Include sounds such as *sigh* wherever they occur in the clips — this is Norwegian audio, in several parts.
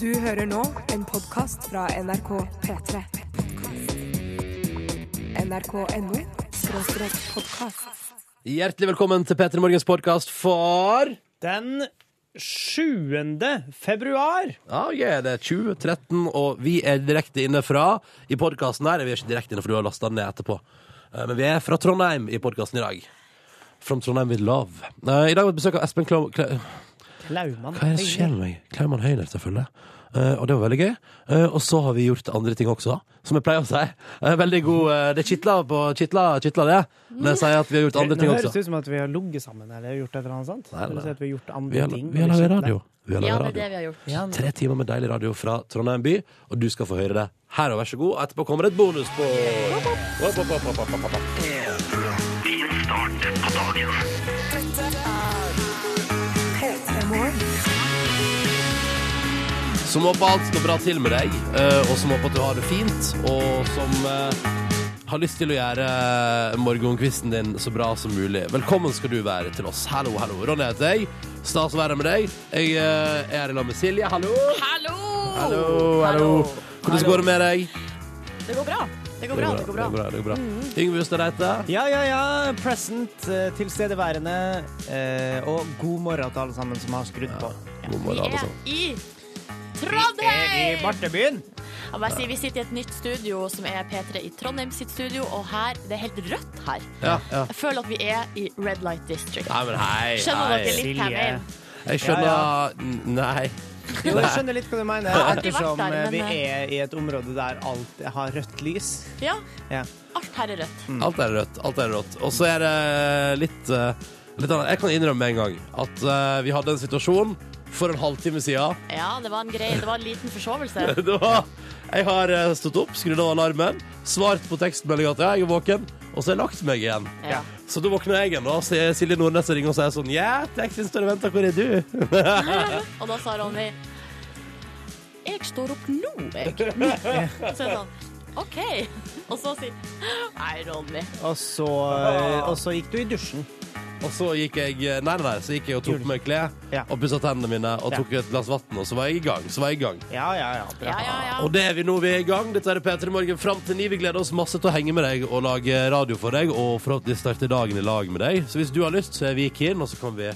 Du hører nå en podkast fra NRK P3. NRK.no skråstrek podkast. Hjertelig velkommen til P3 Morgens podkast for Den 7. februar. Ja, jeg er det 2013, og vi er direkte inne fra i podkasten her. Vi er ikke direkte inne, for du har lasta den ned etterpå. Eh, Men vi er fra Trondheim i podkasten i dag. From Trondheim with love. Eh, I dag har vi besøk av Espen Klau... Klau Klaumann. Hva er det som skjer med meg? Klaumann Høyner, selvfølgelig. Eh, og det var veldig gøy. Eh, og så har vi gjort andre ting også, som jeg pleier å si. Eh, veldig god eh, Det kitler på kitler, kitler det. Når jeg sier at vi har gjort andre Nå ting høres også. det ut som at vi har ligget sammen eller gjort et eller annet sånt. Nei, nei, Du nei. sier at vi har gjort Vi andre har, ting. vi har laget radio. Vi har Ja, laget det er det radio. vi har gjort. Ja, Tre timer med deilig radio fra Trondheim by, og du skal få høre det her, og vær så god. Etterpå kommer det et bonusspor. Hopp, hopp, hopp, hopp, hopp, hopp, hopp. P3 Morgen. Som håper alt står bra til med deg, eh, og som håper at du har det fint, og som eh, har lyst til å gjøre eh, morgenkvisten din så bra som mulig. Velkommen skal du være til oss. Hallo, hallo. Ronny heter jeg. Stas å være med deg. Jeg eh, er her i lag med Silje. Hallo. Hallo! Hallo, hallo. Hvordan går det med deg? Det går bra. Det går bra. det går bra. Det går bra. det går bra. Yngve Hustad heter jeg. Ja, ja, ja. Present, eh, tilstedeværende, eh, og god morgen til alle sammen som har skrudd på. God Vi morgen, alle er sammen. i I Trondheim! Bartebyen. Jeg må bare si, vi sitter i et nytt studio som er P3 i Trondheim sitt studio, og her Det er helt rødt her. Ja, ja. Jeg føler at vi er i Red Light District. Nei, men hei. Skjønner hei. dere litt hva jeg Silje. mener? Jeg skjønner Ja, N- Nei. Jo, jeg skjønner litt hva du mener, har aldri vært ettersom der, eh, vi men, eh, er i et område der alt har rødt lys. Ja, Ja. alt her er rødt. Alt er rødt. Alt er rått. Og så er det litt, eh, litt annet. Jeg kan innrømme med en gang at eh, vi hadde en situasjon for en halvtime siden. *laughs* Ja, det var en grei, det var en liten forsovelse. Det var, jeg har eh, stått opp, skrudd av alarmen, svart på tekstmeldinga at ja, jeg er våken, og så har jeg lagt meg igjen. *laughs* Ja. Så da våkner jeg igjen, da, og så er Silje Nordnes og ringer og sier sånn Ja, teksten står og venter, hvor er du? *laughs* Og da sa Ronny Jeg står opp nå, *laughs* jeg. Så jeg sånn OK. Og så sier Nei, Ronny. Og så, og så gikk du i dusjen. Og så gikk jeg eh, Nei, nei, nei, så gikk jeg og tok på meg klær Ja. og pussa tennene mine og Ja. tok et glass vann, og så var jeg i gang. Så var jeg i gang. Ja, ja, ja. Bra. Ja, ja, ja. Og det er vi nå, vi er i gang. Dette er P3 Morgen fram til ni. Vi gleder oss masse til å henge med deg og lage radio for deg, og forhåpentligvis starte dagen i lag med deg. Så hvis du har lyst, så er vi keen, og så kan vi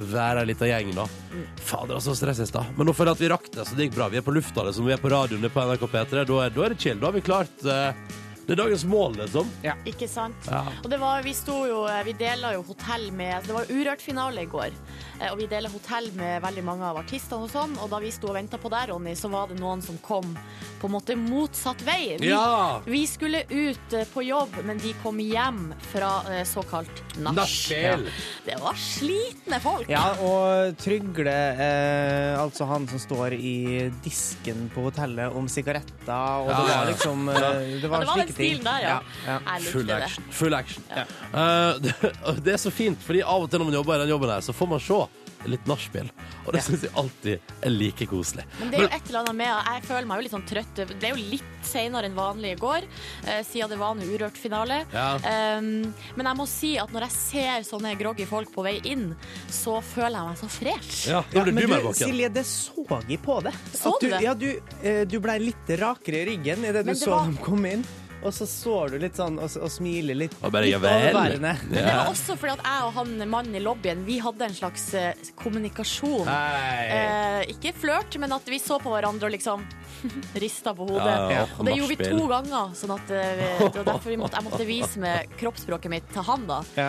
være ei lita gjeng, da. Fader, altså, stress i stad. Men nå føler jeg at vi rakk det, så det gikk bra. Vi er på lufta, liksom. Vi er på radioen, det er på NRK P3. Da er, da er det chill. Da har vi klart eh, Det er dagens mål, liksom. Ikke sant? Ja. Og det var, vi sto jo, eh, vi dela jo hotell med Det var jo Urørt-finale i går. Eh, Og vi dela hotell med veldig mange av artistene og sånn. Og da vi sto og venta på deg, Ronny, så var det noen som kom på en måte motsatt vei. Vi, Ja! vi skulle ut eh, på jobb, men de kom hjem fra eh, såkalt nach. Nachspiel. Det var slitne folk. Ja, og Trygle, eh, altså han som står i disken på hotellet om sigaretter, og Ja, det ja, var ja. liksom eh, Det Ja, var, det var den slike ting. stilen der, ja. ja. Jeg Full likte det. action. Full action. Eh, *laughs* det, og det er så fint, fordi av og til når man jobber i den jobben her, så får man se litt nachspiel. Og det synes syns jeg alltid er like koselig. Men det er jo et eller annet med at Jeg føler meg jo litt sånn trøtt. Det er jo litt senere enn vanlig i går, eh, siden det var en Urørt-finale. Ja. Um, men jeg må si at når jeg ser sånne groggy folk på vei inn, så føler jeg meg så fresh. Ja, nå Ja, blir men du mer du, våken. Silje, det så jeg på det. Så At du du, det? ja, du, eh, du blei litt rakere i ryggen idet du Men det så var- dem komme inn. Og så så du litt sånn og, og smiler litt. Og bare, litt «Ja vel». overværende. Men det var også fordi at jeg og han mannen i lobbyen Vi hadde en slags eh, kommunikasjon. Hei. Eh, ikke flørt, men at vi så på hverandre og liksom *laughs* rista på hodet. Ja, ja, Og det gjorde vi nachspiel. to ganger, sånn at eh, det var derfor vi måtte, jeg måtte vise med kroppsspråket mitt til han, da. Ja.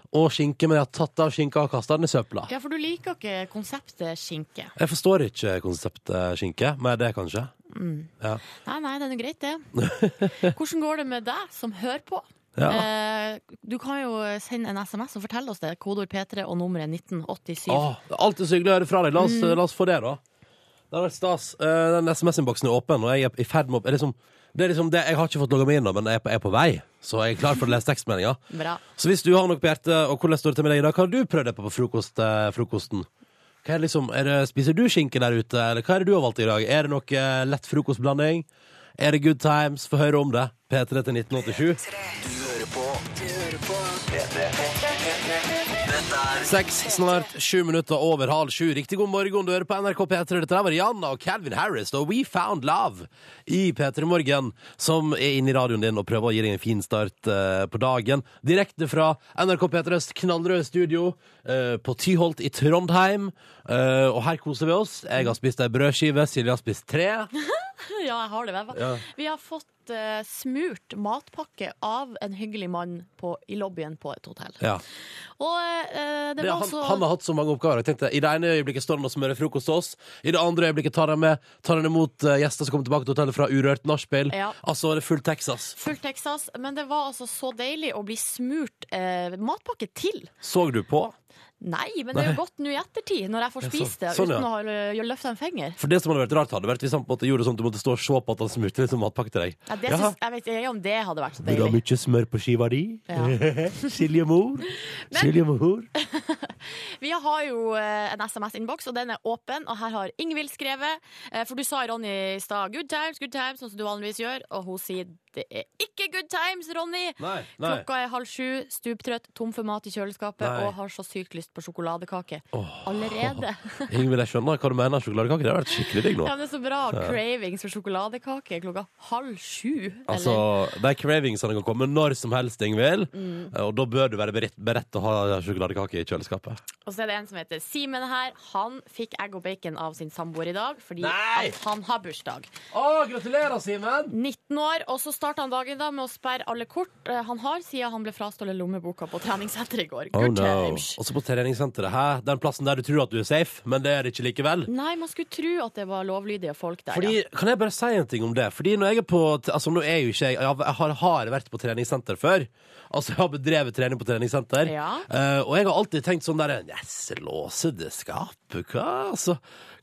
og skinke, men jeg har tatt av skinka og kasta den i søpla. Ja, for du liker ikke konseptet skinke. Jeg forstår ikke konseptet skinke, men det kanskje. Ja. Nei, nei, det er jo greit, det. *laughs* Hvordan går det med deg som hører på? Ja. Eh, du kan jo sende en SMS og fortelle oss det. Kodeord P3 og nummeret 1987. Ah. Åh, det er alltid så hyggelig å høre fra deg. La oss, la oss få det, da. Det har vært stas. Eh, Den SMS-innboksen er åpen, og jeg er i ferd med å det er liksom, det er liksom det, Jeg har ikke fått logga meg inn, da, men jeg er på, jeg er på vei, så jeg er klar for å lese tekstmeldinger. Bra. Så hvis du har noe på hjertet, og hvordan står det til med deg i dag, hva har du prøvd deg på på frokost, eh, frokosten? Hva er det liksom, er det, spiser du skinke der ute, eller hva er det du har valgt i dag? Er det noe eh, lett frokostblanding? Er det good times? Få høre om det. P3 til 1987. Seks, snart sju minutter over halv sju. Riktig god morgen, du hører på NRK P3. Dette her var Rihanna og Calvin Harris og We Found Love i P3 Morgen, som er inne i radioen din og prøver å gi deg en fin start eh, på dagen. Direkte fra NRK P3s knallrøde studio eh, på Tyholt i Trondheim. Eh, og her koser vi oss. Jeg har spist ei brødskive, Silje har spist tre. Ja, jeg har det. vel. Ja. Vi har fått eh, smurt matpakke av en hyggelig mann på, i lobbyen på et hotell. Ja. Og eh, det Det, var han, altså han har hatt så mange oppgaver. Jeg tenkte, I det ene øyeblikket står han og smører frokost til oss. I det andre øyeblikket tar han, med, tar han imot eh, gjester som kommer tilbake til hotellet fra urørt nachspiel. Ja. Altså, det er fullt Texas. fullt Texas, men det var altså så deilig å bli smurt eh, matpakke til. Så du på? Nei, men det er jo godt nå i ettertid, når jeg får Ja, så- spist det sånn, ja. uten å ha ø, løfte en finger. For det som hadde vært rart, hadde vært hvis han på en måte gjorde sånn at du måtte stå og se på at han smurte litt matpakke til deg. Ja, det Ja. syns- jeg vet ikke om det hadde vært så Vil du ha deilig. mye smør på skiva di? Ja. *laughs* Silje mor. Silje mor. Vi har jo eh, en SMS-innboks, og den er åpen. Og her har Ingvild skrevet. eh, For du sa Ronny i stad 'good times', good times, sånn som du vanligvis gjør. Og hun sier det er ikke good times, Ronny! Nei, nei. *laughs* Klokka er halv sju, stuptrøtt, tom for mat i kjøleskapet Nei. og har så sykt lyst på sjokoladekake. Åh. Allerede. Ingvild, jeg skjønner hva du mener. Sjokoladekake, det har vært skikkelig digg nå. Ja, men det er så bra. Cravings for sjokoladekake klokka halv sju. eller? Altså, de cravingsene kan komme når som helst, Ingvild. Mm. Og da bør du være beredt, beredt til å ha sjokoladekake i kjøleskapet. Og så er det en som heter Simen her. Han fikk egg og bacon av sin samboer i dag fordi Nei! at han har bursdag. Å, gratulerer, Simen! 19 år, og så starta han dagen da med å sperre alle kort eh, han har, siden han ble frastålet lommeboka på treningssenteret i går. Oh Good no. times. Også på treningssenteret. Hæ? Den plassen der du tror at du er safe, men det er det ikke likevel. Nei, man skulle tro at det var lovlydige folk der. Fordi, ja. kan jeg bare si en ting om det? Fordi når jeg er på Altså, nå er jo ikke jeg Jeg har, har vært på treningssenter før. Altså, jeg har bedrevet trening på treningssenter. Ja. Eh, og jeg har alltid tenkt sånn derre Yes, låse det skapet, hva? Altså,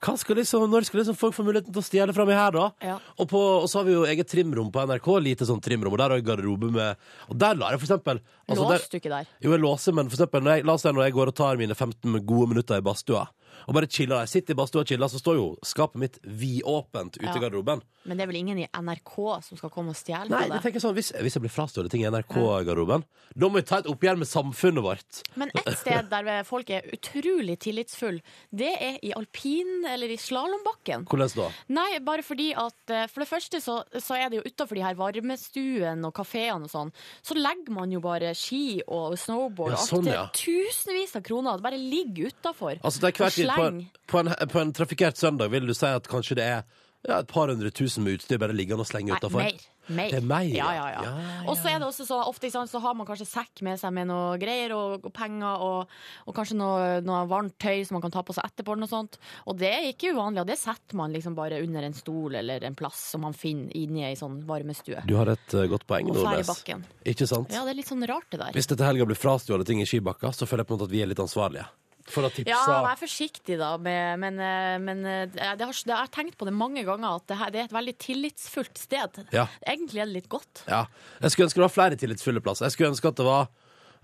hva skal liksom, når skal liksom folk få muligheten til å stjele fra meg her, da? Ja. Og, på, og så har vi jo eget trimrom på NRK, lite sånn trimrom, og der har jeg garderobe med Og der lar jeg for eksempel altså, der- Låste du ikke der? jo, jeg låser, men for eksempel, når jeg, la oss si når jeg går og tar mine 15 gode minutter i badstua, og bare chiller der, sitter i badstua og chiller, så står jo skapet mitt vidåpent ute i Ja. garderoben. Men det er vel ingen i NRK som skal komme og stjele Nei, jeg på det? tenker sånn, hvis, hvis jeg blir frastjålet ting i NRK-garderoben, da må vi ta et oppgjør med samfunnet vårt. Men ett sted der folk er utrolig tillitsfulle, det er i alpin- eller i slalåmbakken. Hvordan da? Nei, bare fordi at eh, For det første så, så er det jo utafor de her varmestuen og kafeene og sånn, så legger man jo bare ski og snowboard Ja, og alt sånn, det- ja. tusenvis av kroner. Det bare ligger utafor. Altså, det er hvert tid, på, en, sleng. på, en, på en trafikkert søndag vil du si at kanskje det er ja, et par hundre tusen med utstyr bare liggende og slenge Nei, utenfor. mer. mer. Det er mer, ja. ja. Ja, ja. Ja, ja, Og så er det også så ofte ikke sant, så har man kanskje sekk med seg med noe greier og, og penger og, og kanskje noe, noe varmt tøy som man kan ta på seg etterpå. eller Noe sånt. Og det er ikke uvanlig, og det setter man liksom bare under en stol eller en plass som man finner inni ei sånn varmestue. Du har et eh, godt poeng, Og fær i Nordnes. bakken. Ikke sant? Ja, det er litt sånn rart det der. Hvis det til helga blir frastjålet ting i skibakka, så føler jeg på en måte at vi er litt ansvarlige. For å tipse Ja, vær forsiktig da, med, men, eh, men eh, det har, det, jeg har tenkt på det mange ganger, at det, her, det er et veldig tillitsfullt sted. Ja. Egentlig er det litt godt. Ja. Jeg skulle ønske det var flere tillitsfulle plasser. Jeg skulle ønske at det var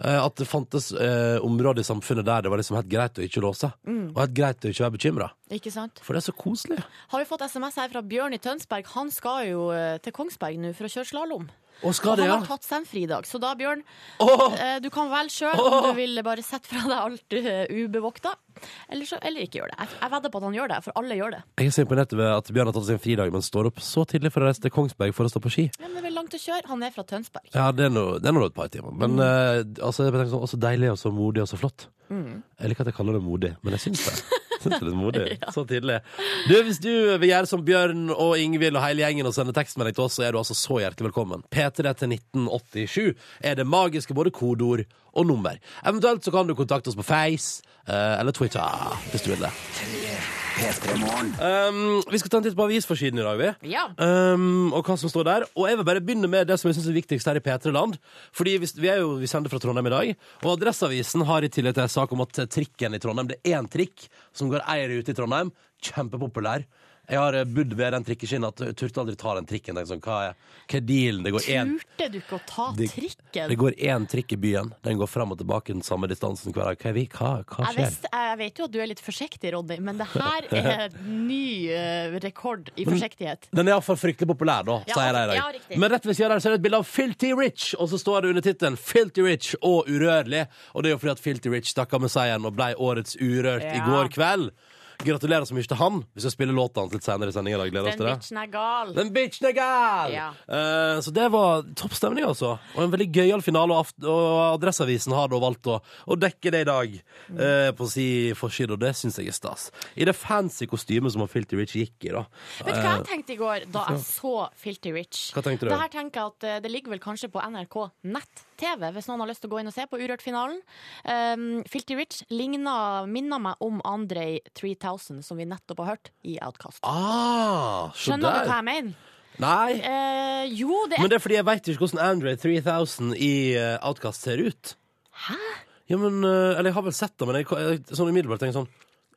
eh, at det fantes eh, områder i samfunnet der det var liksom helt greit å ikke låse. Mm. Og helt greit å ikke være bekymra. Ikke sant? For det er så koselig. Har vi fått SMS her fra Bjørn i Tønsberg. Han skal jo eh, til Kongsberg nå for å kjøre slalåm. Og skal det, Han ja? har tatt seg en fridag. Så da, Bjørn, Åh! eh, du kan velge sjøl om du vil bare sette fra deg alt eh, ubevokta, eller, så, eller ikke gjør det. Jeg, jeg vedder på at han gjør det, for alle gjør det. Jeg er så imponert over at Bjørn har tatt seg en fridag, men står opp så tidlig for å reise til Kongsberg for å stå på ski. Ja, Men det er vel langt å kjøre. Han er fra Tønsberg. Ja, det er nå det er nå et par timer. Men eh, altså, jeg tenker sånn, også deilig og så modig og så flott. Jeg liker at jeg kaller det modig, men jeg syns det. Jeg Syns det er litt modig. Så tidlig. Du, hvis du vil gjøre som Bjørn og Ingvild og hele gjengen og sende tekstmelding til oss, så er du altså så hjertelig velkommen. P3 til 1987 er det magiske både kodeord og nummer. Eventuelt så kan du kontakte oss på Face eh, eller Twitter, hvis du vil det. Um, vi skal ta en titt på avisforsiden i dag, vi. Ja. Um, og hva som står der. Og jeg vil bare begynne med det som jeg synes er viktigst her i P3-land. Fordi vi, vi, er jo, vi sender fra Trondheim i dag, og Adresseavisen har i tillegg til en sak om at trikken i Trondheim, det er én trikk som går ei rute i Trondheim, kjempepopulær. Jeg har eh, bodd ved den trikkeskinna. at Jeg turte aldri ta den trikken. Tenk Sånn, hva, er, hva er dealen? Det går én Turte du ikke å ta Det- trikken? det går én trikk i byen. Den går fram og tilbake den samme distansen hver dag. Hva, er vi? hva, hva Jeg, skjer? visste, jeg vet jo at du er litt forsiktig, Ronny, men det her er ny eh, rekord i forsiktighet. Den er iallfall fryktelig populær, da, Ja, sier de i ja, dag. riktig. Men rett ved siden av der så er det et bilde av Filty Rich, og så står det under tittelen 'Filty Rich og urørlig'. Og det er jo fordi at Filty Rich stakk av med seieren og ble Årets Urørt i Ja. går kveld. Gratulerer så mye til han. Vi skal spille låta hans litt senere i sendinga. Gleder oss Den til det. bitchen er gal. Den bitchen er gal! Ja. Eh, så det var topp stemning, altså. Og en veldig gøyal finale. Og, aft og Adresseavisen har da valgt å, å dekke det i dag Mm. eh, på si forside, og det syns jeg er stas. I det fancy kostymet som han Filty Rich gikk i, da. Vet du hva eh, jeg tenkte i går da jeg så Filty Rich? Hva tenkte du? Det her tenker jeg at eh, det ligger vel kanskje på NRK nett-TV, hvis noen har lyst til å gå inn og se på Urørt-finalen. Um, Filty Rich ligner, minner meg om Andrej 3000, som vi nettopp har hørt i Outcast. Ah, se Skjønner du der. hva jeg mener? Nei, Eh, jo, det men er det er fordi jeg veit ikke hvordan Andre 3000 i eh, Outcast ser ut. Hæ? Ja, men, eh, eller jeg har vel sett det, men jeg, jeg, sånn umiddelbart tenker jeg sånn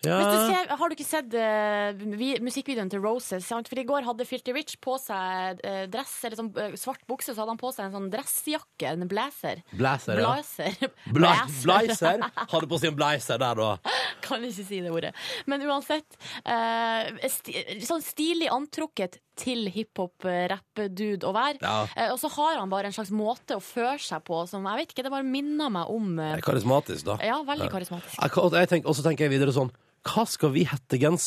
ja. Hvis du ser, har du ikke sett eh, vi, musikkvideoen til Roses? Sant? For I går hadde Filty Rich på seg eh, dress, eller sånn, eh, svart bukse, så hadde han på seg en sånn dressjakke, en blazer. Blazer, ja. Blazer. *laughs* Bla- Blazer. *laughs* Hadde på seg en blazer der, da. Kan ikke si det ordet. Men uansett. eh, sti sånn stilig antrukket til hiphop, eh, rapp, dude og vær. Ja. Eh, og så har han bare en slags måte å føre seg på som jeg vet ikke, det bare minner meg om eh, Det er karismatisk, da. Ja, veldig karismatisk. Jeg, og jeg tenker, og så tenker jeg videre sånn Hva skal vi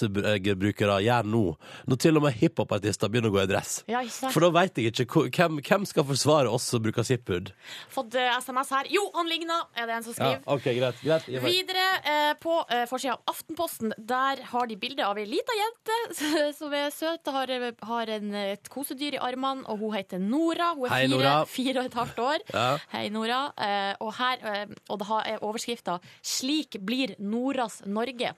hettegenserbrukere gjøre nå, når til og med hiphopartister begynner å gå i dress? Ja, ikke sant? For da veit jeg ikke hvor- hvem, hvem skal forsvare oss som bruker zip-hood. Fått eh, SMS her. Jo, han ligner, er det en som skriver. ok, greit, greit. Jeg vet. Videre eh, på eh, forsida av Aftenposten, der har de bilde av ei lita jente *laughs* som er søt og har, har en, et kosedyr i armene, og hun heter Nora. Hun er Hei, fire, Nora. fire og et halvt år. Ja. Hei, Nora. Eh, og, her, eh, og det har- er overskrifta 'Slik blir Noras Norge'.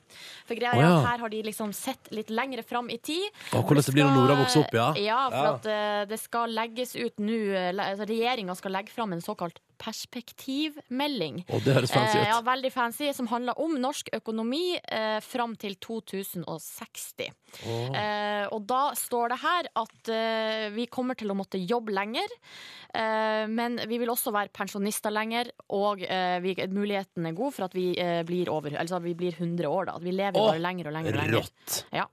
For greia Å, er ja. at her har de liksom sett litt lengre fram i tid. Å, hvordan det blir når Nora skal- vokser opp, ja. Ja, for Ja. at eh, det skal legges ut nå eh, le- altså, Regjeringa skal legge fram en såkalt perspektivmelding. Å, det høres fancy Eh, ja, ut. veldig fancy, som handler om norsk økonomi eh, fram til 2060. Eh, og da står det her at eh, vi kommer til å måtte jobbe lenger, eh, men vi vil også være pensjonister lenger, og eh, vi, muligheten er god for at vi, eh, blir over, altså, at vi blir 100 år. Da. At vi lever Åh, bare lenger og lenger. og lenger. Rått. Ja.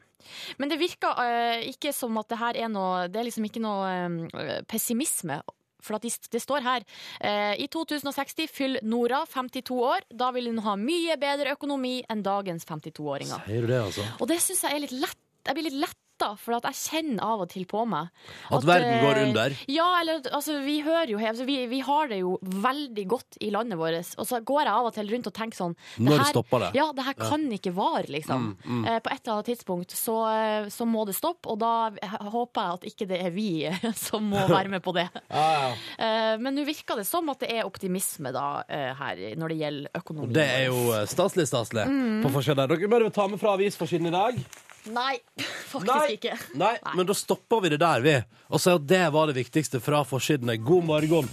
Men det virker eh, ikke som at det her er noe Det er liksom ikke noe eh, pessimisme. For at de, det står her eh, I 2060 fyll Nora 52 år. Da vil hun ha mye bedre økonomi enn dagens 52-åringer. Sier du det, altså? Og det syns jeg er litt lett. Jeg blir litt letta, for at jeg kjenner av og til på meg At verden eh, går under. Ja, eller at- altså, vi hører jo altså, vi, vi har det jo veldig godt i landet vårt. Og så går jeg av og til rundt og tenker sånn det Når her- stopper det? Mm, Ja, det her kan ikke vare, liksom. Eh, På et eller annet tidspunkt så, eh, så må det stoppe, og da h- håper jeg at ikke det er vi *laughs* som må være med på *laughs* det. Eh, Men nå virker det som at det er optimisme da, eh, her i- når det gjelder økonomi. Det er jo eh, staselig, staselig. Mm. På forsiden der. Dere bør jo ta med fra avisforsiden i dag. Nei, *laughs* faktisk ikke. Nei, men da stopper vi det der, vi. Og sier at det var det viktigste fra forsidene. God morgen.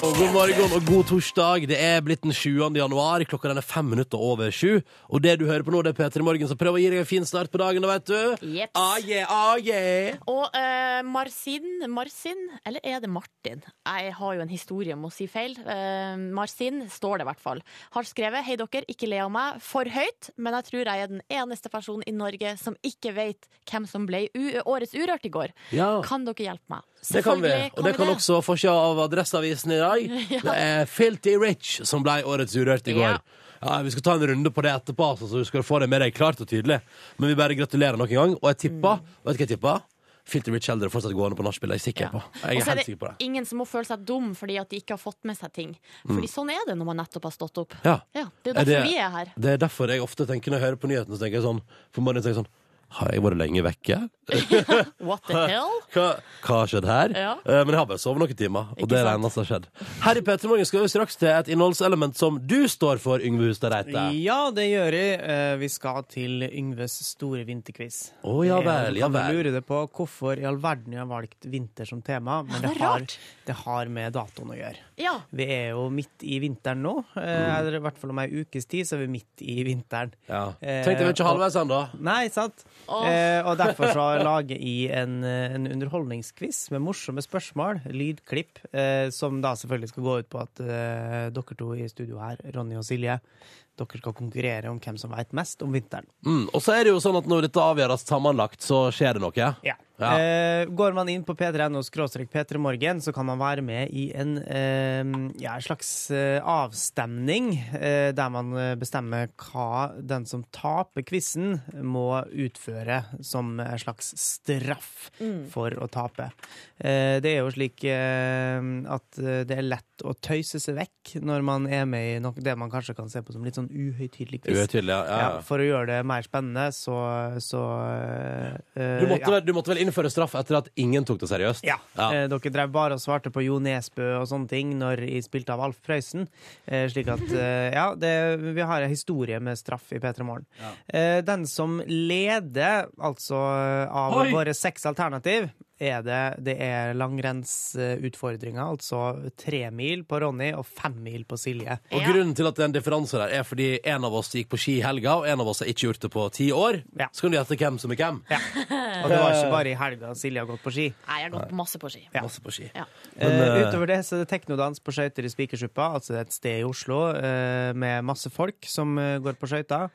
Og god morgen og god torsdag. Det er blitt den 7. januar. Klokka den er fem minutter over sju. Og det du hører på nå, det er P3 Morgen, så prøv å gi deg en fin start på dagen, da, vet du. Jeps. Ah, yeah, ah, yeah. Og eh, Marcin, Marcin, eller er det Martin? Jeg har jo en historie om å si feil. Eh, Marcin står det i hvert fall. Har skrevet 'Hei dere, ikke le av meg for høyt', men jeg tror jeg er den eneste personen i Norge som ikke vet hvem som ble u årets Urørt i går. Ja. Kan dere hjelpe meg? Det kan vi. Selvfølgelig Og det kan også forsida av Adresseavisen i *laughs* dag. Det er Filty Rich som ble årets Urørt i går. Ja. Ja, vi skal ta en runde på det etterpå, altså, så du skal få det med deg klart og tydelig. Men vi bare gratulerer nok en gang. Og jeg Mm. tipper Vet du hva jeg tipper? Filty Rich holder det fortsatt gående på nachspiel. Jeg er sikker Ja. på Jeg er Og så er helt det sikker på det. Mm. ingen som må føle seg dum fordi at de ikke har fått med seg ting. Fordi sånn er det når man nettopp har stått opp. Ja. det er jo derfor vi er her. Det er derfor jeg ofte tenker når jeg hører på nyhetene, så tenker jeg sånn For morgenen tenker jeg sånn Har jeg vært lenge vekke? What *laughs* the hell? Hva hva har skjedd her? Ja. Eh, men jeg har bare sovet noen timer, og Ikke det er det sant? eneste som har skjedd. Her i P3 Morgen skal vi straks til et innholdselement som du står for, Yngve Hustad Reite. Ja, det gjør jeg. Eh, Vi skal til Yngves store vinterquiz. Å, ja vel, ja Jeg vel. lurer deg på hvorfor i all verden jeg har valgt vinter som tema, men det det er har, rart. det har med datoen å gjøre. Ja. Vi er jo midt i vinteren nå. eh, Mm. Eller i hvert fall om ei ukes tid, så er vi midt i vinteren. Ja. Eh, Tenkte vi ikke halvveis ennå. Nei, sant? Åh. Eh, og derfor så lager jeg en, eh, en underholdningsquiz med morsomme spørsmål, lydklipp, eh, som da selvfølgelig skal gå ut på at eh, dere to i studio her, Ronny og Silje, dere skal konkurrere om hvem som veit mest om vinteren. Mm. Og så er det jo sånn at når dette avgjøres sammenlagt, så skjer det noe. Ja. Ja. Eh, går man inn på p3.no skråstrek p3morgen, så kan man være med i en eh, ja, en slags eh, avstemning, eh, der man eh, bestemmer hva den som taper quizen, må utføre som en slags straff for å tape. Eh, det er jo slik eh, at eh, det er lett å tøyse seg vekk når man er med i noe, det man kanskje kan se på som litt sånn uhøytidelig quiz. Utydelig, ja. ja. Ja, for å gjøre det mer spennende, så, så eh, Du, måtte ja. vel, du måtte vel innføre straff etter at ingen tok det seriøst? Ja. Eh, dere drev bare og svarte på Jo Nesbø og sånne ting når jeg spilte av Alf Prøysen. Eh, slik at eh, Ja, det, vi har en historie med straff i P3 Morgen. Eh, den som leder, altså eh, av Oi! våre seks alternativ, er det, det er langrennsutfordringer. Altså tre mil på Ronny og fem mil på Silje. Og Ja. grunnen til at det er en differanse der, er fordi en av oss gikk på ski i helga, og en av oss har ikke gjort det på ti år. Ja. Så kan du gjette hvem som er hvem. Og det var ikke bare i helga Silje har gått på ski. Nei, jeg har gått masse på ski. Ja. Masse på ski. Ja. Men, eh, eh, utover det så er det teknodans på skøyter i Spikersuppa, altså det er et sted i Oslo eh, med masse folk som eh, går på skøyter.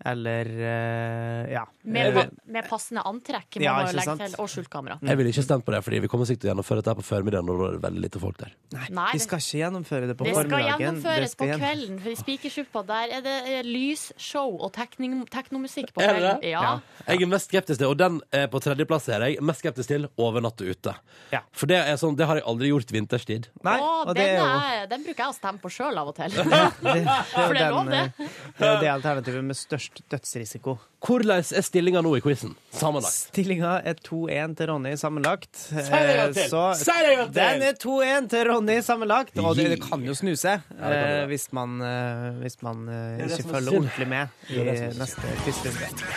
Eller eh, ja. Med, Eh, med passende antrekk, må Ja, man jo ikke legge sant? Mm. til. Og skjultkamera. Jeg ville ikke stemt på det, fordi vi kommer sikkert til å gjennomføre dette her på formiddagen når det er veldig lite folk der. Nei, vi skal ikke gjennomføre det på det skal formiddagen. gjennomføres på gjen- kvelden, for i Spikersuppa der er det eh, lysshow og tekning- teknomusikk på Er det kvelden. det? Ja. Jeg er mest skeptisk til, og den er på tredjeplass her, jeg er mest skeptisk til overnatte ute. Ja. For det, er sånn, det har jeg aldri gjort vinterstid. Nei, Å, og det er den, jo er, den bruker jeg å stemme på sjøl av og *laughs* til. det, det, *laughs* For er det er jo lov, den, eh, det er jo det alternativet med størst dødsrisiko. Hvordan er stillinga nå i quizen? Sammenlagt. Stillinga er 2-1 til Ronny sammenlagt. Si det en gang til! Si det en gang til! Den er 2-1 til Ronny sammenlagt, og det, det Gi. kan jo snu seg det kan det. eh, hvis man, eh, hvis man eh, det ikke som er følger synd. ordentlig med i det som er synd. neste quizrunde.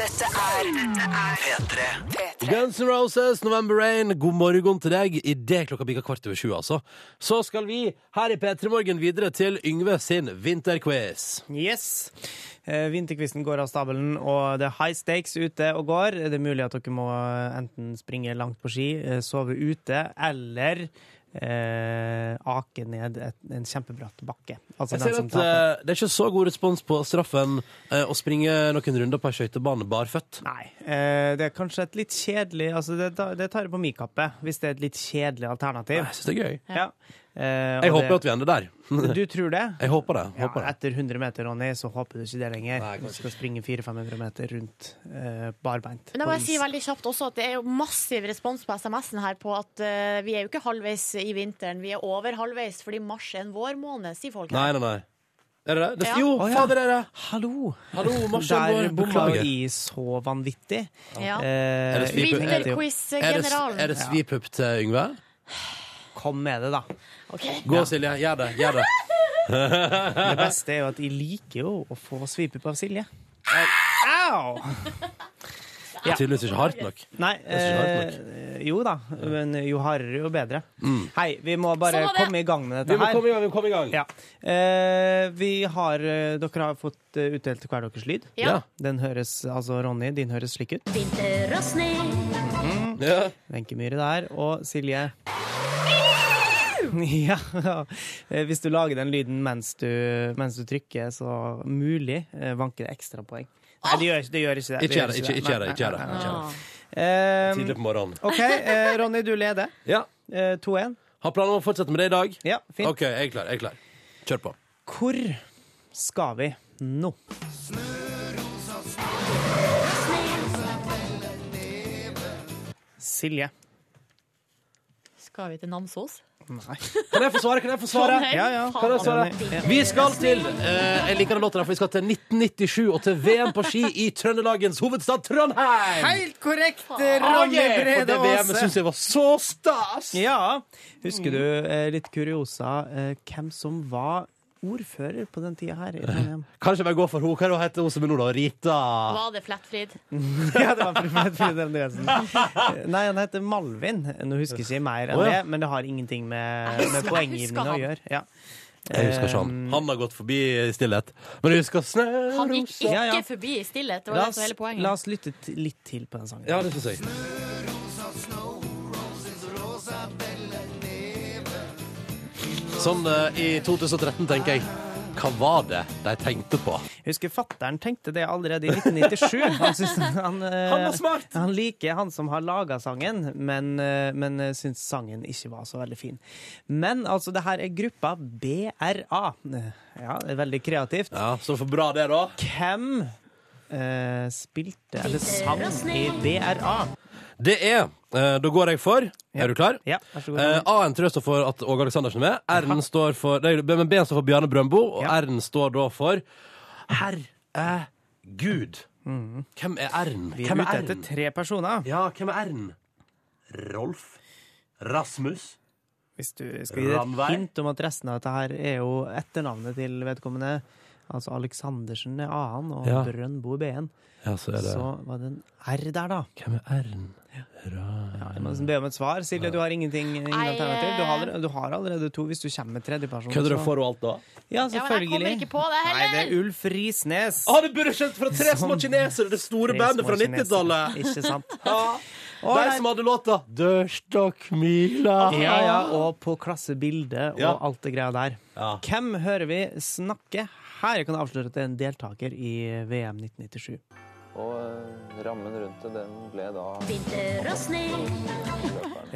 Dette er P3. Guns N' Roses, November Rain, god morgen til deg. I det klokka bikker kvart over sju, altså. Så skal vi her i P3 Morgen videre til Yngve sin vinterquiz. Yes. Eh, Vinterquizen går av stabelen, og det er high stakes ute og går. Det er mulig at dere må eh, enten springe langt på ski, eh, sove ute, eller eh, ake ned et, en kjempebratt bakke. Altså Jeg ser den som at taper. eh, Det er ikke så god respons på straffen eh, å springe noen runder på ei skøytebane barføtt. Nei. Eh, det er kanskje et litt kjedelig altså det, tar- det tar jeg på min kappe, hvis det er et litt kjedelig alternativ. Jeg syns det er gøy. Ja. Eh, Jeg og håper jo at vi *laughs* ender der. det, Du tror det? Jeg håper det. Ja, Håper det. etter 100 meter, Ronny, så håper du ikke det lenger. Nei, du kanskje skal springe 400-500 meter rundt eh, barbeint. Men jeg må på is. si veldig kjapt også at det er jo massiv respons på SMS-en her på at eh, vi er jo ikke halvveis i vinteren, vi er over halvveis fordi mars er en vårmåned, sier folk. Nei, her. nei, nei. Er det det? Ja. Jo, Å, ja. fader, er det Hallo! Hallo, Marshall, Der vår bomma bomlager. i så vanvittig. Ja. Eh, Er det svipe- jeg Er tenkte jo, det, er Vinterquiz-generalen. det svipup til Yngve? Kom med det, da. Ok. Gå, Silje. Gjør det. Gjør det. Det beste er jo at jeg liker jo å få svipup av Silje. Au! *laughs* Ja. Tydeligvis ikke hardt nok. Nei, synes jeg eh, jo da, men jo hardere, jo bedre. Hei, vi må bare Sånn var det. komme i gang med Mm. Vi dette må her. komme i gang. Vi må komme i gang. Ja. Eh, vi har, eh, dere har fått eh, utdelt hver deres lyd. Ja. Den høres, altså Ronny, din høres slik ut. Vinter og snø. Ja. Wenche Myhre der, og Silje. *laughs* Ja. Eh, Hvis du lager den lyden mens du, mens du trykker, så mulig eh, vanker det ekstra poeng. Nei, det gjør ikke det. Gjør ikke, det. Ikke gjør det. Ikke ikke Nei, gjør det. nei, Ikke gjør nei, det. nei, Ikke gjør det. Ah. nei. Tidlig på morgenen. Eh, OK, eh, Ronny, du leder. Ja. Eh, 2-1. Har planer om å fortsette med det i dag? Ja, fint. OK, jeg er klar. Jeg er klar. Kjør på. Hvor skal vi nå? Silje. Skal vi til Namsos? Nei. Kan jeg få svare? Kan jeg få svare? Trondheim? Ja, ja. Kan jeg Faen. svare? Vi skal til eh, Jeg liker den låten, her, for vi skal til 1997 og til VM på ski i Trøndelagens hovedstad Trondheim! Helt korrekt, Ah, Ronny yeah! For Brede det VM-et syns Aase. jeg var så stas! Ja. Husker du, eh, litt kuriosa, eh, hvem som var ordfører på den tida her i Trondheim? Kanskje jeg bare går for henne. Hva heter hun som er nå, da? Rita? Var det Flettfrid? *laughs* Ja, det var Fred Frid Andreassen. Eh, Nei, han heter Malvin. Nå husker jeg ikke mer enn Å, ja. det, men det har ingenting med, Jeg med husker- jeg husker poenggivning å han. gjøre. Ja. Jeg husker ikke han. Han har gått forbi i stillhet. Men jeg husker Han gikk Snørosa ikke Ja, ja. forbi i stillhet. Det var La det oss, som var hele la poenget. oss lytte t- litt til på den sangen. Ja, det syns jeg. Sånn eh, i 2013 tenker jeg. Hva var det de tenkte på? Jeg husker fatteren tenkte det allerede i *laughs* 1997. Han, syns- han, Han var eh, smart! han liker han som har laga sangen, men, eh, men eh, syns sangen ikke var så veldig fin. Men altså, det her er gruppa BRA. Eh, Ja, det er veldig kreativt. Ja, Så for bra det, da. Hvem eh, spilte eller sang i BRA? Det er eh, Da går jeg for. Er du klar? Ja, vær så god. Eh, A-en tror jeg står for at Åge Aleksandersen er med. R-en står for nei, men B-en står for Bjarne Brøndbo, og Ja. R-en står da for Herr er Gud. Hvem er R-en? Mhm. Vi er Hvem ute er etter R-en? tre personer. Ja, hvem er R-en? Rolf. Rasmus. Hvis du skal gi et Ranveig. hint om at resten av dette her er jo etternavnet til vedkommende. Altså Aleksandersen er A-en, og Ja. Brøndbo er B-en. Ja, så er det Så var det en R der, da. Hvem er R-en? Ja, jeg må nesten be om et svar. Silje, du har ingenting, ingen Nei, eh, alternativ. Du har, allerede, du har allerede to hvis du kommer med tredjeperson. Kødder du så- for henne alt, da? Ja, Ja, men jeg kommer selvfølgelig. ikke på det Nei, det er heller! Ulf Risnes. Å, du burde skjønt fra Tre små kinesere, det store Sånn. Tre bandet fra små kinesere. 90-tallet! Ikke *laughs* sant. Ja. Å, De nei. som hadde låta 'Dørstokkmila'. Ja, ja, og på klassebildet og Ja. alt det greia der. Ja. Hvem hører vi snakke her? Jeg kan avsløre at det er en deltaker i VM 1997. Og eh, rammen rundt det, den ble da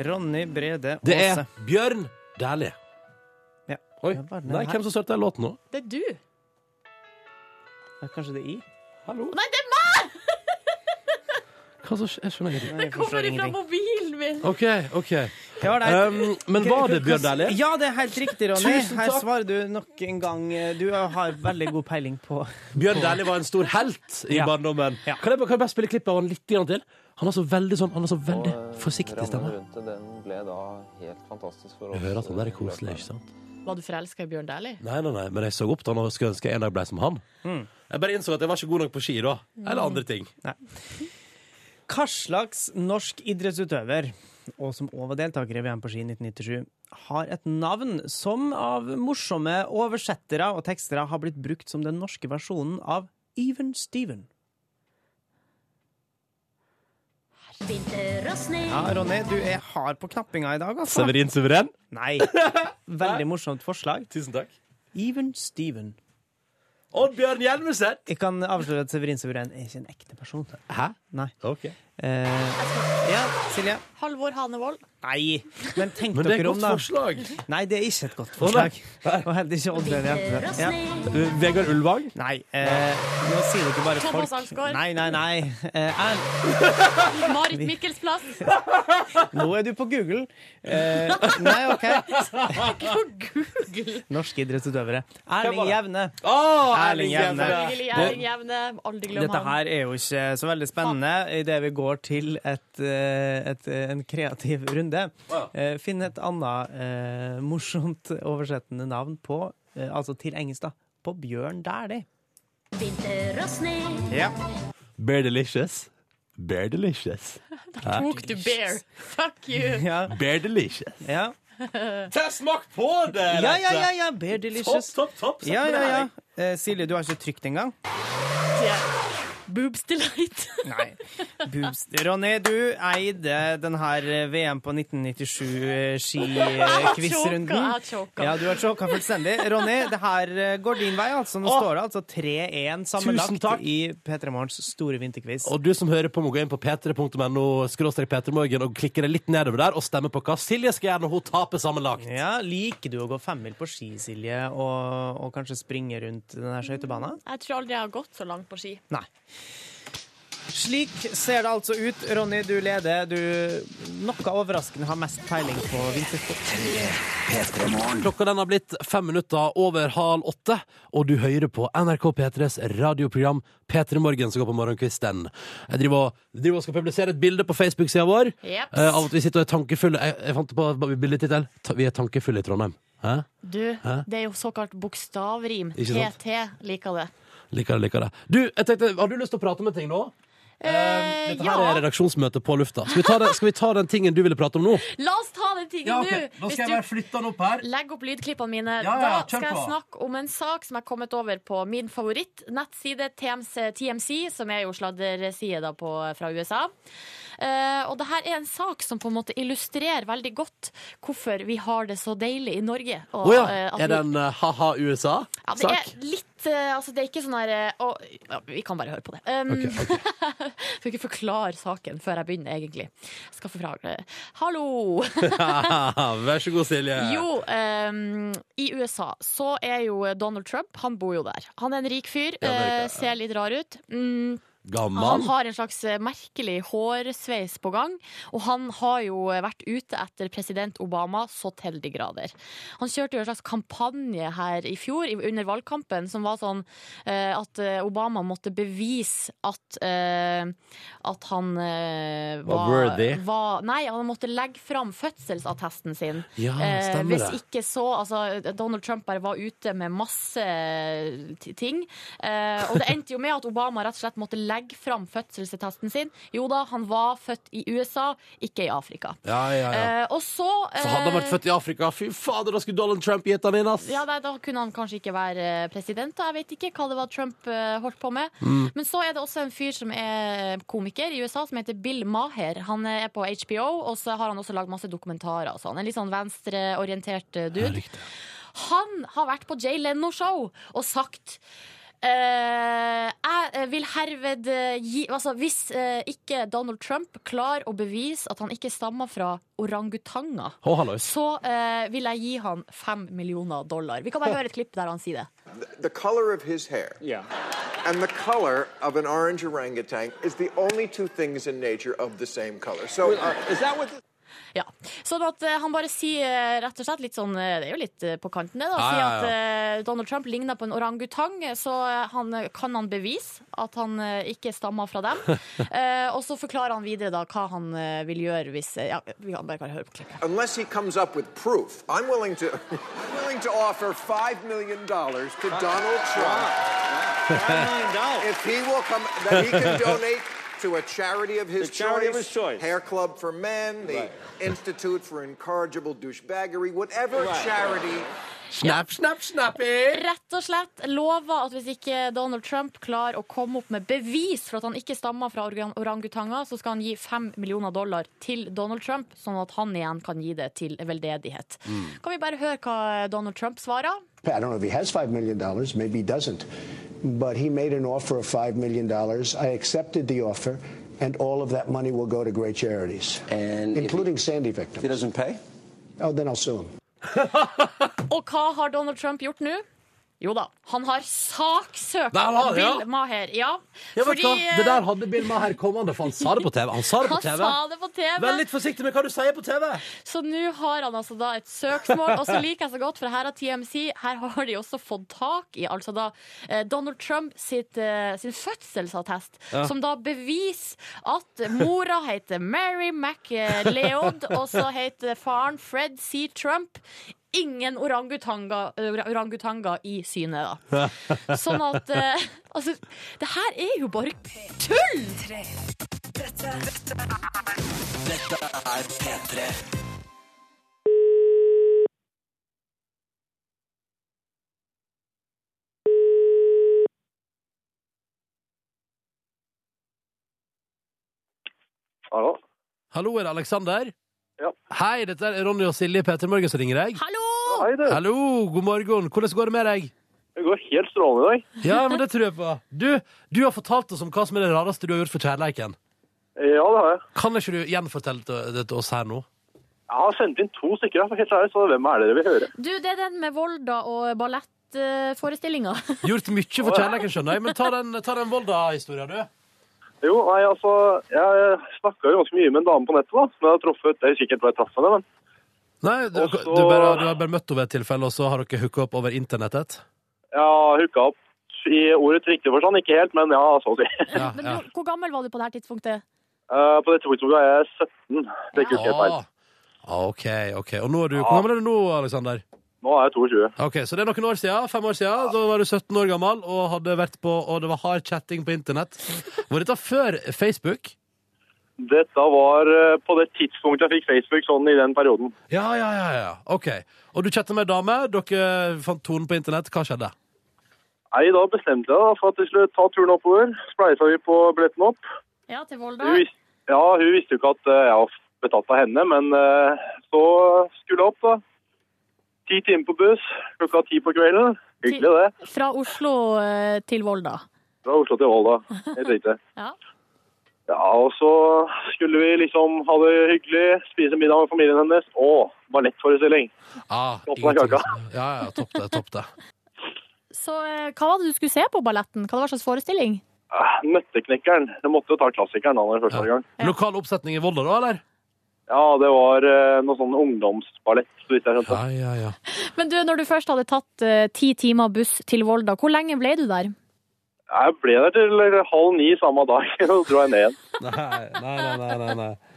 Ronny Brede Det Aase. er Bjørn Dæhlie. Ja. Oi. Ja, var den Nei, her? hvem som starta den låten nå? Det er du. Ja, Kanskje det er I? Hallo? Nei, det er meg! Hva som skjer? Jeg skjønner ikke. Nei, jeg forstår Kommer fra ingenting. mobilen min. OK, OK. Ja, det er- Um, men var det Bjørn Dæhlie? Ja, det er helt riktig, Ronny. Tusen Her takk. svarer du nok en gang. Du har veldig god peiling på Bjørn Dæhlie var en stor helt i Ja. barndommen. Ja. Kan jeg, bare- kan jeg bare spille klippet av han litt grann til? Han har så veldig sånn, han har så veldig forsiktig Rammen stemme. rundt det, den ble da helt fantastisk for Du oss. hører at han eh, der er koselig, ikke sant? Var du forelska i Bjørn Dæhlie? Nei, nei, nei, men jeg så opp til han og skulle ønske en dag ble som han. Mm. Jeg bare innså at jeg var ikke god nok på ski da. Eller andre *laughs* ting. Hva slags norsk idrettsutøver, og som òg var deltaker i VM på ski i 1997, har et navn som av morsomme oversettere og tekstere har blitt brukt som den norske versjonen av Even Steven? Ja, Ronny, du er hard på knappinga i dag, altså. Severin Suveren. Nei. Veldig morsomt forslag. Tusen takk. Even Steven. Oddbjørn Hjelmeset. Jeg kan avsløre at Severin Severin er ikke en ekte person. Hæ? Nei. Ok. Eh, ja, Silje? Halvor Hanevold. Nei. Men tenk Men det er et dere om, godt da. forslag. *laughs* Nei, det er ikke et godt Å, nei. forslag. Og heller ikke Oddbjørn Hjelpe. Ja. Eh, Vegard Ulvang. Nei, eh, nå sier dere bare Thomas folk Alsgaard. Nei, nei, nei. Eh, Erl- Marit Mikkelsplass. nå er du på Google. Eh, nei, OK. *laughs* På Google. Norske idrettsutøvere. var Erling det? Jevne. Oh, Erling Jevne. Selvfølgelig Erling Jevne. Aldri glem Dette han. her er jo ikke så veldig spennende idet vi går til et, eh, et, eh, en kreativ runde. Ja. Eh, Finn et annet eh, morsomt oversettende navn på, eh, altså til engelsk, da, på Bjørn Dæhlie. Ja. Bear Delicious. Bear Delicious. Tok du bear? Fuck you. Ja. Bear Delicious. Ja. smak på det! ja, ja, ja, ja. Bear Delicious. Topp, topp, topp. Ja, ja, ja. Eh, Silje, du har ikke trykt engang? Boobs *laughs* delight. Nei. Boobs. Ronny, du eide den her VM på 1997-ski-quiz-runden. Jeg har choka, jeg har choka. Ja, du har choka fullstendig. Ronny, det her eh, går din vei, altså. Nå Åh. står det altså 3-1 Tusen sammenlagt takk. i P3 Morgens store vinterquiz. Og du som hører på, må gå inn på p3.no skråstrek p3morgen og klikke deg litt nedover der og stemme på hva Silje skal gjøre når hun taper sammenlagt. Ja, Liker du å gå femmil på ski, Silje, og, og kanskje springe rundt den her skøytebanen? Jeg tror aldri jeg har gått så langt på ski. Nei. Slik ser det altså ut. Ronny, du leder. Du noe overraskende har mest peiling på vintersport. P3 Morgen. Klokka den har blitt fem minutter over halv åtte, og du hører på NRK P3s radioprogram P3 Morgen som går på morgenkvisten. Jeg driver og, driver og skal publisere et bilde på Facebook-sida vår Jeps. eh, av at vi sitter og er tankefulle. Jeg, jeg fant på bildetittel. Ta- Vi er tankefulle i Trondheim. Hæ? Du, det er jo såkalt bokstavrim. Ikke sant? PT liker det. Liker det, liker det. Du, jeg tenkte, har du lyst til å prate om en ting nå? Eh, Dette her er ja, redaksjonsmøte på lufta. Skal vi ta, den- skal vi ta den tingen du ville prate om nå? la oss ta den tingen nå! Hvis du flytta den opp her. Legg opp lydklippene mine. Ja, ja, da kjør skal jeg på. snakke om en sak som jeg har kommet over på min favorittnettside, TMC, TMC, som er jo sladderside da på, fra USA. Eh, og det her er en sak som på en måte illustrerer veldig godt hvorfor vi har det så deilig i Norge. Å og, ja. eh, at Er vi- det en eh, ha-ha *laughs* ja, det USA-sak? er litt eh, Altså, det er ikke sånn her eh, å, ja, Vi kan bare høre på det. Um, *laughs* Får ikke forklare saken før jeg begynner, egentlig. Jeg skal forklare. Hallo! Vær så god, Silje. Jo, ehm, i USA så er jo Donald Trump, han bor jo der. Han er en rik fyr, I Amerika, eh, ser litt rar ut. Mm, han Gammal. har en slags eh, merkelig hårsveis på gang, og han har jo eh, vært ute etter president Obama så til de grader. Han kjørte jo en slags kampanje her i fjor, i- under valgkampen, som var sånn eh, at eh, Obama måtte bevise at, eh, at han eh, Var worthy. var- Nei, han måtte legge fram fødselsattesten sin. Ja, Eh, Ah, stemmer hvis det. ikke så altså, Donald Trump bare var ute med masse t- ting. Eh, og det endte jo med at Obama rett og slett måtte legge fram fødselsattesten sin. Jo da, han var født i USA, ikke i Afrika. Ja, ja, ja. Eh, og så eh, For hadde han vært født i Afrika, fy fader, da skulle Donald Trump gitt han inn, ass! ja, nei, Da kunne han kanskje ikke være eh, president. Da. Jeg vet ikke hva det var Trump eh, holdt på med. Mm. Men så er det også en fyr som er komiker i USA, som heter Bill Maher. Han er på HBO, og så har han også lagd masse dokumentarer. og sånn. En litt sånn venstreorientert eh, dude. Riktig. Han har vært på Jay Leno-show og sagt eh, jeg vil herved eh, gi altså, Hvis eh, ikke Donald Trump klarer å bevise at han ikke stammer fra orangutanger, Å, hallois. så eh, vil jeg gi han fem millioner dollar. Vi kan bare høre et klipp der han sier det. the color of his hair Yeah. and the color of an orange orangutan is the only two things in nature of the same color. So uh, Is that *laughs* what? The- Ja. Sånn at eh, han bare sier eh, rett og slett litt sånn eh, Det er jo litt eh, på kanten, det. da Ja, Sier ja, ja. at eh, Donald Trump ligner på en orangutang, eh, så eh, han, eh, kan han bevise at han eh, ikke stammer fra *laughs* dem. Eh, og så forklarer han videre da hva han eh, vil gjøre hvis eh, Ja, vi kan bare kan høre på klippet. unless he comes up with proof, I'm willing to *laughs* willing to offer five million dollars to Donald Trump Five million dollars. if he will come that he *laughs* can donate to a charity of his The charity of his choice. Hair Club for Men, the Right. Institute for Incorrigible Douchebaggery, whatever Right. charity Snapp, snapp, snappy! Rett og slett lover at hvis ikke Donald Trump klarer å komme opp med bevis for at han ikke stammer fra orang- orangutanger, så skal han gi fem millioner dollar til Donald Trump, sånn at han igjen kan gi det til veldedighet. Mm. Kan vi bare høre hva Donald Trump svarer? I don't know if he has $5 million, maybe he doesn't. But he made an offer of $5 million. I accepted the offer, and all of that money will go to great charities, And if he- including Sandy victims. He doesn't pay. Oh, then I'll sue him. Og hva har Donald Trump gjort nå? Jo da, han har saksøkt Der har han, ja. Bill Maher. Ja, Ja, vet du hva? Det der hadde Bill Maher kommende, for han sa det på TV. Han sa det på eh, han TV. sa det på TV. Vær litt forsiktig med hva du sier på TV! Så nå har han altså da et søksmål, og så liker jeg så godt, for her har TMC her har de også fått tak i altså da eh, Donald Trump sitt, eh, sin fødselsattest, som da beviser at mora heter Mary MacLeod, og så heter faren Fred C. Trump. Ingen orangutanger, ora- orangutanger i syne, da. *laughs* Sånn at eh, Altså, det her er jo bare tull! Hallo? Hallo, er det Aleksander? Ja. Hei, dette er Ronny og Silje Peter Morgen som ringer deg. Hallo! Hei, du. Hallo, god morgen. Hvordan går det med deg? Det går helt strålende i dag. Ja, men det tror jeg på. Du, du har fortalt oss om hva som er det rareste du har gjort for kjærleiken. Ja, det har jeg. Kan ikke du gjenfortelle det- det til oss her nå? Jeg har sendt inn to stykker, for helt ærlig, så hvem er det dere vil høre? Du, det er den med Volda og ballettforestillinga. Gjort mye for kjærleiken, skjønner jeg, men ta den, ta den Volda-historia, du. Jo, nei, altså, jeg snakka jo ganske mye med en dame på nettet, da. Som jeg har truffet Dere sikkert vet traff henne, men Nei, du, Og så- du, bare, du har bare møtt henne ved et tilfelle, og så har dere hooka opp over internettet? jeg har hooka opp i ordets riktige forstand. sånn, Ikke helt, men ja, så å si. *laughs* Men hvor, hvor gammel var du på det her tidspunktet? Eh, på det tidspunktet var jeg 17. Det er ikke helt feil. Ah, OK, OK. Og nå er du, hvor gammel er du nå, Aleksander? Nå er jeg 22. Ok, Så det er noen år siden. Fem år siden. Da var du 17 år gammel og hadde vært på, og det var hard chatting på internett. Var dette før Facebook? Dette var eh, på det tidspunktet jeg fikk Facebook, sånn i den perioden. Ja, ja, ja. ja. OK. Og du chatta med ei dame. Dere fant tonen på internett. Hva skjedde? Nei, da bestemte jeg da for at vi skulle ta turen oppover. Spleisa vi på billetten opp. Ja, til Hun Volda. vis- ja, hun visste jo ikke at eh, jeg var betatt av henne, men eh, så skulle jeg opp, da. Ti timer på buss, klokka ti på kvelden. Hyggelig, det. Fra Oslo eh, til Volda. Fra Oslo til Volda. Helt riktig. *laughs* Ja. Ja, og så skulle vi liksom ha det hyggelig, spise middag med familien hennes. Å, ballettforestilling. Ah, Åpna kaka. Ja, altså. ja, topp det. Topp *laughs* det. Så eh, hva var det du skulle se på balletten? Hva var slags forestilling? Ah, Nøtteknekkeren. Jeg måtte jo ta klassikeren da når det første var i gang. Lokal oppsetning i Volda, da, eller? Ja, det var eh, noe sånn ungdomsballett, så vidt jeg skjønte. Ja, ja. Men du, når du først hadde tatt eh, ti timer buss til Volda, hvor lenge ble du der? Jeg ble der til halv ni samme dag, *laughs* og så dro jeg ned igjen. Nei, nei, nei. nei, nei.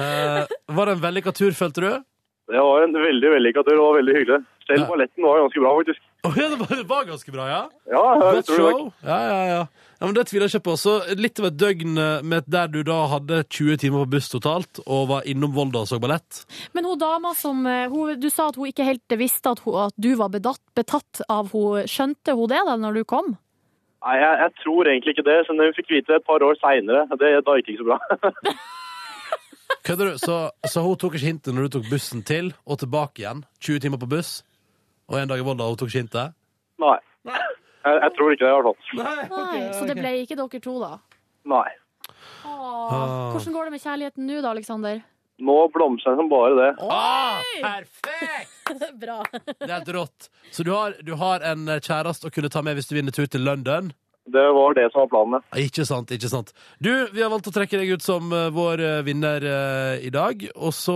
Eh, var det en vellykka tur, følte du? Det var en veldig vellykka tur, og veldig hyggelig. Selv balletten var ganske bra, faktisk. Å, ja, det var, det var ganske bra, ja? Ja, jeg Godt tror det var- show. Ja, ja, ja. ja men det tviler jeg ikke på. Så litt over et døgn eh, med der du da hadde 20 timer på buss totalt, og var innom Volda og så ballett. Men hun dama som eh, hun, Du sa at hun ikke helt visste at, hun, at du var bedatt, betatt av hun Skjønte hun det da når du kom? Nei, jeg, jeg tror egentlig ikke det, men hun fikk vite et par år seinere. Da gikk det ikke så bra. Kødder du? Så, så hun tok ikke hintet når du tok bussen til og tilbake igjen. 20 timer på buss, og en dag i Volda, og hun tok ikke hintet. Nei. Jeg, jeg tror ikke det, i hvert fall. Nei, Så det ble ikke dere to, da? Nei. Ah. Åh. Hvordan går det med kjærligheten nå, da, Aleksander? Nå blomstrer den som bare det. Ah, perfekt! *laughs* Bra. Det er helt rått. Så du har, du har en eh, kjæreste å kunne ta med hvis du vinner tur til London? Ah, Det var det som var planen. ja. Ikke sant, ikke sant. Du, vi har valgt å trekke deg ut som eh, vår eh, vinner eh, i dag, og så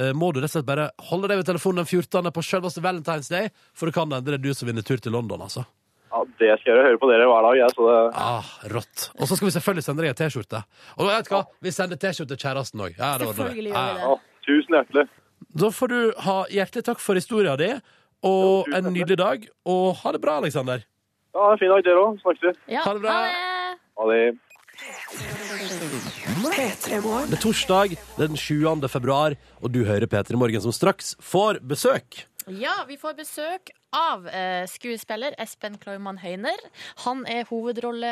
eh, må du rett og slett bare holde deg ved telefonen den 14. på selveste Valentine's Day, for det kan hende det er du som vinner tur til London, altså. ja. Det skal jeg gjøre. Høre på dere hver dag, jeg. Så det Ah, rått. Og så skal vi selvfølgelig sende deg en T-skjorte. Og vet du hva, vi sender T-skjorte til kjæresten òg. Ja, det Ah, ordner vi. Selvfølgelig Ja, gjør ja. vi det. ja, Tusen hjertelig. Da får du ha hjertelig takk for historia di, og en nydelig dag, og ha det bra, Aleksander. Ja, ha en fin dag, dere òg. Snakkes vi. Ja. Ha det bra. det. Ha det. P3morgen. Det er torsdag den 7. februar, og du hører P3 Morgen, som straks får besøk. Ja, vi får besøk av eh, skuespiller Espen Klaumann Høyner. Han er hovedrolle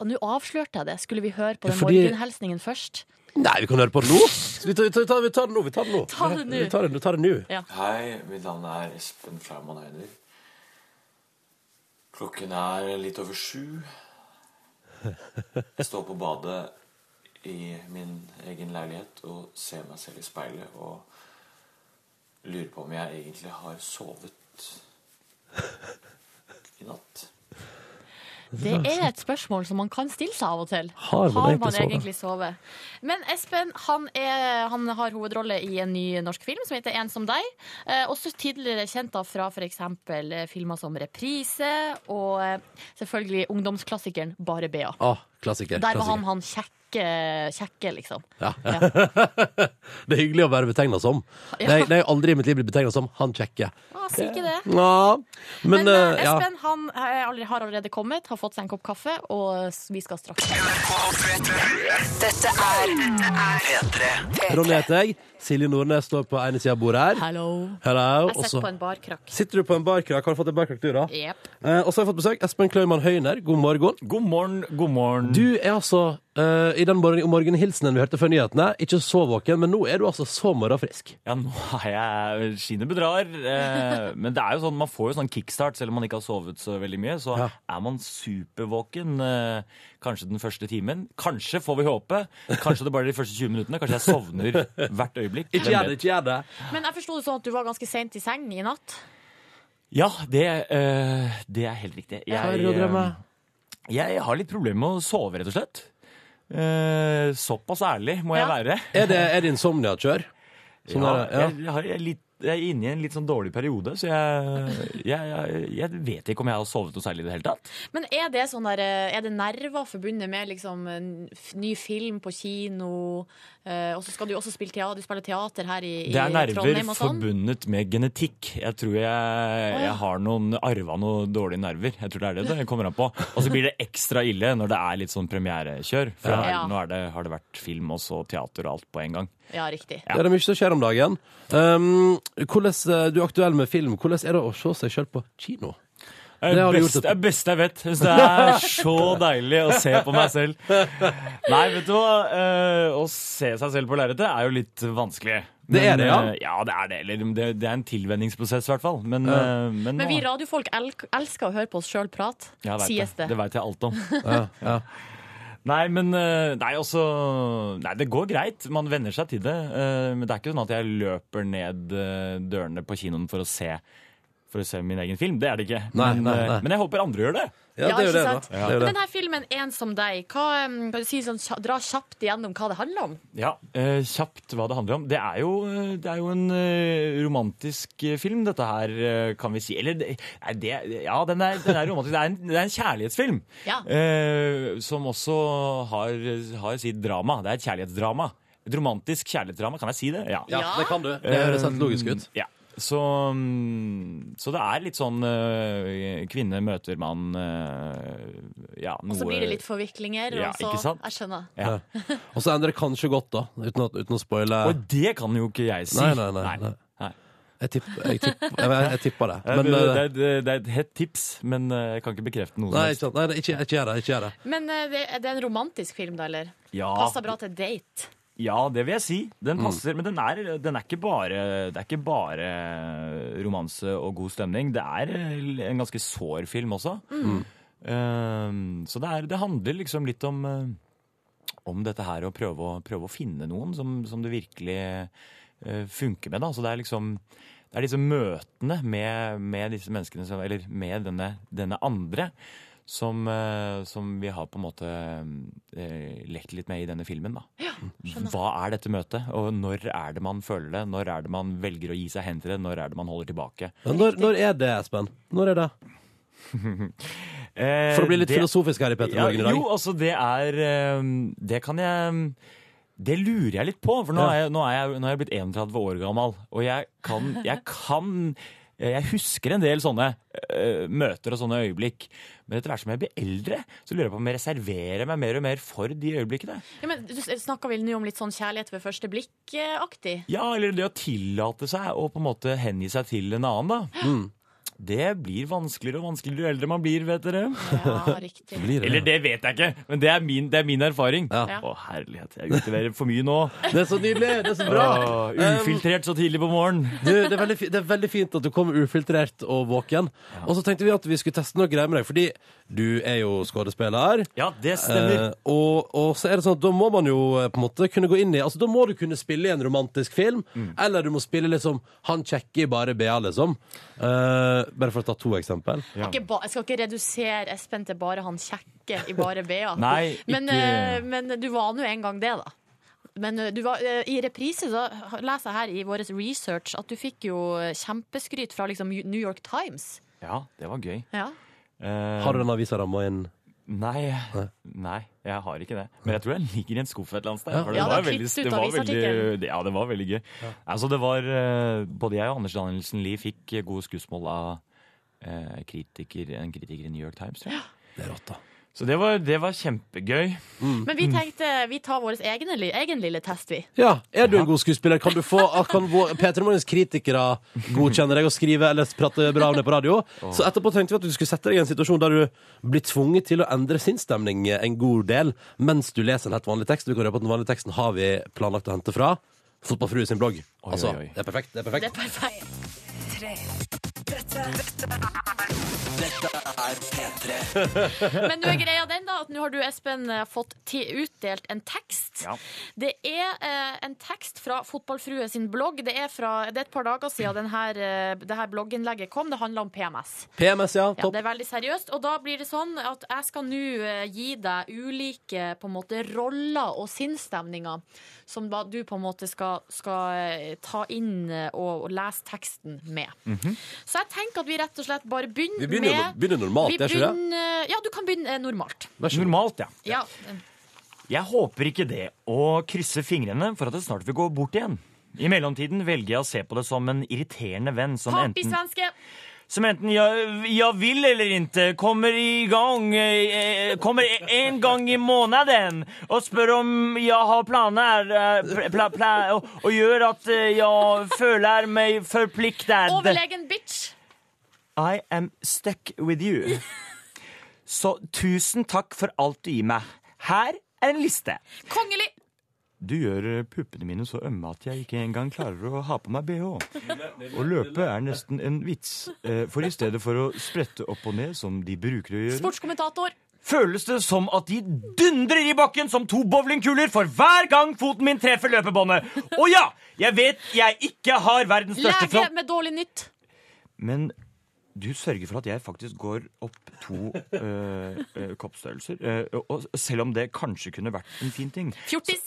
Og nå avslørte jeg det. Skulle vi høre på Ja, den fordi- morgenhilsningen først? Nei, vi kan høre på det nå. Så Vi tar, vi tar, vi tar det nå. Vi tar det nå. Ta det nå. Vi tar det, vi tar det nå. Hei, mitt navn er Espen Flaumann Heider. Klokken er litt over sju. Jeg står på badet i min egen leilighet og ser meg selv i speilet og lurer på om jeg egentlig har sovet i natt. Det er et spørsmål som man kan stille seg av og til. Har man egentlig sovet? egentlig sovet? Men Espen han, er, han har hovedrolle i en ny norsk film som heter En som deg. Eh, også tidligere kjent da fra f.eks. filmer som Reprise og eh, selvfølgelig ungdomsklassikeren Bare Bea. Ah, klassiker. Der var han klassiker. han kjekke, kjekke liksom. Ja. *laughs* det er hyggelig å være betegna som. Ja. Nei, nei, aldri i mitt liv blitt betegna som han kjekke. Ah, si ikke det. Ja. Men, Men eh, eh, ja. Espen han eh, allerede- har allerede kommet, har fått seg en kopp kaffe, og s- vi skal straks Dette er P3. Ronny heter jeg. Silje Nordnes står på ene sida av bordet her. Hello. Hello. Jeg Også- sitter på en barkrakk. Sitter du på en barkrakk? Har du fått en barkrakk, du, da? Jepp. Eh, og så har jeg fått besøk. Espen Klaumann Høyner, god morgen. God morgen, god morgen. Du er altså, eh, i den morgen- morgenhilsenen vi hørte før nyhetene, ikke så våken, men nå er du altså så morgenfrisk. Ja, nå er jeg Skinnet bedrar. Eh, men det er jo sånn, man får jo sånn kickstart selv om man ikke har sovet så veldig mye. Så er man supervåken eh, kanskje den første timen. Kanskje, får vi håpe. Kanskje det bare er de første 20 minuttene. Kanskje jeg sovner hvert øyeblikk. Ikke gjør det, ikke gjør det. Men jeg forsto det sånn at du var ganske seint i seng i natt. Ja, det, eh, det er helt riktig. Hva er det du drømmer? eh, jeg har litt problemer med å sove, rett og slett. Eh, såpass ærlig må jeg være. Er det, er det insomnia-kjør? Sånn ja, er det, ja. Jeg, jeg, har, jeg, er litt, jeg er inne i en litt sånn dårlig periode, så jeg, jeg, jeg, jeg vet ikke om jeg har sovet noe særlig i det hele tatt. Men er det, sånn der, eh, er det nerver forbundet med liksom, en f- ny film på kino? eh, Og så skal du også spille teater, du spiller teater her i, i Det er nerver Trondheim og sånn? forbundet med genetikk. Jeg tror jeg, Å, ja. jeg har noen arva noen dårlige nerver. Jeg tror det er det det kommer an på. Og så blir det ekstra ille når det er litt sånn premierekjør. Ja. For da er- Ja. nå er det, har det vært film og så teater og alt på en gang. Ja, riktig. Det er det mye som skjer om dagen. Um, hvordan, eh, du er aktuell med film. Hvordan er det å se seg selv på kino? Det er du det beste, gjort et- det er beste jeg vet. Jeg synes Det er så deilig å se på meg selv. Nei, vet du hva? Eh, Å se seg selv på lerretet er jo litt vanskelig. Det er det, ja. eh, Ja, det er det. Eller det, det er en tilvenningsprosess, i hvert fall. Men, Ja. eh, men, Men vi nå- radiofolk el elsker å høre på oss sjøl prate, Ja, jeg vet sies det. Det veit jeg alt om. Ja, Nei, men eh, Nei, også Nei, det går greit. Man venner seg til det. Eh, Men det er ikke sånn at jeg løper ned eh, dørene på kinoen for å se For å se min egen film. Det er det ikke. Nei, men, nei, eh, nei. men jeg håper andre gjør det. Ja, ikke sant? Men denne filmen 'En som deg', hva, um, kan du si sånn, kja- dra kjapt igjennom hva det handler om? Ja, eh, Kjapt hva det handler om. Det er jo, eh, det er jo en eh, romantisk eh, film, dette her, eh, kan vi si. Eller det, nei, det, ja, den er, den er romantisk. Det er en, det er en kjærlighetsfilm. Ja. eh, som også har, har sitt drama. Det er et kjærlighetsdrama. Et romantisk kjærlighetsdrama, kan jeg si det? Ja, Ja, det kan du. Det høres helt logisk ut. Eh, Ja. Så, mm, så det er litt sånn eh, kvinne møter mann eh, ja, noe Og så blir det litt forviklinger. Ja, og så, ikke sant? Jeg skjønner. Ja. Ehm. Og så endrer det kanskje godt, da. Uten, at, uten å spoile. Og det kan jo ikke jeg si. Nei, nei, nei. nei. Jeg tipper jeg, tipp, jeg, jeg tipper det. Men, det, eh, er, det er et hett tips, men eh, jeg kan ikke bekrefte noe nei, som helst. ikke, sant. nei, det- ikke, ikke gjør det. Ikke gjør det. Men eh, det, er det en romantisk film, da, eller? Ja. Passer bra til date. Ja, det vil jeg si. Den Mm. passer, men den er, den er ikke bare, det er ikke bare eh, romanse og god stemning. Det er eh, en ganske sår film også. Mm. Eh, så det, er, det handler liksom litt om, eh, om dette her å prøve å, prøve å finne noen som, som det virkelig eh, funker med. Da. Så det er liksom det er disse møtene med, med disse menneskene, som, eller med denne, denne andre, som, eh, som vi har på en måte eh, lekt litt med i denne filmen. Da. Hva er dette møtet, og når er det man føler det? Når er det man velger å gi seg hen til det? Når er det man holder tilbake? Men når, når er det, Espen? Når er det? For å bli litt filosofisk her i Petter Morgen i dag. Eh, Jo, altså det er eh, Det kan jeg Det lurer jeg litt på, for nå Ja. er jeg, nå er jeg, nå er jeg blitt 31 år gammel, og jeg kan, jeg kan jeg husker en del sånne eh, møter og sånne øyeblikk. Men etter hvert som jeg blir eldre, så lurer jeg på om jeg reserverer meg mer og mer for de øyeblikkene. Ja, men du snakker vel nå om litt sånn kjærlighet ved første blikk-aktig? Ja, eller det å tillate seg å på en måte hengi seg til en annen, da. Mm. Det blir vanskeligere og vanskeligere jo eldre man blir, vet dere. Ja, riktig. *laughs* Eller det vet jeg ikke, men det er min, det er min erfaring. Ja. Å, herlighet, jeg utleverer for mye nå. Det er så nydelig! Det er så bra! Åh, ufiltrert så tidlig på morgenen. Du, det, er veldig, fi- det er veldig fint at du kommer ufiltrert og våken. Og så tenkte vi at vi skulle teste noe greier med deg, fordi du er jo skuespiller. Eh, Ja, det stemmer. og, og så er det sånn at da må man jo eh, på en måte kunne gå inn i Altså, da må du kunne spille i en romantisk film, Mm. eller du må spille liksom Han kjekke i bare BA, liksom. Eh, bare for å ta to eksempel. Jeg, ikke ba, jeg skal ikke redusere Espen til bare han kjekke i bare BA. *laughs* Nei, men, ikke- eh, men du var nå en gang det, da. Men eh, du var, eh, i reprise så leser jeg her i vår research at du fikk jo kjempeskryt fra liksom New York Times. Ja, det var gøy. Ja. Har du den avisa ramma inn? Nei, nei, jeg har ikke det. Men jeg tror den ligger i en skuff et eller annet sted. Ja. for Ja, var det er klippet ut det av var veldig- avisartikkelen. Ja, det var veldig gøy. Altså, det var, eh, både jeg og Anders Danielsen Lie fikk eh, gode skussmål av eh, kritiker, en kritiker i New York Times, tror jeg. Det er rått, da. Så det var, det var kjempegøy. Men vi tenkte vi tar vår egen, li- egen lille test, vi. Ja, Er du en god skuespiller? Kan du få at kan vå- P3 Morgens kritikere godkjenne deg og skrive eller prate bra om det på radio? Så etterpå tenkte vi at du skulle sette deg i en situasjon der du blir tvunget til å endre sinnsstemning en god del mens du leser en helt vanlig tekst. Du kan røpe at den vanlige teksten har vi planlagt å hente fra Fotballfrue sin blogg. Altså, oi. det er perfekt. Det er perfekt. Tre. Dette er P3. *laughs* Men nå er greia den da, at nå har du, Espen, eh, fått ti utdelt en tekst. Det er eh, en tekst fra Fotballfrue sin blogg. Det er, fra, det er et par dager siden den her, eh, det her blogginnlegget kom. Det handler om PMS. PMS, ja. Ja, Topp. det er veldig seriøst. Og da blir det sånn at jeg skal nå eh, gi deg ulike på en måte, roller og sinnsstemninger som da du på en måte skal, skal eh, ta inn eh, og, og lese teksten med. Så jeg tenker at vi rett og slett bare begynner Mhm. Vi begynner med jo no- begynner normalt, vi det er ikke det? begynner- Ja, du kan begynne eh, normalt. Normalt, ja. Ja. Sånn Jeg håper ikke det, og krysser fingrene for at det snart vil gå bort igjen. I mellomtiden velger jeg å se på det som en irriterende venn som Papi enten svenske! som enten jag, jag vill eller inte kommer igång, eh, kommer en gång i månaden och spör om jag har planer eh, pla, pla, och, och gör att eh, jag känner mig förpliktad. Overlegen bitch! I am stuck with you. Så tusen takk for alt du gir meg. Her er en liste. Kongelig! Du gjør puppene mine så ømme at jeg ikke engang klarer å ha på *laughs* meg bh. Å løpe er nesten en vits, eh, for i stedet for å sprette opp og ned, som de bruker å gjøre, Sportskommentator. føles det som at de dundrer i bakken som to bowlingkuler for hver gang foten min treffer løpebåndet. Og ja, jeg vet jeg ikke har verdens største Lege kropp, med dårlig nytt. men du sørger for at jeg faktisk går opp to eh, eh, koppstørrelser, eh, og, og selv om det kanskje kunne vært en fin ting. Fjortis.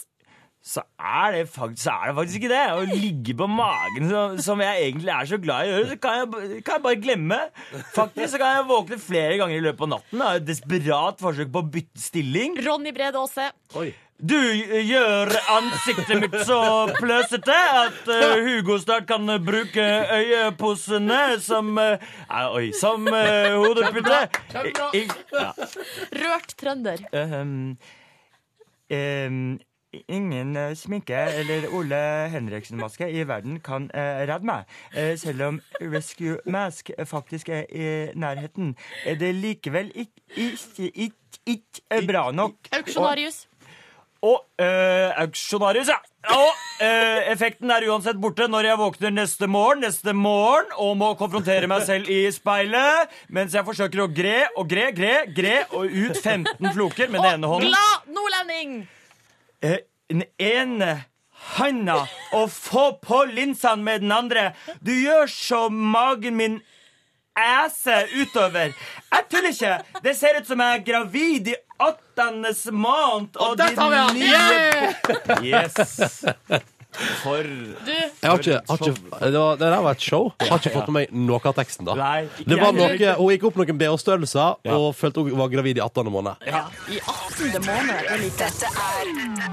så er, det faktisk, så er det faktisk ikke det. Å ligge på magen, som, som jeg egentlig er så glad i å gjøre, så kan jeg, b- kan jeg bare glemme. Faktisk så kan jeg våkne flere ganger i løpet av natten av et desperat forsøk på å bytte stilling. Ronny Brede Aase. Du gjør ansiktet mitt så pløsete at eh, Hugo snart kan bruke øyeposene som eh, nei, Oi, som eh, hodepute. Kjempebra. I- i- ja. Rørt trønder. Ehm, ehm, ingen eh, sminke eller Ole Henriksen-maske i verden kan eh, redde meg, eh, selv om Rescue Mask faktisk er i nærheten. Er det likevel ikke ikke- ikke- ikke eh, bra nok? Auksjonarius. Og eh, auksjonarius, ja. Og eh, effekten er uansett borte når jeg våkner neste morgen neste morgen og må konfrontere meg selv i speilet mens jeg forsøker å gre og gre, gre, gre og ut 15 floker med den ene hånden. Glad nordlending! Eh, den ene handa og få på linsene med den andre. Du gjør så magen min æser utover. Jeg tuller ikke. Det ser ut som jeg er gravid i åttendes måned. Og, der tar vi han. Yes. For Jeg har ikke, har ikke, det, var, det der var et show. Jeg har ikke fått med meg noe av teksten. da Nei, ikke det var jeg noe, heller. Hun gikk opp noen BH-størrelser og følte hun var gravid i 18. måned. I 18. måned. det liker jeg.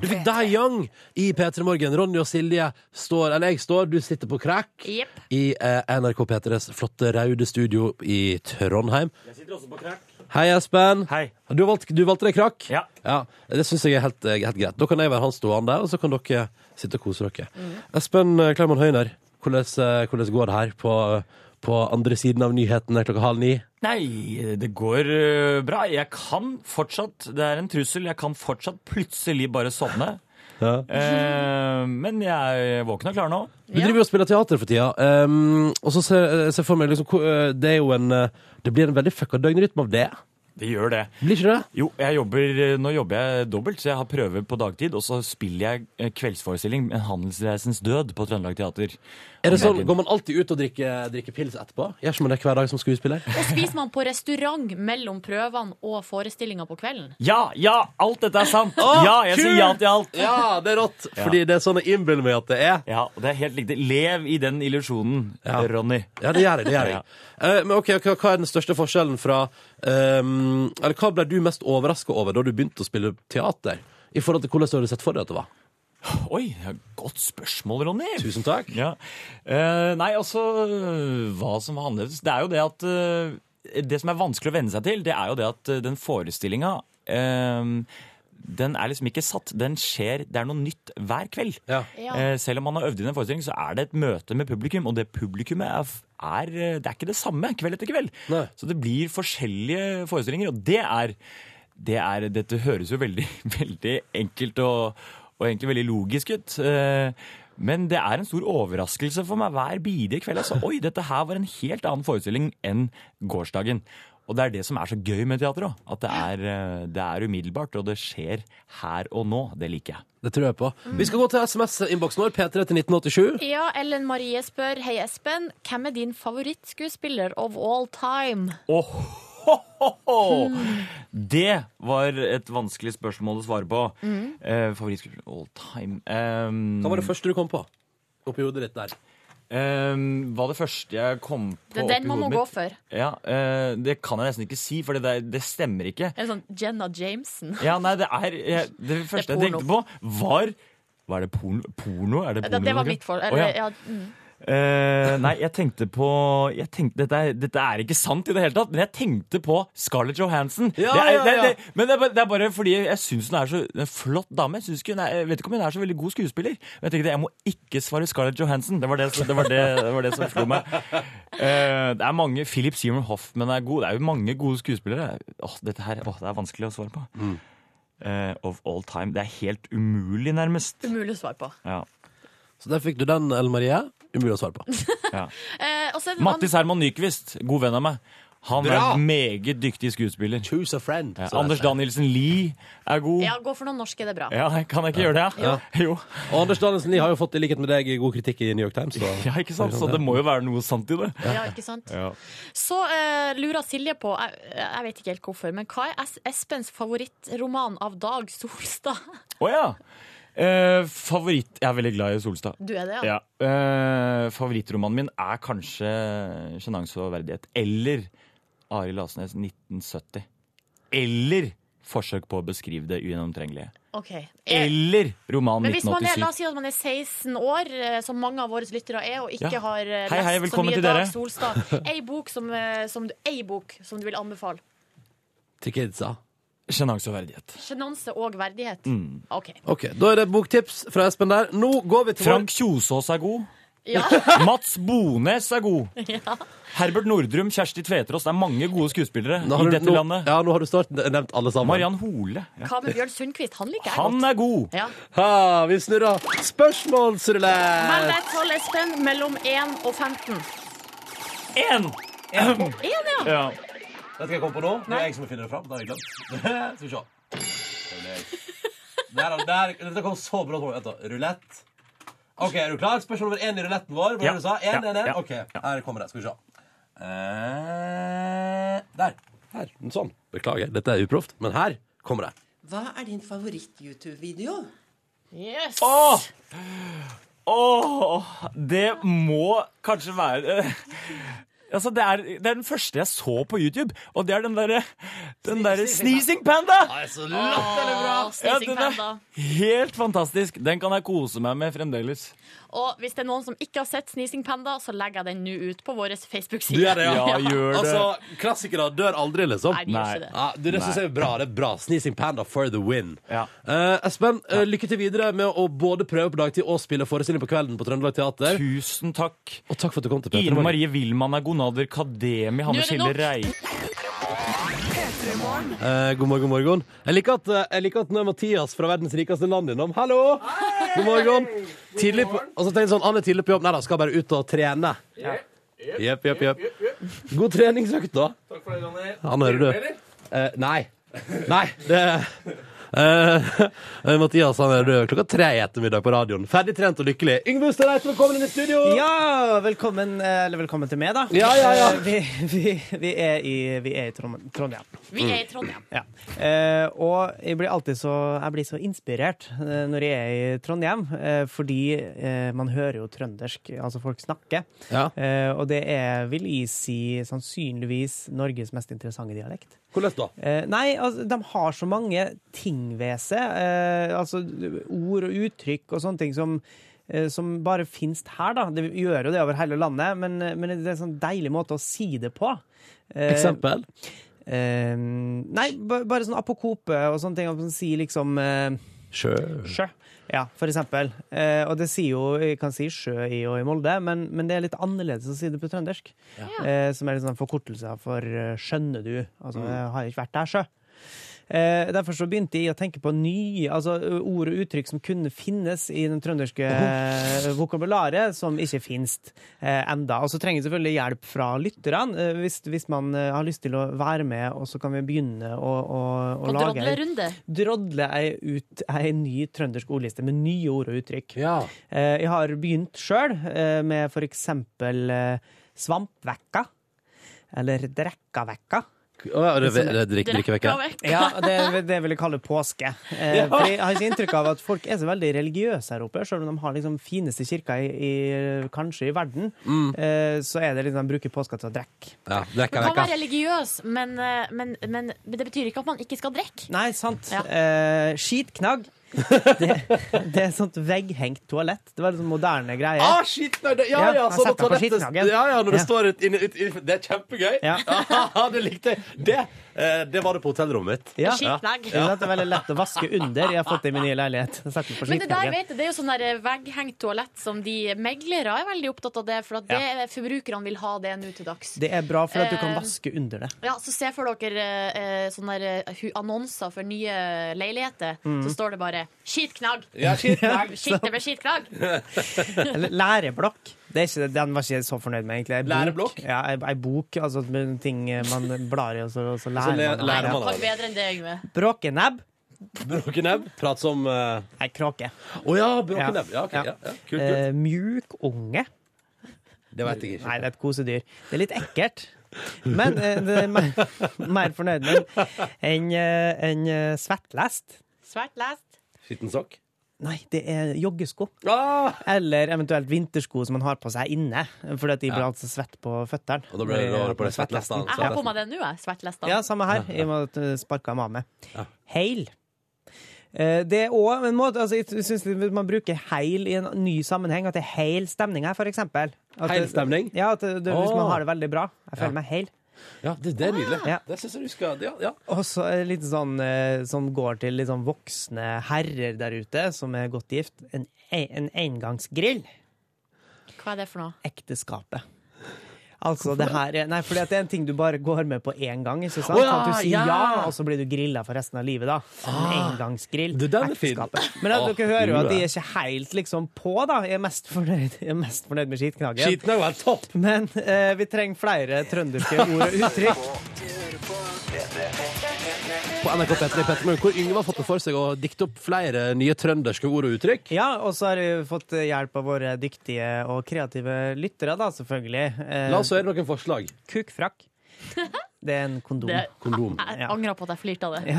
Du fikk Die Young i P3 Morgen. Ronny og Silje står, eller jeg står, du sitter på krakk Jepp. i eh, NRK P3s flotte raude studio i Trondheim. Jeg sitter også på krakk. Hei, Espen. Du, valgte, du valgte deg krakk? Ja. Det syns jeg er helt, eh, helt greit. Da kan jeg være han stående, og så kan dere sitte og kose dere. Espen eh, Kleiman Høyner, hvordan, eh, hvordan går det her på, på andre siden av nyhetene klokka halv ni? Nei, det går øh, bra. Jeg kan fortsatt Det er en trussel. Jeg kan fortsatt plutselig bare sovne. Eh, men jeg er våken og klar nå. Du driver jo og spiller teater for tida, ehm, og så ser jeg ser for meg liksom, hvor- eh, Det er jo en eh, Det blir en veldig fucka døgnrytme av det. Det gjør det. Blir ikke det? Jo, jeg jobber, eh, nå jobber jeg dobbelt, så jeg har prøve på dagtid, og så spiller jeg eh, kveldsforestilling med Handelsreisens død på Trøndelag Teater. Er det Om sånn, dagen. Går man alltid ut og drikker, eh, drikker pils etterpå? Gjør ikke man det hver dag som skuespiller? Og spiser man på restaurant mellom prøvene og forestillinga på kvelden? Ja, ja, alt dette er sant! Å, ja, jeg sier ja kult! til alt. Ja, det er rått, Ja. fordi det er sånn jeg innbiller meg at det er. Ja, og det er helt riktig. Lev i den illusjonen, Ronny. Ja, det gjør jeg. det gjør jeg. Ja. Eh, men ok, hva, hva er den største forskjellen fra ehm, Eller hva ble du mest overraska over da du begynte å spille teater? I forhold til hvordan du hadde sett for deg at det var? Oi, det er et godt spørsmål, Ronny. Tusen takk. Ja. Eh, nei, altså Hva som var annerledes? Det er jo det at eh, Det som er vanskelig å venne seg til, det er jo det at eh, den forestillinga den er liksom ikke satt. Den skjer, Det er noe nytt hver kveld. Ja. Eh, selv om man har øvd inn en forestilling, så er det et møte med publikum. Og det publikummet er, f- er eh, Det er ikke det samme kveld etter kveld. Så det blir forskjellige forestillinger, og det er det er, *laughs* dette høres jo veldig, veldig enkelt og, og egentlig veldig logisk ut. eh, Men det er en stor overraskelse for meg hver bidige kveld. Altså. Oi, dette her var en helt annen forestilling enn gårsdagen. Og det er det som er så gøy med teater òg. At det er, eh, det er umiddelbart, og det skjer her og nå. Det liker jeg. Det tror jeg på. Mm. Vi skal gå til SMS-innboksen vår, P3 til 1987. Ja, Ellen Marie spør Hei Espen, hvem er din favorittskuespiller of all time? Åh, ho, ho, ho. Det var et vanskelig spørsmål å svare på. Mm. Eh, Favorittskuespiller all time Ehm, Hva Mm. var det første du kom på? Oppi hodet ditt der. Ehm, hva det første jeg kom på Det er den oppi man må hodet gå mitt? for. Ja, eh, Det kan jeg nesten ikke si, for det, det stemmer ikke. En sånn Jenna Jameson. Ja, nei, det er jeg- Det første jeg porno. tenkte på, var Hva er det porno? porno? Er det, Det, porno det var noe? mitt for... Å, Eller, ja. ja. mm. Eh, nei, jeg tenkte på jeg tenkte, dette, er, dette er ikke sant i det hele tatt, men jeg tenkte på Scarlett Johansson. Ja, det er, ja, ja. Det, det, men det er, bare, det er bare fordi jeg syns hun er så en flott dame. Jeg, synes ikke hun er, jeg vet ikke om hun er så veldig god skuespiller. Men jeg tenkte jeg må ikke svare Scarlett Johansson. Det var det, som- det, var det, det, var det som slo meg. Eh, det er mange Philip Seymour Hoffman er god. Det er jo mange gode skuespillere. Åh, dette her, åh, det er vanskelig å svare på. Eh, of all time. Det er helt umulig, nærmest. Umulig å svare på. Ja. Så der fikk du den, Ellen Marie. Umulig å svare på. ja. Eh, og så er det en Mattis Herman Nyquist, god venn av meg. Han er Bra! en meget dyktig skuespiller. Choose a friend. Ja, Så Anders det er- Danielsen Lie er annen- god. Ja, gå for noen norske, det er bra. Ja, kan jeg ikke gjøre det? Ja. Jo. Og Anders Danielsen Lie har jo fått, i likhet med deg, god kritikk i New York Times. Så. *laughs* Ja, ikke sant? Så det må jo være noe sant i det. Ja, ikke sant? Så eh, lurer Silje på, jeg, jeg vet ikke helt hvorfor, men hva er Es- Espens favorittroman av Dag Solstad? *laughs* Å ja! Eh, favoritt Jeg er veldig glad i Solstad. Du er det, ja? ja. Eh, favorittromanen min er kanskje 'Sjenanse og verdighet' eller Arild Asnes 1970. Eller 'Forsøk på å beskrive det ugjennomtrengelige'. Ok. Eh, Eller roman Men hvis man er, la oss 1987. si at man er 16 år, eh, som mange av våre lyttere er, og ikke Ja. har eh, Hei, hei, lest så velkommen mye til Dag dere. Solstad. Ei bok som, eh, som, du- ei bok som du vil anbefale. Til kidsa. Sjenanse og verdighet. Sjenanse og verdighet. OK. Ok, Da er det boktips fra Espen der. Nå går vi til Frank Kjosås er god. Ja. *laughs* Mats Bones er god. ja. Herbert Nordrum, Kjersti Tveterås. Det er mange gode skuespillere Nå har i du- dette nå- landet. Ja, nå har du snart nevnt alle sammen. Mariann Hole. Hva med Bjørn Sundquist? Han liker jeg Han godt. er god! Ja. Ha, vi snurrer Vel, det spørsmålsrulett! er et tall, Espen, mellom 1 og 15. Én! Én, ja. Vet du hva jeg kom på nå? Det er jeg som finner det fram. Det *laughs* har jeg glemt. Skal vi se. Det er jeg. Der, der, dette kom så bra. Vent da. Rulett. OK, er du klar? Spørsmål nummer én i ruletten vår. Hva var Ja. det du sa? Én, Ja. én, én. Ja. OK, her kommer det. Skal vi se. Eh, der. Her. Sånn. Beklager, dette er uproft, men her kommer det. Hva er din favoritt-YouTube-video? Yes! Åh! Åh, det må kanskje være eh, Altså, det er, det er den første jeg så på YouTube, og det er den derre den der Sneezing Panda! Ja, Sneezing den er Panda. helt fantastisk. Den kan jeg kose meg med fremdeles. Og hvis det er noen som ikke har sett Sneezing Panda, så legger jeg den nå ut på vår Du Facebook-side. gjør det, ja. gjør det. Altså, Klassikere dør aldri, liksom. Nei, de gjør ikke det. Ja, du, det synes Nei. jeg er bra. det er bra Sneezing Panda for the win. Eh, Espen, eh, lykke til videre med å både prøve på dagtid og spille forestilling på kvelden på Trøndelag Teater. Tusen takk. Og takk for at du kom til Petter. Ine Marie Wilman er gonader. Kademi, Hanne Nå er det Skille nok. Rei. Eh, god morgen, god morgen. Jeg liker at, eh, jeg liker at nå er Mathias fra verdens rikeste land innom. Hallo! God morgen. Tidlig på, og så tenkte jeg sånn, han er tidlig på jobb. Nei da, skal bare ut og trene. Jepp, jepp, jepp. God treningsøkt, da. Takk for det, Ronny. Han hører du. Eh, nei. Nei, det eh, *laughs* eh, Mathias han er rød klokka tre i ettermiddag på radioen. Ferdig trent og lykkelig. Yngve Ustad Reite, velkommen inn i studio! Ja, velkommen, eh, eller velkommen til meg, da. Ja, ja, ja. Eh, Vi, vi, vi er i, vi er i Trond- Trondheim. Vi er i Trondheim. Ja. Eh, og jeg blir alltid så, jeg blir så inspirert eh, når jeg er i Trondheim, eh, fordi eh, man hører jo trøndersk, altså folk snakker. Ja. Eh, og det er, vil jeg si, sannsynligvis Norges mest interessante dialekt. Hvordan da? Eh, nei, altså, de har så mange ting ved seg. Eh, altså ord og uttrykk og sånne ting som, eh, som bare finnes her, da. Det gjør jo det over hele landet, men, men det er en sånn deilig måte å si det på. Eh, Eksempel? Eh, nei, ba- bare sånn apokope og sånne ting. At man sier liksom eh, Sjø. Sjø. Ja, for eksempel. Eh, og det sier jo, jeg kan si sjø i og i Molde, men, men det er litt annerledes å si det på trøndersk. Ja. Eh, som er litt sånn forkortelse for eh, skjønner du. Altså, Mm. jeg har ikke vært der, sjø. Eh, derfor så begynte jeg å tenke på nye altså, ø, ord og uttrykk som kunne finnes i den trønderske eh, vokabularet, som ikke finnes eh, enda. Og så trenger jeg selvfølgelig hjelp fra lytterne, eh, hvis, hvis man eh, har lyst til å være med, og så kan vi begynne å, å, å Og lage ei- drodlerunde. drodle ei ut ei ny trøndersk ordliste med nye ord og uttrykk. Eh, jeg har begynt sjøl eh, med for eksempel eh, svampvekka. Eller drekkavekka. ja, det er- det er drikk- drikkevekka. Drekkavekka. Ja, *laughs* det, det vil jeg kalle påske. Eh, Ja. for jeg har ikke inntrykk av at folk er så veldig religiøse her oppe, selv om de har liksom fineste kirka i, i, kanskje i verden. Mm. Eh, så er det liksom de bruker påska til å drikke. Ja, Man kan være religiøs, men, eh, men, men, men det betyr ikke at man ikke skal drikke. Nei, sant. Ja. Eh, *laughs* skitknagg. Det, det er et sånt vegghengt toalett. Det var liksom moderne greier. Ah, skitknagg! det- Ja, ja, jeg sånn at setter på toalettet skitknaggen. Ja, ja, når det Ja. står ut, inn, ut, inn, Det er kjempegøy! *laughs* Ja. det likte jeg. Det, eh, det var det på hotellrommet mitt. Ja. Skitknagg. Ja. Det er veldig lett å vaske under. Jeg har fått det i min nye leilighet. Jeg setter den på Men det der skitknaggen. vet jeg, det er jo sånn der eh, vegghengt toalett som de meglere er veldig opptatt av det, for at det, forbrukerne vil ha det nå til dags. Det er bra for at du kan Eh, vaske under det. Ja, så se for dere eh, eh, sånne der, eh, hu- annonser for nye leiligheter. Mm. Så står det bare 'skitknagg'. Ja, skitknagg. Shit, det *laughs* ble skitknagg. Eller læreblokk. Det er ikke, den var ikke jeg så fornøyd med, egentlig. Ei bok. Læreblokk? Ja, ei, ei bok, altså med ting man blar i, og så, og så lærer le- man. lærer man av av det. Takk bedre enn det, Yngve. Bråkenebb. Bråkenebb? Prat som eh, Nei, kråke. Å ja, bråkenebb. Ja, ok, ja, ja. Kult, kult. Eh, mjuk unge. Det vet jeg ikke. Nei, det er et kosedyr. Det er litt ekkelt. Men eh, det er mer, mer fornøyd med enn eh, enn, eh, svettlest. Svært lest. Skitten sokk? Nei, det er joggesko. Eller eventuelt vintersko som man har på seg inne. Fordi at de blir Ja. altså svett på føttene. Og da blir det rare på det svettlesten. Jeg har på meg det nå, jeg. Svært lest. da. Ja, samme her. I og med at du sparka meg av med. Heil. Eh, Det er òg en måte altså, Jeg synes hvis man bruker heil i en ny sammenheng, at det er heil stemning her, for eksempel. At det- Heil stemning? Ja, at det, det, hvis man Åh. har det veldig bra. Jeg føler Ja. meg heil. Ja, det, det er nydelig. Ja. Det syns jeg du skal Ja. ja. Og så er det litt sånn eh, som går til litt sånn voksne herrer der ute som er godt gift. En, e- en engangsgrill. Hva er det for noe? Ekteskapet. Altså, det her er, nei, fordi at det er en ting du bare går med på én gang. Ikke Å sant? ja, Sånn at du sier ja. ja. og så blir du grilla for resten av livet. da En Ah. engangsgrill. Du, den er fin. Ekteskapet. Men at Ah, dere hører jo at lue. de er ikke helt liksom på, da. Jeg er mest fornøyd, jeg er mest fornøyd med skitknaggen. Skitten er jo helt topp! Men eh, vi trenger flere trønderske ord og uttrykk. *laughs* På NRK P3 Pettermorgen, hvor Yngve har fått det for seg å dikte opp flere nye trønderske ord og uttrykk. Ja, og så har vi fått hjelp av våre dyktige og kreative lyttere, da, selvfølgelig. Eh, La oss høre noen forslag. Kukfrakk. Det er en kondom. Det- Kondom. Jeg angrer på at jeg flirte av det.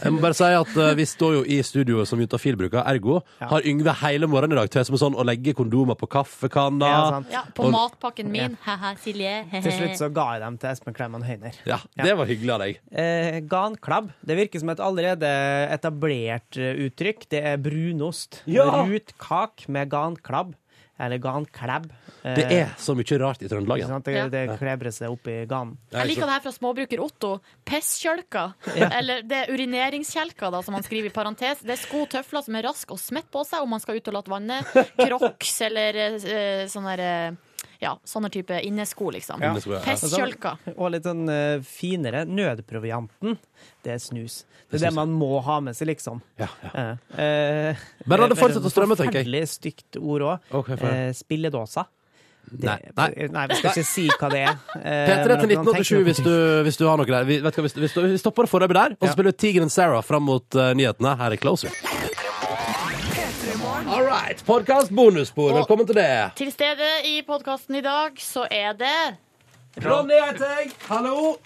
*laughs* Jeg må bare si at eh, Vi står jo i studio som juntafilbruker, ergo har Yngve hele morgenen i dag tøys med sånn å legge kondomer på kaffekanna. Ja, på Og- matpakken min. Haha, Silje. Til slutt så ga jeg dem til Espen Kleiman Høyner. Ja, det var hyggelig av deg. Eh, ganklabb. Det virker som et allerede etablert eh, uttrykk. Det er brunost. Ja! Rut kak med ganklabb. Eller ganklæbb. Eh, Det er så mye rart i Trøndelag. ikke ja. sant? Det, det Ja. klebrer seg opp i ganen. Jeg liker det her fra småbruker Otto. Pesskjølka. Eller det er urineringskjelka, da, som han skriver i parentes. Det er sko og tøfler som er raske og smett på seg om man skal ut og late vannet. Crocs eller eh, sånne der, eh, ja, sånne type innesko, liksom. Ja. Pesskjølka. Og litt sånn eh, finere. Nødprovianten, det er snus. Det er det man må ha med seg, liksom. Eh, eh, Bare la det eh, fortsette å strømme, tenker jeg. Forferdelig stygt ord òg. Ok, få høre. spilledåsa. Nei. Nei. Nei, vi skal ikke si hva det er. Eh, P3 men til at man tenker 1987 hvis du, hvis du har noe der. Vi, vet du hva, hvis, hvis du, vi stopper det foreløpig der, og så spiller vi Tigeren Sarah fram mot eh, nyhetene. Her er Closer. All right, podcast bonusspor. Velkommen til det. Til stede i podkasten i dag så er det Ronny heter jeg. Hallo.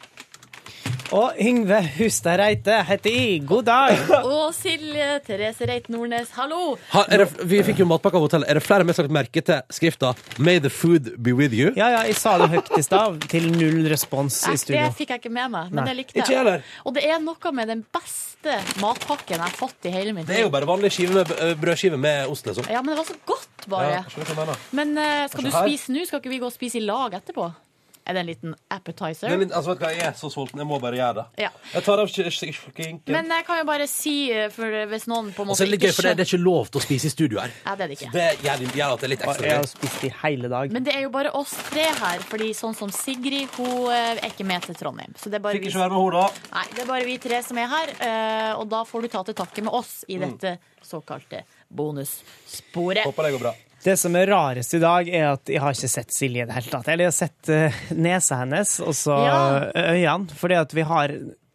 Og Yngve Hustad Reite heter jeg. God dag. Og Silje Therese Reit Nordnes, hallo! Ha, er det, vi fikk jo matpakke av hotellet. Er det flere med slags merke til skrifta 'May the food be with you'? Ja, ja, jeg sa det høyt i stad. Til null respons i Det studio. fikk jeg ikke med meg, men Nei. det likte jeg. Ikke jeg heller. Og det er noe med den beste matpakken jeg har fått i hele mitt Det er jo bare vanlig skive med, eh, brødskive med ost, liksom. Ja, men det var så godt, bare. Ja, skjønner du hva jeg mener? Men eh, skal Se du Altså, her. spise nå? Skal ikke vi gå og spise i lag etterpå? Er det en liten appetizer? Det er litt, altså, vet du hva, jeg er så sulten, jeg må bare gjøre det. Ja. Jeg tar av sk- sk- skinken. Men jeg kan jo bare si, eh, for hvis noen på Og en måte så er det litt gøy, Altså, for det, det er ikke lov til å spise i studio her. skjønner- Nei, det er det ikke. Det gjør, gjør at det er litt ekstra jeg har gøy. spist i hele dag. Men det er jo bare oss tre her, fordi sånn som Sigrid, hun eh, er ikke med til Trondheim. Så det er bare Fikk vi- ikke være med henne, da. Nei, det er bare vi tre som er her, eh, og da får du ta til takke med oss i Mm. dette såkalte bonussporet. Håper det går bra. Det som er rarest i dag, er at jeg har ikke sett Silje i det hele tatt. Eller jeg har sett eh, nesa hennes, og så eh, øynene. Fordi at vi har,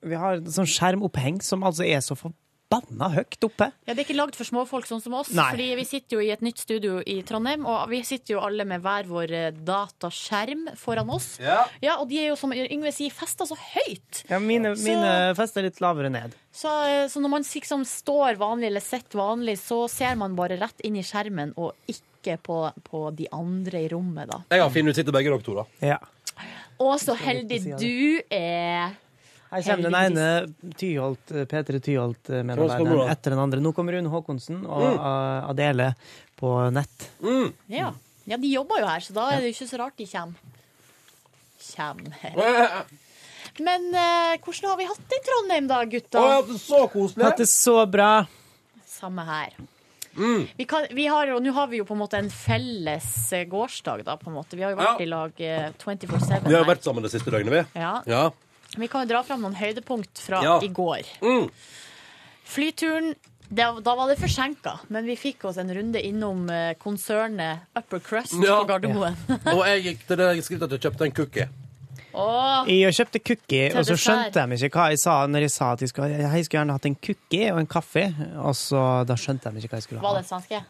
vi har en sånn skjermoppheng som altså er så forbanna høyt oppe. Ja, Det er ikke lagd for småfolk sånn som oss, Nei. fordi vi sitter jo i et nytt studio i Trondheim, og vi sitter jo alle med hver vår eh, dataskjerm foran oss. Ja. Og de er jo, som Yngve sier, festa så høyt. Ja, mine, Så- mine fester litt lavere ned. Så, så når man liksom står vanlig eller sitter vanlig, så ser man bare rett inn i skjermen og ikke på, på de andre i rommet, da. Jeg har fin utsikt til begge dere to, da. Og så heldig du er. Her kommer den ene Tyholt, eh, P3 Hva skal du Tyholt-medarbeideren da? etter den andre. Nå kommer Rune Håkonsen og Mm. eh, Adele på nett. Ja. ja, de jobber jo her, så da er det jo ikke så rart de kommer. Kjem. Men eh, hvordan har vi hatt det i Trondheim da, gutta? så koselig. Hatt det så bra. Samme her. Vi, kan, vi har, og Nå har vi jo på en måte en felles eh, gårsdag, da, på en måte. Vi har jo vært i lag eh, 24-7. Vi har her. jo vært sammen det siste døgnet, vi. Ja. Ja. Vi kan jo dra fram noen høydepunkt fra Ja. i går. Flyturen det, Da var det forsinka, men vi fikk oss en runde innom eh, konsernet Upper Crust Ja. på Gardermoen. Og jeg gikk til det jeg skrev at jeg kjøpte en cookie. *laughs* Åh, Jeg kjøpte cookie, Til og så dessert. skjønte de ikke hva jeg sa når jeg sa at jeg skulle, jeg skulle gjerne hatt en cookie og en kaffe. Og så da skjønte de ikke hva jeg skulle ha. var det svenske?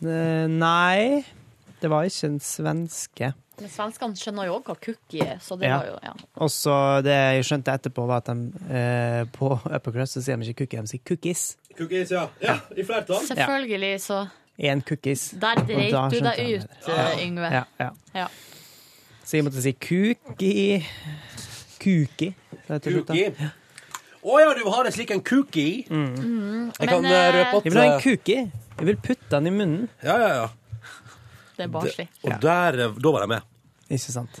Eh, Nei, det var ikke en svenske. Men svenskene skjønner jo òg hva cookie er, så det Ja. var jo ja. Og så det jeg skjønte etterpå, var at de eh, på Upper Crust så sier de ikke cookie, de sier cookies. Cookies, ja. Ja, I flertall. Selvfølgelig, så Én cookies. Der Og dreit da du skjønte deg jeg ut, det. Ja. eh, Yngve. Ja, ja. Ja. Så jeg måtte si kuki Kuki. sa jeg til slutt, da. Cookie. Å ja, du har en slik en cookie? Mm. Jeg kan Men, eh, eh, røpe at Jeg vil ha en kuki. Jeg vil putte den i munnen. Ja, ja, ja. det er barnslig. Det- Og der, eh, da var jeg med. Ikke sant.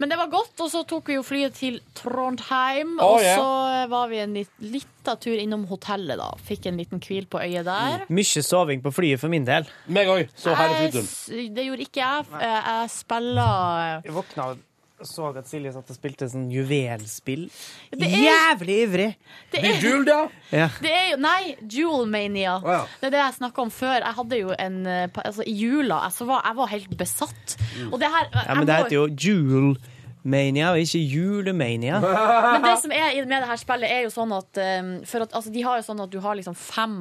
Men det var godt, og så tok vi jo flyet til Trondheim. Å, og ja. så eh, var vi en lit- lita tur innom hotellet, da. Fikk en liten hvil på øyet der. Mye soving på flyet for min del. Meg òg. Jeg *laughs* s- Det gjorde ikke jeg. Eh, Jeg spiller eh, Jeg våkna og så at Silje satt og spilte sånn juvelspill. det er- Jævlig ivrig! Det er- Jul, da? Ja. Det er jo, nei, Jewelmania. Å, ja. Det er det jeg snakka om før. Jeg hadde jo en eh, pa- altså, I jula jeg, så var, jeg var helt besatt. Og det her Mm. ja, jeg men det må- heter jo Julemania, og ikke *laughs* Julemania. Men det som er i- med det her spillet, er jo sånn at, eh, for at altså, De har jo sånn at du har liksom fem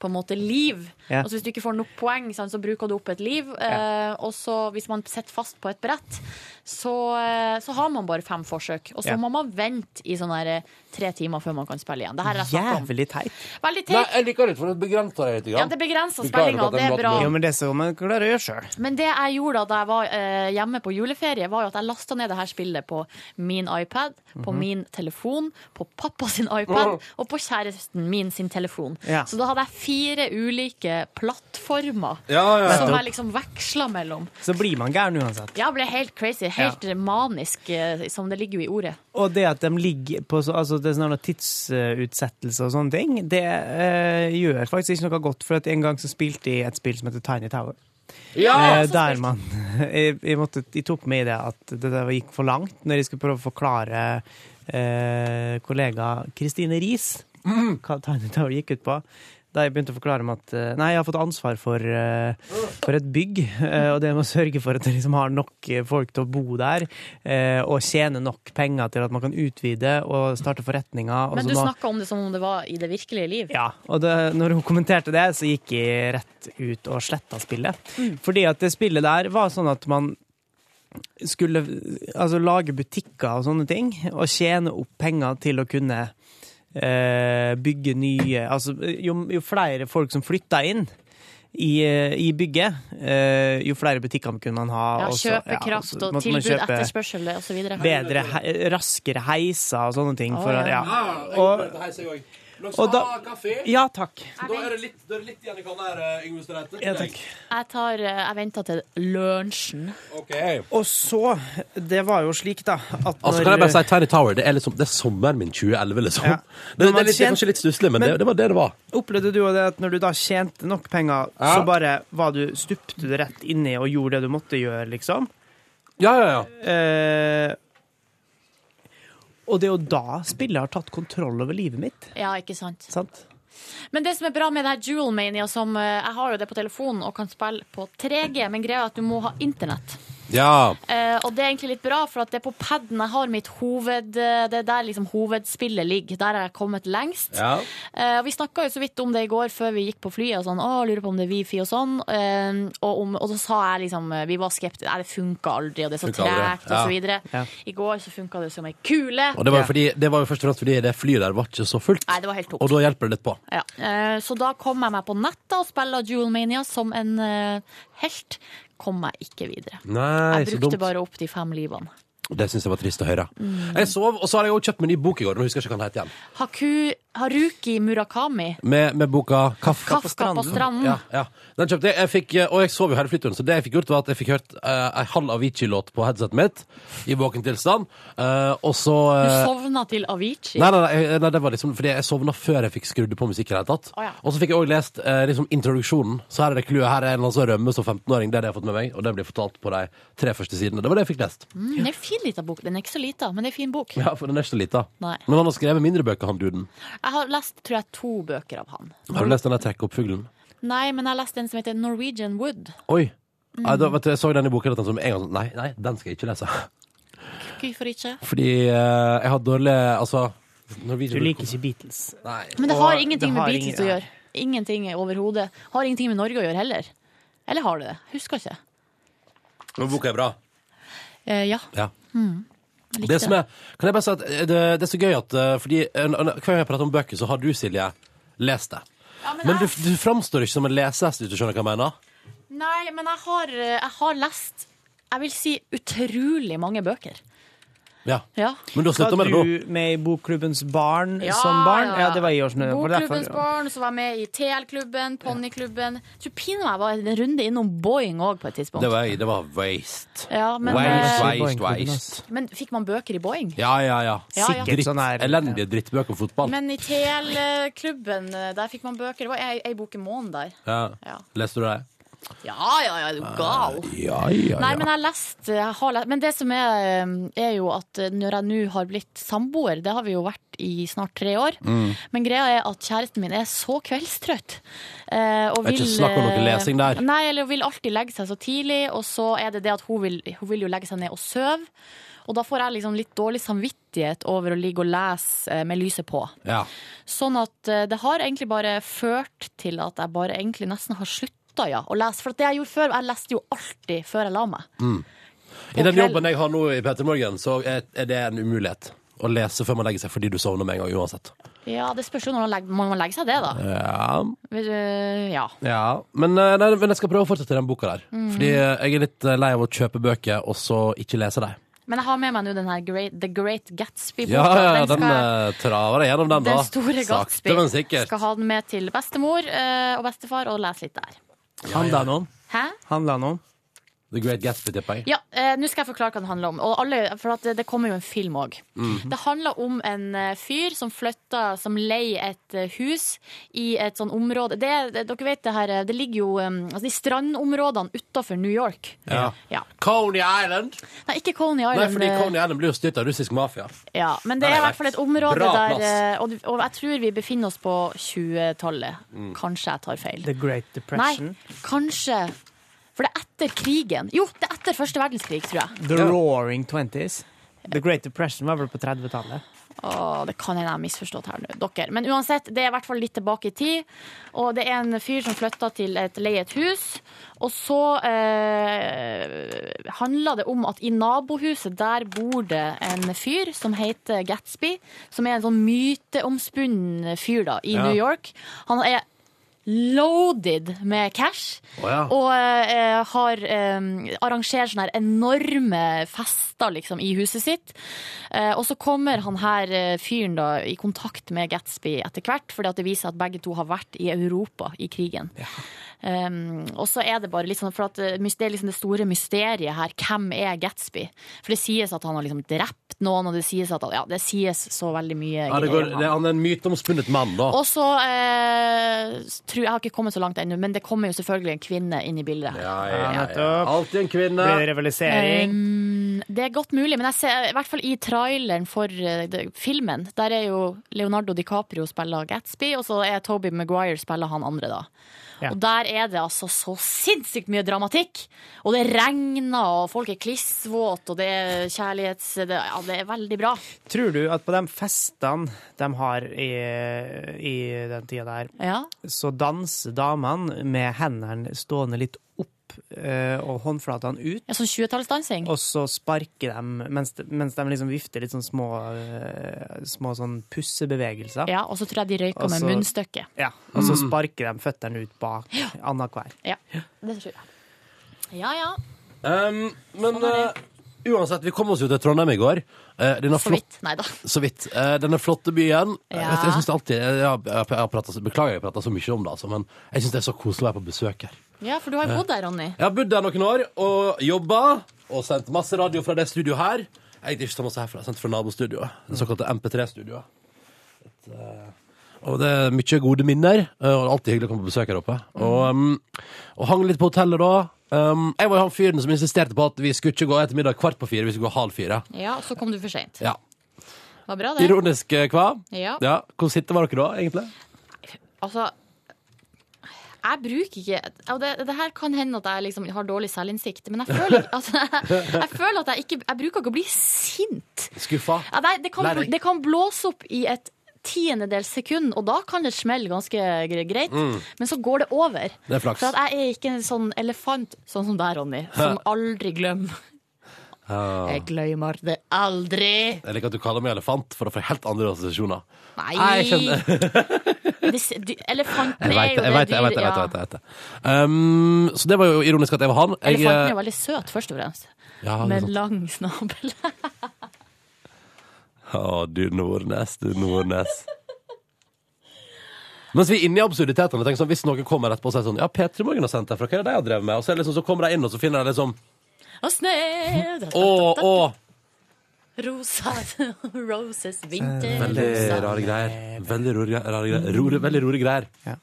på en måte liv. Ja. Og så hvis du ikke får nok poeng, sant, så bruker du opp et liv. Eh, og så hvis man sitter fast på et brett, så, eh, så har man bare fem forsøk. Og så Ja. må man vente i sånn her, eh, tre timer før man kan spille igjen. Det her er snakk om. Jævlig teit. Veldig Nei, teit. jeg liker det, for det begrenser deg litt. Ja, det begrenser spillinga. Det er bra. Ja, men det skal man klare å gjøre sjøl. Men det jeg gjorde da jeg var eh, hjemme på juleferie, var jo at jeg lasta ned det her spillet på min iPad, på Mhm. min telefon, på pappa sin iPad og på kjæresten min sin telefon. Ja. Så da hadde jeg fire ulike plattformer Ja, ja, ja. som jeg liksom veksla mellom. Så blir man gæren uansett. Jeg ble helt crazy, helt manisk, eh, som det ligger jo i ordet. Og det at de ligger på så, altså det er sånn tidsutsettelse og sånne ting, det eh, gjør faktisk ikke noe godt. For at en gang så spilte jeg et spill som heter Tiny Tower. Ja, Eh, så der man *laughs* jeg, jeg, måtte, jeg tok med i det at det der gikk for langt, når jeg skulle prøve å forklare eh, kollega Kristine Riis Mm. hva Tiny Tower gikk ut på. Da jeg begynte å forklare om at eh, nei, jeg har fått ansvar for, eh, for et bygg, eh, og det med å sørge for at det liksom har nok eh, folk til å bo der, eh, og tjene nok penger til at man kan utvide og starte forretninger. og Men så du må- snakka om det som om det var i det virkelige liv. Ja. Og det, når hun kommenterte det, så gikk jeg rett ut og sletta spillet. Mm. Fordi at det spillet der var sånn at man skulle altså, lage butikker og sånne ting, og tjene opp penger til å kunne eh, bygge nye Altså jo, jo flere folk som flytta inn i, eh, i bygget, eh, jo flere butikker kunne man ha. Ja, og så- altså, ja, Kjøpekraft så og måtte man tilbud, kjøpe- etterspørsel osv. bedre, he raskere heiser og sånne ting. Å, For, å- ja. ja. Ja, jeg Og, prøvde å heise, jeg også. ah, Og da- Ja, takk. Da er det litt, da er det litt igjen i kanna her, eh, Yngve Streite. Ja, takk. Jeg, tar, eh, jeg venter til lunsjen. Og så Det var jo slik, da, at Altså, når kan jeg bare si Tiny Tower, det er, liksom, det er sommeren min 2011, liksom. Ja. Det, det, Når man er litt, det er kjen- kanskje litt stusslig, men, Men- det, det var det det var. Opplevde du også det at når du da tjente nok penger, Ja. så bare var du, stupte du rett inni og gjorde det du måtte gjøre, liksom? Ja, ja, ja. Eh, og det er jo da spillet har tatt kontroll over livet mitt. Ja, ikke sant? Sant? Men det som er bra med det her Jewel Mania, som eh, jeg har jo det på telefonen og kan spille på 3G, men greia er at du må ha internett. Ja. Eh, og det er egentlig litt bra, for at det er på paden jeg har mitt hoved... eh, Det er der liksom hovedspillet ligger. Der har jeg kommet lengst. Ja. Eh, og vi snakka jo så vidt om det i går før vi gikk på flyet. Og sånn, å, lurer på om det er wifi og sånn. Eh, og, om, og så sa jeg liksom eh, Vi var skeptiske. Nei, det funka aldri, og det er så Funker aldri, tregt, og ja. så videre. Ja. I går så funka det som ei kule. Og det var, jo fordi, det var jo først og fremst fordi det flyet der var ikke så fullt. Nei, det var helt tomt. Og da hjelper det litt på. Ja. eh, Så da kom jeg meg på nettet og spiller Duel Mania som en eh, helt. Kom meg ikke videre. Nei, jeg så brukte dumt. bare opp de fem livene. Det syns jeg var trist å høre. Mm. Jeg sov, og så har jeg også kjøpt meg ny bok i går. Nå husker jeg ikke hva den heter igjen. Haku, Haruki Murakami. Med, med boka Kafka, Kafka på stranden. Ja, ja. Den kjøpte jeg. jeg fikk, eh, og jeg sov jo hele flyturen, så det jeg fikk gjort, var at jeg fikk hørt eh, ei halv Avicii-låt på headsetet mitt i våken tilstand. Eh, og så Du eh, sovna til Avicii. Nei, nei, nei, jeg- nei, det var liksom fordi jeg sovna før jeg fikk skrudd på musikk. i det hele tatt. Å, ja. Og så fikk jeg òg lest eh, liksom introduksjonen. Så her er det clouet. Her er en altså rømme som 15-åring. Det er det jeg har fått med meg. Og det blir fortalt på de tre første sidene. Det var det jeg fikk lest. Mm, det er en fin lita bok. Den er ikke så lita, men det er en fin bok. Ja, for den er ikke så lita. Nei. Men han har skrevet mindre bøker, han duden. Jeg har lest tror jeg, to bøker av han. Har du lest den der 'Trekk opp fuglen'? Nei, men jeg har lest en som heter Norwegian Wood. Oi! Mm. Nei, da, vet du, jeg så den i boka, og tenkte sånn med en gang sånn, nei, nei, den skal jeg ikke lese. *laughs* Hvorfor ikke? Fordi eh, jeg har dårlig Altså Du liker ikke Beatles. Nei. Men det har ingenting med har Beatles ingen- å gjøre. Ingenting overhodet. Har ingenting med Norge å gjøre heller. Eller har det det? Husker ikke. Men boka er bra. Eh, ja. Ja. Mm. Jeg likte Det som er, kan jeg bare si at eh, det, det er så gøy at eh, Fordi eh, n- n- hver gang jeg prater om bøker, så har du, Silje, lest det. men du, du framstår ikke som en lesehest, hvis du skjønner hva jeg mener. Nei, men jeg har, eh, jeg har lest Jeg vil si utrolig mange bøker. Ja. Ja. Men du har sluttet med det nå. Var du med i Bokklubbens barn Ja, som barn? ja, ja. Ja, det var i årsnø. var det derfor- Bokklubbens barn, så var jeg med i TL-klubben, Ponniklubben Jeg Tror pinadø jeg var en runde innom Boeing òg på et tidspunkt. Det var, det var waste. Ja, men, waste, eh, waste, waste. Men fikk man bøker i Boeing? Ja, ja, ja. Ja, ja. Dritt, sånn elendige drittbøker om fotball. Men i TL-klubben, der fikk man bøker. Det var ei, ei bok i måneden der. Ja. Ja. Leste du det? Ja, ja, ja, er du gal? Ja, ja, Nei, ja. men jeg har lest, jeg har lest Men det som er, um, er jo at eh, når jeg nå har blitt samboer, det har vi jo vært i snart tre år, Mm. men greia er at kjæresten min er så kveldstrøtt. eh, og Det er ikke vil, snakk om noe eh, lesing der. Nei, eller hun vil alltid legge seg så tidlig, og så er det det at hun vil, hun vil jo legge seg ned og sove. Og da får jeg liksom litt dårlig samvittighet over å ligge og lese eh, med lyset på. Ja. Sånn at eh, det har egentlig bare ført til at jeg bare egentlig nesten har slutta ja, å lese. For at det jeg gjorde før, jeg leste jo alltid før jeg la meg. Mm. På I den kveld- jobben jeg har nå i Peter Morgen, så er er det en umulighet. Å lese før man legger seg, fordi du sovner med en gang uansett. Ja, Det spørs jo når man legger, må man legge seg det, da. Ja, Vil, eh, Ja. ja. Men, eh, nei, men jeg skal prøve å fortsette den boka der. Mhm. Fordi eh, jeg er litt eh, lei av å kjøpe bøker, og så ikke lese dem. Men jeg har med meg nå den her Great, The Great Gatsby-boka. Ja, ja, den skal, eh, traver jeg gjennom den, da. den store Gatsby. Sakte, men sikkert. Skal ha den med til bestemor eh, og bestefar og lese litt der. Handla den om? Hæ? Handla den om? The Great Gatsby, tipper jeg. Ja, eh, nå skal jeg forklare hva den handler om. Og alle, for at det, det kommer jo en film òg. Mhm. Det handler om en eh, fyr som flytter, som leier et eh, hus i et sånn område det, det, Dere vet det her, eh, det ligger jo um, altså de strandområdene utafor New York. Ja. Ja. Coney Island. Nei, ikke Coney Nei, Island. fordi eh, Coney Island blir jo styrt av russisk mafia. ja, men det Nei, er i nei, hvert fall et område bra der plass. eh, og, du- og jeg tror vi befinner oss på 20-tallet. Mm. Kanskje jeg tar feil. The Great Depression. Nei, kanskje For det er etter krigen. Jo, det er etter første verdenskrig, tror jeg. The Roaring Twenties. The Great Depression var vel på 30-tallet. Åh, det kan hende jeg har misforstått her nå, dere. Men uansett, det er i hvert fall litt tilbake i tid. Og det er en fyr som flytter til et leiet hus. Og så eh, handler det om at i nabohuset der bor det en fyr som heter Gatsby. Som er en sånn myteomspunnen fyr da, i Ja. New York. Han er loaded med cash. Å ja. Og eh, har eh, arrangerer sånne her enorme fester liksom, i huset sitt. Eh, og så kommer han her eh, fyren da i kontakt med Gatsby etter hvert, fordi at det viser at begge to har vært i Europa i krigen. Um, og så er det bare litt sånn, for at eh, mys- det er liksom det store mysteriet her. Hvem er Gatsby? For det sies at han har liksom drept noen, og det sies at han- ja, det sies så veldig mye. Ja, det greier går, om det, han er en myteomspunnet mann, da. og så eh, tror jeg har ikke kommet så langt ennå, men det kommer jo selvfølgelig en kvinne inn i bildet. Alltid en kvinne. Blir det rivalisering? Um, det er godt mulig, men jeg ser, i hvert fall i traileren for eh, det- filmen, der er jo Leonardo DiCaprio spiller Gatsby, og så er Toby Maguire spiller han andre, da. Ja. Og der er det altså så sinnssykt mye dramatikk! Og det regner, og folk er klissvåte, og det er kjærlighets... Det, ja, det er veldig bra. Tror du at på de festene de har i, i den tida der, Ja. så danser damene med hendene stående litt opp eh, og håndflatene ut? Ja, sånn 20-tallsdansing? Og så sparker de mens de, mens de liksom vifter litt sånn små, eh, små sånn pussebevegelser. Ja, og så tror jeg de røyker Og med så- munnstykket. Ja, og så Mm. sparker de føttene ut bak annenhver. Ja, det tror jeg. Ja, ja. Um, men Sånn eh, uansett, vi kom oss jo til Trondheim i går. Eh, denne Så flott- vidt. Nei da. Så vidt. Eh, denne flotte byen. Ja. Vet du, Jeg synes det alltid, jeg, jeg, jeg, har pratet så- beklager jeg prater så mye om det, altså, men jeg syns det er så koselig å være på besøk her. Ja, for du har jo bodd der, Ronny. Jeg har bodd der noen år og jobba og sendt masse radio fra det studioet her. Egentlig ikke så masse herfra, sendt fra nabostudioet. Det såkalte MP3-studioet. Et, eh, Og det er mye gode minner, eh, og det er alltid hyggelig å komme på besøk her oppe. Og, Mm. um, og hang litt på hotellet da. Um, jeg var jo han fyren som insisterte på at vi skulle ikke gå ettermiddag kvart på fire, vi skulle gå halv fire. Ja, og så kom du for seint. Ja. Var bra, det. Ironisk, eh, hva? Ja. Hvor sitter var dere da, egentlig? Altså, jeg bruker ikke og det, det her kan hende at jeg liksom har dårlig selvinnsikt, *laughs* men jeg føler, altså, jeg, jeg føler at jeg ikke Jeg bruker ikke å bli sint. Skuffa? Ja, nei, det, kan, Lei deg? det kan blåse opp i et tiendedels sekund, og da kan det smelle ganske gre- greit. Mm. Men så går det over. Det er flaks. For at jeg er ikke en sånn elefant sånn som deg, Ronny, som aldri glemmer. Ja. Jeg glemmer det aldri. Jeg liker at du kaller meg elefant, for å få helt andre assosiasjoner. Nei. Jeg *laughs* skjønner. Det s- dy- Elefanten Jeg er veit jo det, jeg det vet det. jeg vet det, dyret, jeg ja. vet det, jeg vet det. Um, så det var jo ironisk at jeg var han. Jeg, eh, Elefanten er jo veldig søt, først og fremst. Ja, det er sånn. Med sant. lang snabel. Å, du Nordnes, du Nordnes. *laughs* Mens vi er inne i absurditetene. tenk Sånn, hvis noen kommer etterpå og sier sånn Ja, P3 Morgen har sendt herfra, hva er det de har drevet med? Og så, er det liksom, så kommer de inn, og så finner de liksom Og snø Å, å! Rosa *laughs* Roses Eh, Veldig vinterrosa. rare greier. Veldig rore, rare greier. Rore, veldig rore greier. Ja.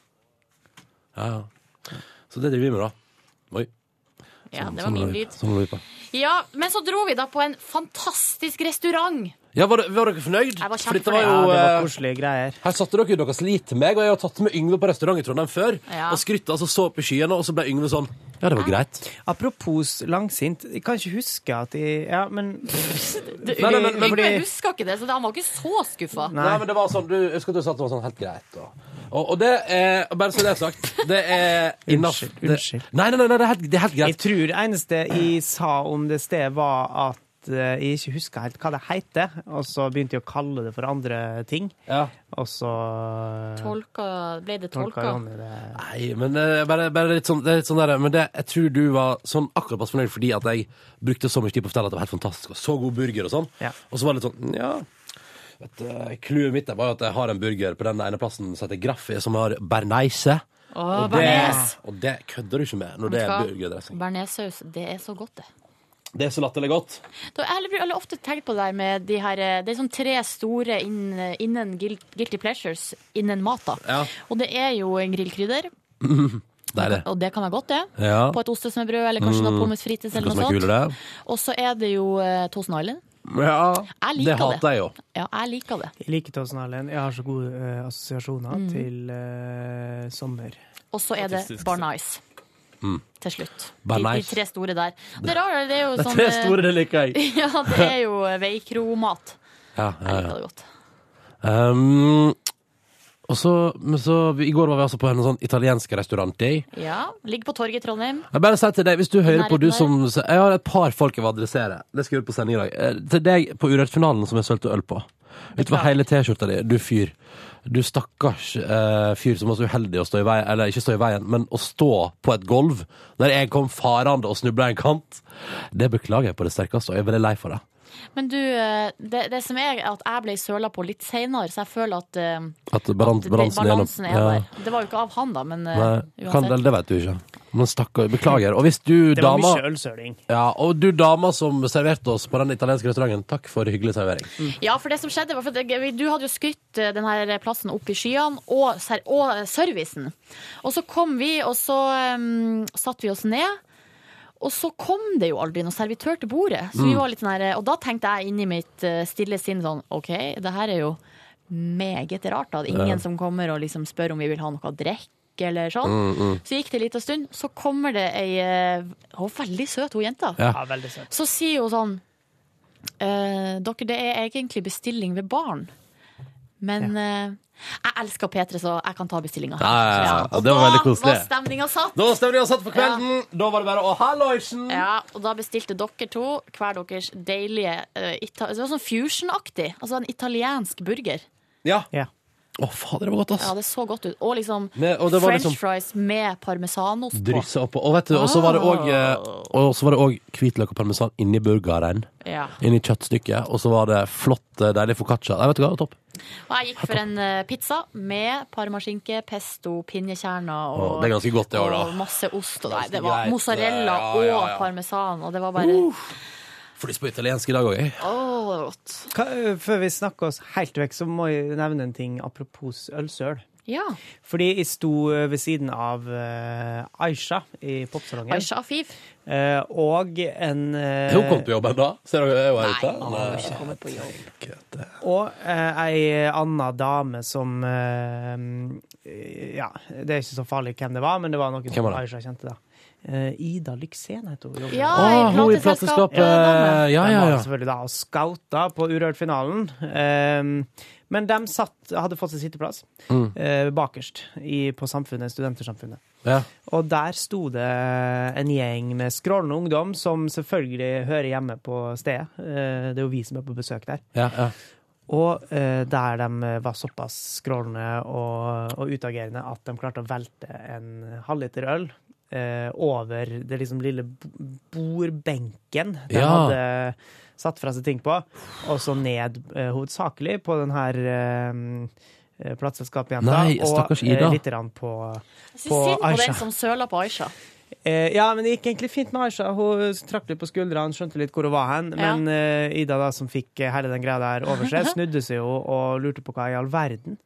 ja, Så det driver vi med, da. Oi. Ja, det var Sånn min holder vi- lyd. Sånn holder vi på. Ja, men så dro vi da på en fantastisk restaurant. Ja, var, det- var dere fornøyd? Jeg var Fordi kjempefornøyd. jo, Ja, det var eh, Her satte dere ut deres lit til meg, og jeg har tatt med Yngve på restaurant i Trondheim før. Ja. Og skrytte altså så opp i skyene, og så ble Yngve sånn Ja, det var greit. Apropos langsint, jeg kan ikke huske at de Ja, men Du, Nei, nei, nei, nei, Yngve fordi- huska ikke det, så han var ikke så skuffa. Nei. men det var sånn, du, jeg husker at du sa at det var sånn helt greit. Og, og, og det er, bare så det er sagt, det er innafor. *laughs* Unnskyld. Nei, nei, nei, det er helt, det er helt greit. Jeg tror det eneste jeg sa om det stedet, var at eh, jeg ikke huska helt hva det heter, og så begynte jeg å kalle det for andre ting. Og så eh, Tolka, ble det tolka tolka? Ronny det. Nei, men det er bare, bare litt sånn, det er litt sånn der, men det, jeg tror du var sånn akkurat passe fornøyd fordi at jeg brukte så mye tid på å fortelle at det var helt fantastisk, og så god burger og sånn. Og så var det litt sånn, ja... Vet, du, clouet mitt er bare at jeg har en burger på den ene plassen som heter Graffi, som har berneise. Åh, det, bearnaise. og det kødder du ikke med når det er burgerdressing. Bearnéssaus, det er så godt, det. Det er så latterlig godt. Da, jeg har veldig ofte tenkt på det der med de her eh, Det er sånn tre store innen, innen guil- guilty pleasures innen mat, da. Ja. Og det er jo en grillkrydder, Det er det. og det kan være godt, det. Ja. På et ostesmørbrød, eller kanskje Mm. noe pommes frites, eller Noe noe som er sånt. kulere. Og så er det jo eh, Thousand Island. Ja, Jeg det liker det. hater jeg jo. Ja, jeg liker det. Jeg liker Tåsen Erlend. Jeg har så gode eh, assosiasjoner Mm. til eh, sommer. Og så er det Statistisk sett. Barnice Mm. til slutt. Bar De, de Nice. tre store der. Det er rart, det er jo Det er sånn tre eh, store, det liker jeg. *laughs* Ja, det er jo eh, veikromat. Ja, ja, ja. Det er godt. Um, og så, men så, I går var vi altså på en sånn italiensk restaurant. eh? Jeg Ja. Ligger på torget i Trondheim. bare sier til deg, hvis du hører Nærheten på du der. som Jeg har et par folk jeg vil adressere. Det skal jeg gjøre på sending i dag. Eh, Til deg på Urørt-finalen som jeg sølte øl på. Utover hele T-skjorta di, du fyr. Du stakkars eh, fyr som var så uheldig å stå i veien, eller ikke stå i veien, men å stå på et golv der jeg kom farende og snubla en kant. Det beklager jeg på det sterkeste, og jeg er veldig lei for det. Men du, eh, det, det som er at jeg ble søla på litt seinere, så jeg føler at eh, At balan- det- balansen, balansen er gjennom- der. Det var jo ikke av han, da, men eh, Nei, kan, uansett. eller det vet du ikke. Men stakkar, beklager. Og hvis du, Det var dama mye ølsøling. ja, Og du dama som serverte oss på den italienske restauranten, takk for hyggelig servering. Ja, for det som skjedde var for at jeg- Du hadde jo skrytt eh, den her plassen opp i skyene og, ser- og eh, servicen. Og så kom vi, og så um, satte vi oss ned. Og så kom det jo aldri noen servitør til bordet. Så vi Mm. var litt sånn her, og da tenkte jeg inni mitt eh, stille sinn sånn OK, det her er jo meget rart. da. Det er Ja. Ingen som kommer og liksom spør om vi vil ha noe å drikke. Eller sånn. Mm, mm. Så gikk det en liten stund, så kommer det ei eh, Hun var veldig søt, hun jenta. Ja. Ja, veldig søt. Så sier hun sånn Eh, dere, det er egentlig bestilling ved barn. Men eh, jeg elsker P3, så jeg kan ta bestillinga. Ja, ja, ja. Og Og det var veldig Da koselig. var stemninga satt. Da var stemningen satt for kvelden. Da var det bare å halloisen! Ja, og da bestilte dere to hver deres deilige eh, ita Det var sånn fusion-aktig. Altså en italiensk burger. Ja. Å, fader, det var godt, ass. Ja, det så godt ut. Og liksom Men- og det var french liksom- fries med parmesanost på. Drysse oppå. Og vet du, og så var det òg Og så var det òg hvitløk og parmesan inni burgeren. Ja. Inni kjøttstykket. Og så var det flott, eh, deilig foccaccia. Nei, vet du hva, det var topp. Og jeg gikk for en eh, pizza med parmaskinke, pesto, pinjekjerner og Å, det er ganske godt, det også, da. Og masse ost. Og nei, Ganske det var greit. mozzarella Ja, ja, ja. og parmesan, og det var bare Åh, Får lyst på italiensk i dag eh? òg, jeg. det var godt. Hva, eh, før vi snakker oss helt vekk, så må jeg nevne en ting apropos ølsøl. Ja. Fordi jeg sto ved siden av eh, Aisha i popsalongen. Aisha Afif. Eh, og en eh, Hun kom til jobben da. Ser dere, jeg var Nei, ute. hun har ikke kommet på jobb. Og eh, ei anna dame som eh, Ja, det er ikke så farlig hvem det var, men det var noen Hvem var som det? Aisha kjente, da. Eh, Ida Lyksen heter hun. Ja, i hun i plateselskap. plateselskap, eh, ja, ja, De ja. var selvfølgelig da og scouta på Urørt-finalen. Eh, men de satt, hadde fått seg sitteplass Mm. eh, bakerst i, på Samfunnet, Studentersamfunnet. Ja. Og der sto det en gjeng med skrålende ungdom, som selvfølgelig hører hjemme på stedet. Eh, Det er jo vi som er på besøk der. Ja, ja. Og eh, der de var såpass skrålende og, og utagerende at de klarte å velte en halvliter øl eh, over det liksom lille b- bordbenken de Ja. hadde satt fra seg ting på, og så ned eh, hovedsakelig på den her eh, eh, plateselskapjenta, Nei, og stakkars Ida. litt grann på, Jeg på synes synd på Aisha. den som søler på Aisha. Eh, ja, men det gikk egentlig fint med Aisha. Hun trakk litt på skuldrene, skjønte litt hvor hun var hen. Ja. Men eh, Ida, da, som fikk eh, hele den greia der over *laughs* seg, snudde seg jo og lurte på hva i all verden.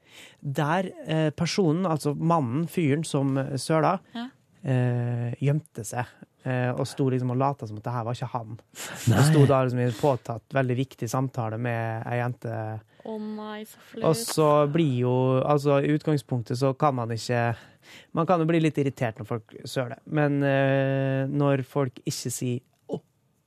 Der eh, personen, altså mannen, fyren som eh, søla, Ja. eh, gjemte seg. eh, og sto liksom og lata som at det her var ikke han. Nei. Og sto da liksom i en påtatt veldig viktig samtale med ei jente. Å nei, så flaut. Og så blir jo Altså, i utgangspunktet så kan man ikke Man kan jo bli litt irritert når folk søler, men eh, når folk ikke sier 'å,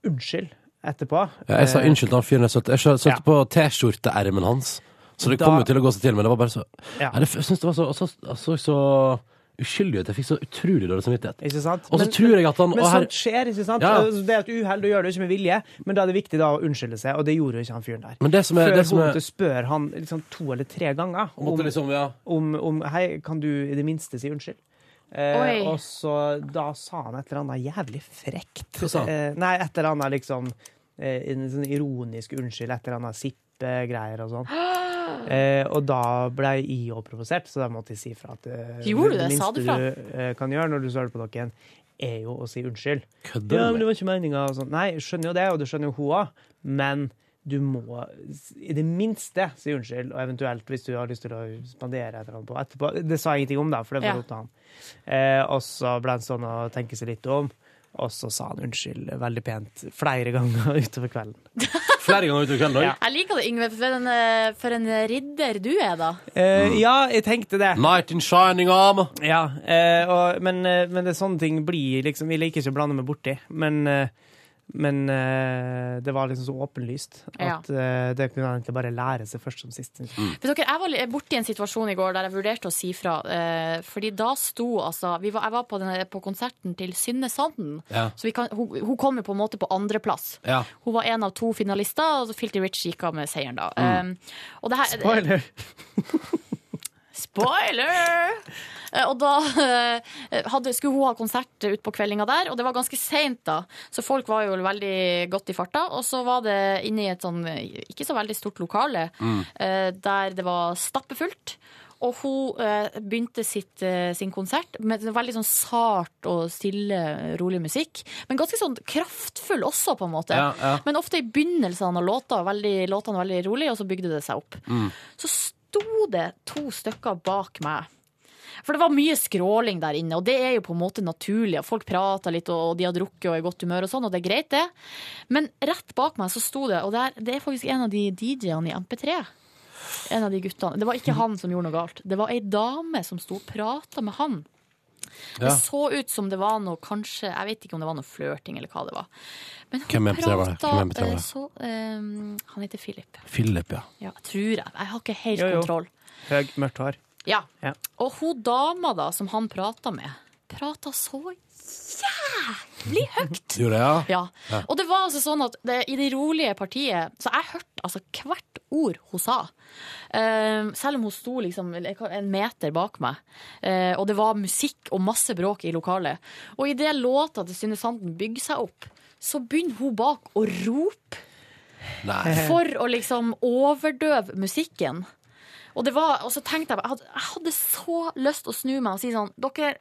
unnskyld' etterpå Ja, jeg sa eh, unnskyld til han fyren jeg sølte. Jeg sø- sølte på T-skjorteermen hans. Så det Da- kom jo til å gå seg til, men det var bare så Ja. Nei, det, Jeg syns det var så, så, så, så uskyldig ut. Jeg fikk så utrolig dårlig samvittighet. Ikke sant? Og så Men- tror jeg at han Men å, her- sånt skjer, ikke sant? Altså, Ja. Det er et uhell, du gjør det jo ikke med vilje, men da er det viktig da å unnskylde seg, og det gjorde jo ikke han fyren der. Men det som er- Før det som hun er- måtte spørre han liksom to eller tre ganger Han måtte liksom, ja. om, om Hei, kan du i det minste si unnskyld? Eh, Oi. og så da sa han et eller annet jævlig frekt. Hva sa han? Eh, nei, et eller annet liksom eh, En sånn ironisk unnskyld, et eller annet sippegreier og *gasps* sånn. Eh, og da ble jeg òg provosert, så da måtte jeg si fra at eh, Gjorde du det? minste Sa du fra? du eh, kan gjøre når du søler på dere, er jo å si unnskyld. Kødder du Ja, men med? det var ikke meninga. Nei, jeg skjønner jo det, og det skjønner jo hun òg, men du må s- i det minste si unnskyld, og eventuelt hvis du har lyst til å spandere et eller annet på etterpå. Det sa jeg ingenting om, da, for det var Ja. opp til han. Eh, og så ble han sånn og tenke seg litt om, og så sa han unnskyld veldig pent flere ganger *laughs* utover kvelden. Flere ganger utover kvelden òg? Jeg liker det, Yngve, for en, eh, for en ridder du er, da. Eh, ja, jeg tenkte det. Night in shining arm. Ja, eh, og, men, eh, men det er sånne ting blir liksom Jeg liker ikke å blande meg borti, men eh, men eh, det var liksom så åpenlyst Ja. at eh, det kunne han egentlig bare lære seg først som sist. For dere, jeg var li- borti en situasjon i går der jeg vurderte å si fra. Eh, fordi da sto altså vi var, Jeg var på, den, på konserten til Synne Sanden. Ja. Så vi kan, hun, hun kom jo på en måte på andreplass. Ja. Hun var en av to finalister, Um, og så Filty Rich gikk av med seieren, da. Mm. Eh, og det her, Spoiler! Spoiler! *laughs* Eh, Og da eh, hadde, skulle hun ha konsert utpå kveldinga der, og det var ganske seint da. Så folk var jo veldig godt i farta. Og så var det inne i et sånn eh, ikke så veldig stort lokale Mm. eh, der det var stappefullt. Og hun eh, begynte sitt, eh, sin konsert med sånn veldig sånn sart og stille, rolig musikk. Men ganske sånn kraftfull også, på en måte. Ja, ja. Men ofte i begynnelsen av låta, veldig, låtene veldig rolig, og så bygde det seg opp. Mm. Så sto det to stykker bak meg. For det var mye skråling der inne, og det er jo på en måte naturlig. og Folk prater litt, og de har drukket og er i godt humør og sånn, og det er greit, det. Men rett bak meg så sto det, og det er, det er faktisk en av de DJ-ene i MP3. En av de guttene. Det var ikke han som gjorde noe galt. Det var ei dame som sto og prata med han. Ja. Det så ut som det var noe kanskje Jeg vet ikke om det var noe flørting eller hva det var. Men hun Hvem i MP3 var det? prata, Hvem i MP3 var eh, det? så eh, Han heter Philip. Philip, ja. Ja, tror jeg. Jeg har ikke helt Jo, jo. kontroll. Høyt, mørkt hår. Ja. Ja. Og hun dama da, som han prata med, prata så jævlig høyt. Gjorde jeg, ja? Ja. Og det var altså sånn at det, i det rolige partiet Så jeg hørte altså hvert ord hun sa. Eh, selv om hun sto liksom en meter bak meg. Eh, og det var musikk og masse bråk i lokalet. Og idet låta til Synne Sanden bygger seg opp, så begynner hun bak å rope for å liksom overdøve musikken. Og, det var, og så tenkte jeg jeg hadde, jeg hadde så lyst å snu meg og si sånn Dere,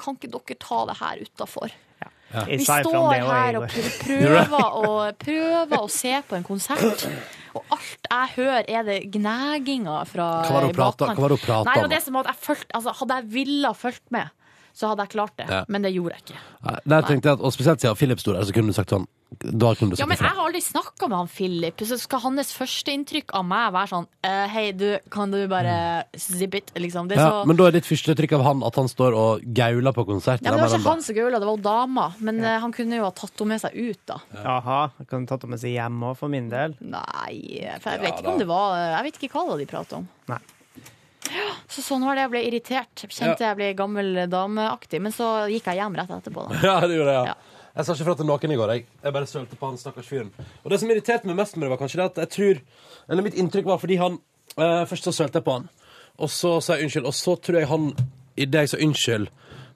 kan ikke dere ta det her utafor? Ja. Vi Jeg sa ifra om står det også, her Igor. og pr- *laughs* prøver å, prøver å se på en konsert, og alt jeg hører, er det gnaginga fra Hva var det hun prata- bakgrunnen. hva var det hun prata Nei, det om? var det som at jeg følte- altså, Hadde jeg villet fulgt med, så hadde jeg klart det. Ja. Men det gjorde jeg ikke. Nei, Der tenkte jeg at, og Spesielt siden Philip sto der, så kunne du sagt sånn. Da kunne du Ja, sagt men ifra. jeg har aldri snakka med han Philip, så skal hans førsteinntrykk av meg være sånn eh, Hei, du, kan du bare zip it? Liksom. Det er Ja, så men da er ditt første trykk av han at han står og gauler på konsert. Ja, men Det var ikke han som gaula, det var jo dama. Men eh, han kunne jo ha tatt henne med seg ut, da. Aha, jeg kan tatt det med seg hjem òg, for min del. Nei, for jeg Ja, vet ikke om da. det var Jeg vet ikke hva de prata om. Nei. Så sånn var det. Jeg ble irritert. Kjente jeg ble gammel dameaktig. Men så gikk jeg hjem rett etterpå, da. *laughs* Ja, det gjorde jeg. Ja. Jeg sa ikke fra til noen i går. Jeg, jeg bare sølte på han stakkars fyren. Og det som irriterte meg mest med det, var kanskje det at jeg tror Eller mitt inntrykk var fordi han eh, Først så sølte jeg på han, og så sa jeg unnskyld, og så tror jeg han I det jeg sa unnskyld,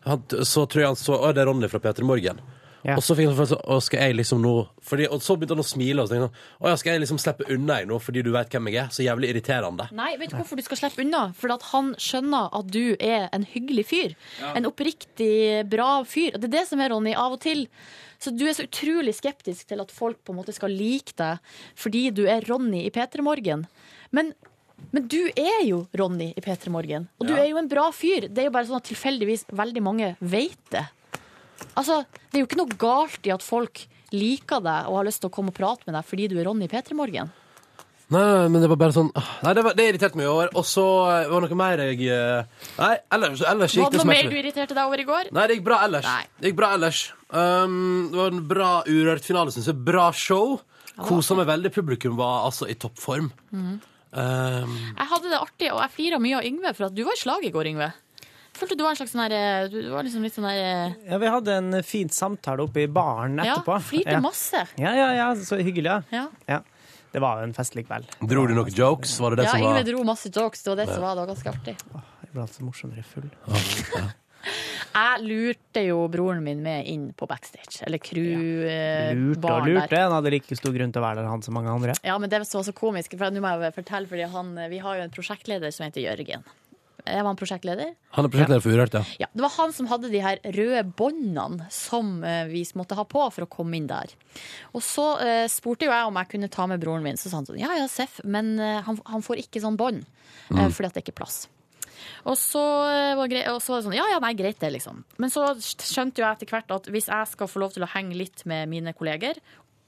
han, så tror jeg han så Å, det er Ronny fra P3 Morgen. Og så fikk han følelsen Å, skal jeg liksom nå fordi, Og så begynte han å smile. Og så tenkte han Å ja, skal jeg liksom slippe unna jeg nå fordi du veit hvem jeg er? Så jævlig irriterende. Nei, vet du hvorfor du skal slippe unna? Fordi at han skjønner at du er en hyggelig fyr. Ja. En oppriktig bra fyr. Og Det er det som er, Ronny, av og til. Så du er så utrolig skeptisk til at folk på en måte skal like deg fordi du er Ronny i P3 Morgen. Men, men du er jo Ronny i P3 Morgen. Og du Ja. er jo en bra fyr. Det er jo bare sånn at tilfeldigvis veldig mange vet det. Altså, Det er jo ikke noe galt i at folk liker deg og har lyst til å komme og prate med deg fordi du er Ronny i P3 Morgen. Nei, nei, men det var bare sånn ah, Nei, det, var, det irriterte meg over. Og så eh, var det noe mer jeg eh, Nei, ellers, ellers Var gikk det det noe mer smertelig. du irriterte deg over i går? Nei, det gikk bra ellers. Det gikk bra ellers. Um, det var en bra urørt finale, syns jeg. Bra show. Kosa meg veldig. Publikum var altså i toppform. Mhm. Um, Jeg hadde det artig, og jeg flira mye av Yngve, for at du var i slag i går, Yngve. Jeg følte du var en slags sånn her eh, Du var liksom litt sånn her eh, Ja, vi hadde en fin samtale oppe i baren Ja, etterpå. flirte masse. Ja, ja, ja, så hyggelig, ja. Ja, ja. Det var jo en festlig kveld. dro du noen jokes? Var det det ja som Yngve var dro masse jokes, det var det Ja. som var, det var ganske artig. Jeg ble altså morsommere full. Jeg lurte jo broren min med inn på backstage, eller eh, crew-baren Lurt og lurt, det. Han hadde like stor grunn til å være der, han som mange andre. Ja, men det var så komisk, for nå må jeg jo fortelle, fordi han, eh, vi har jo en prosjektleder som heter Jørgen. Eh, Var han prosjektleder? Han er prosjektleder for Urørt, ja. Ja, Det var han som hadde de her røde båndene som eh, vi måtte ha på for å komme inn der. Og så eh, spurte jo jeg om jeg kunne ta med broren min, så sa han sånn ja ja, Seff, men eh, han, han får ikke sånn bånd eh, Mm. fordi at det ikke er plass. Og så, eh, var grei, og så var det sånn ja ja, nei, greit det, liksom. Men så skjønte jo jeg etter hvert at hvis jeg skal få lov til å henge litt med mine kolleger,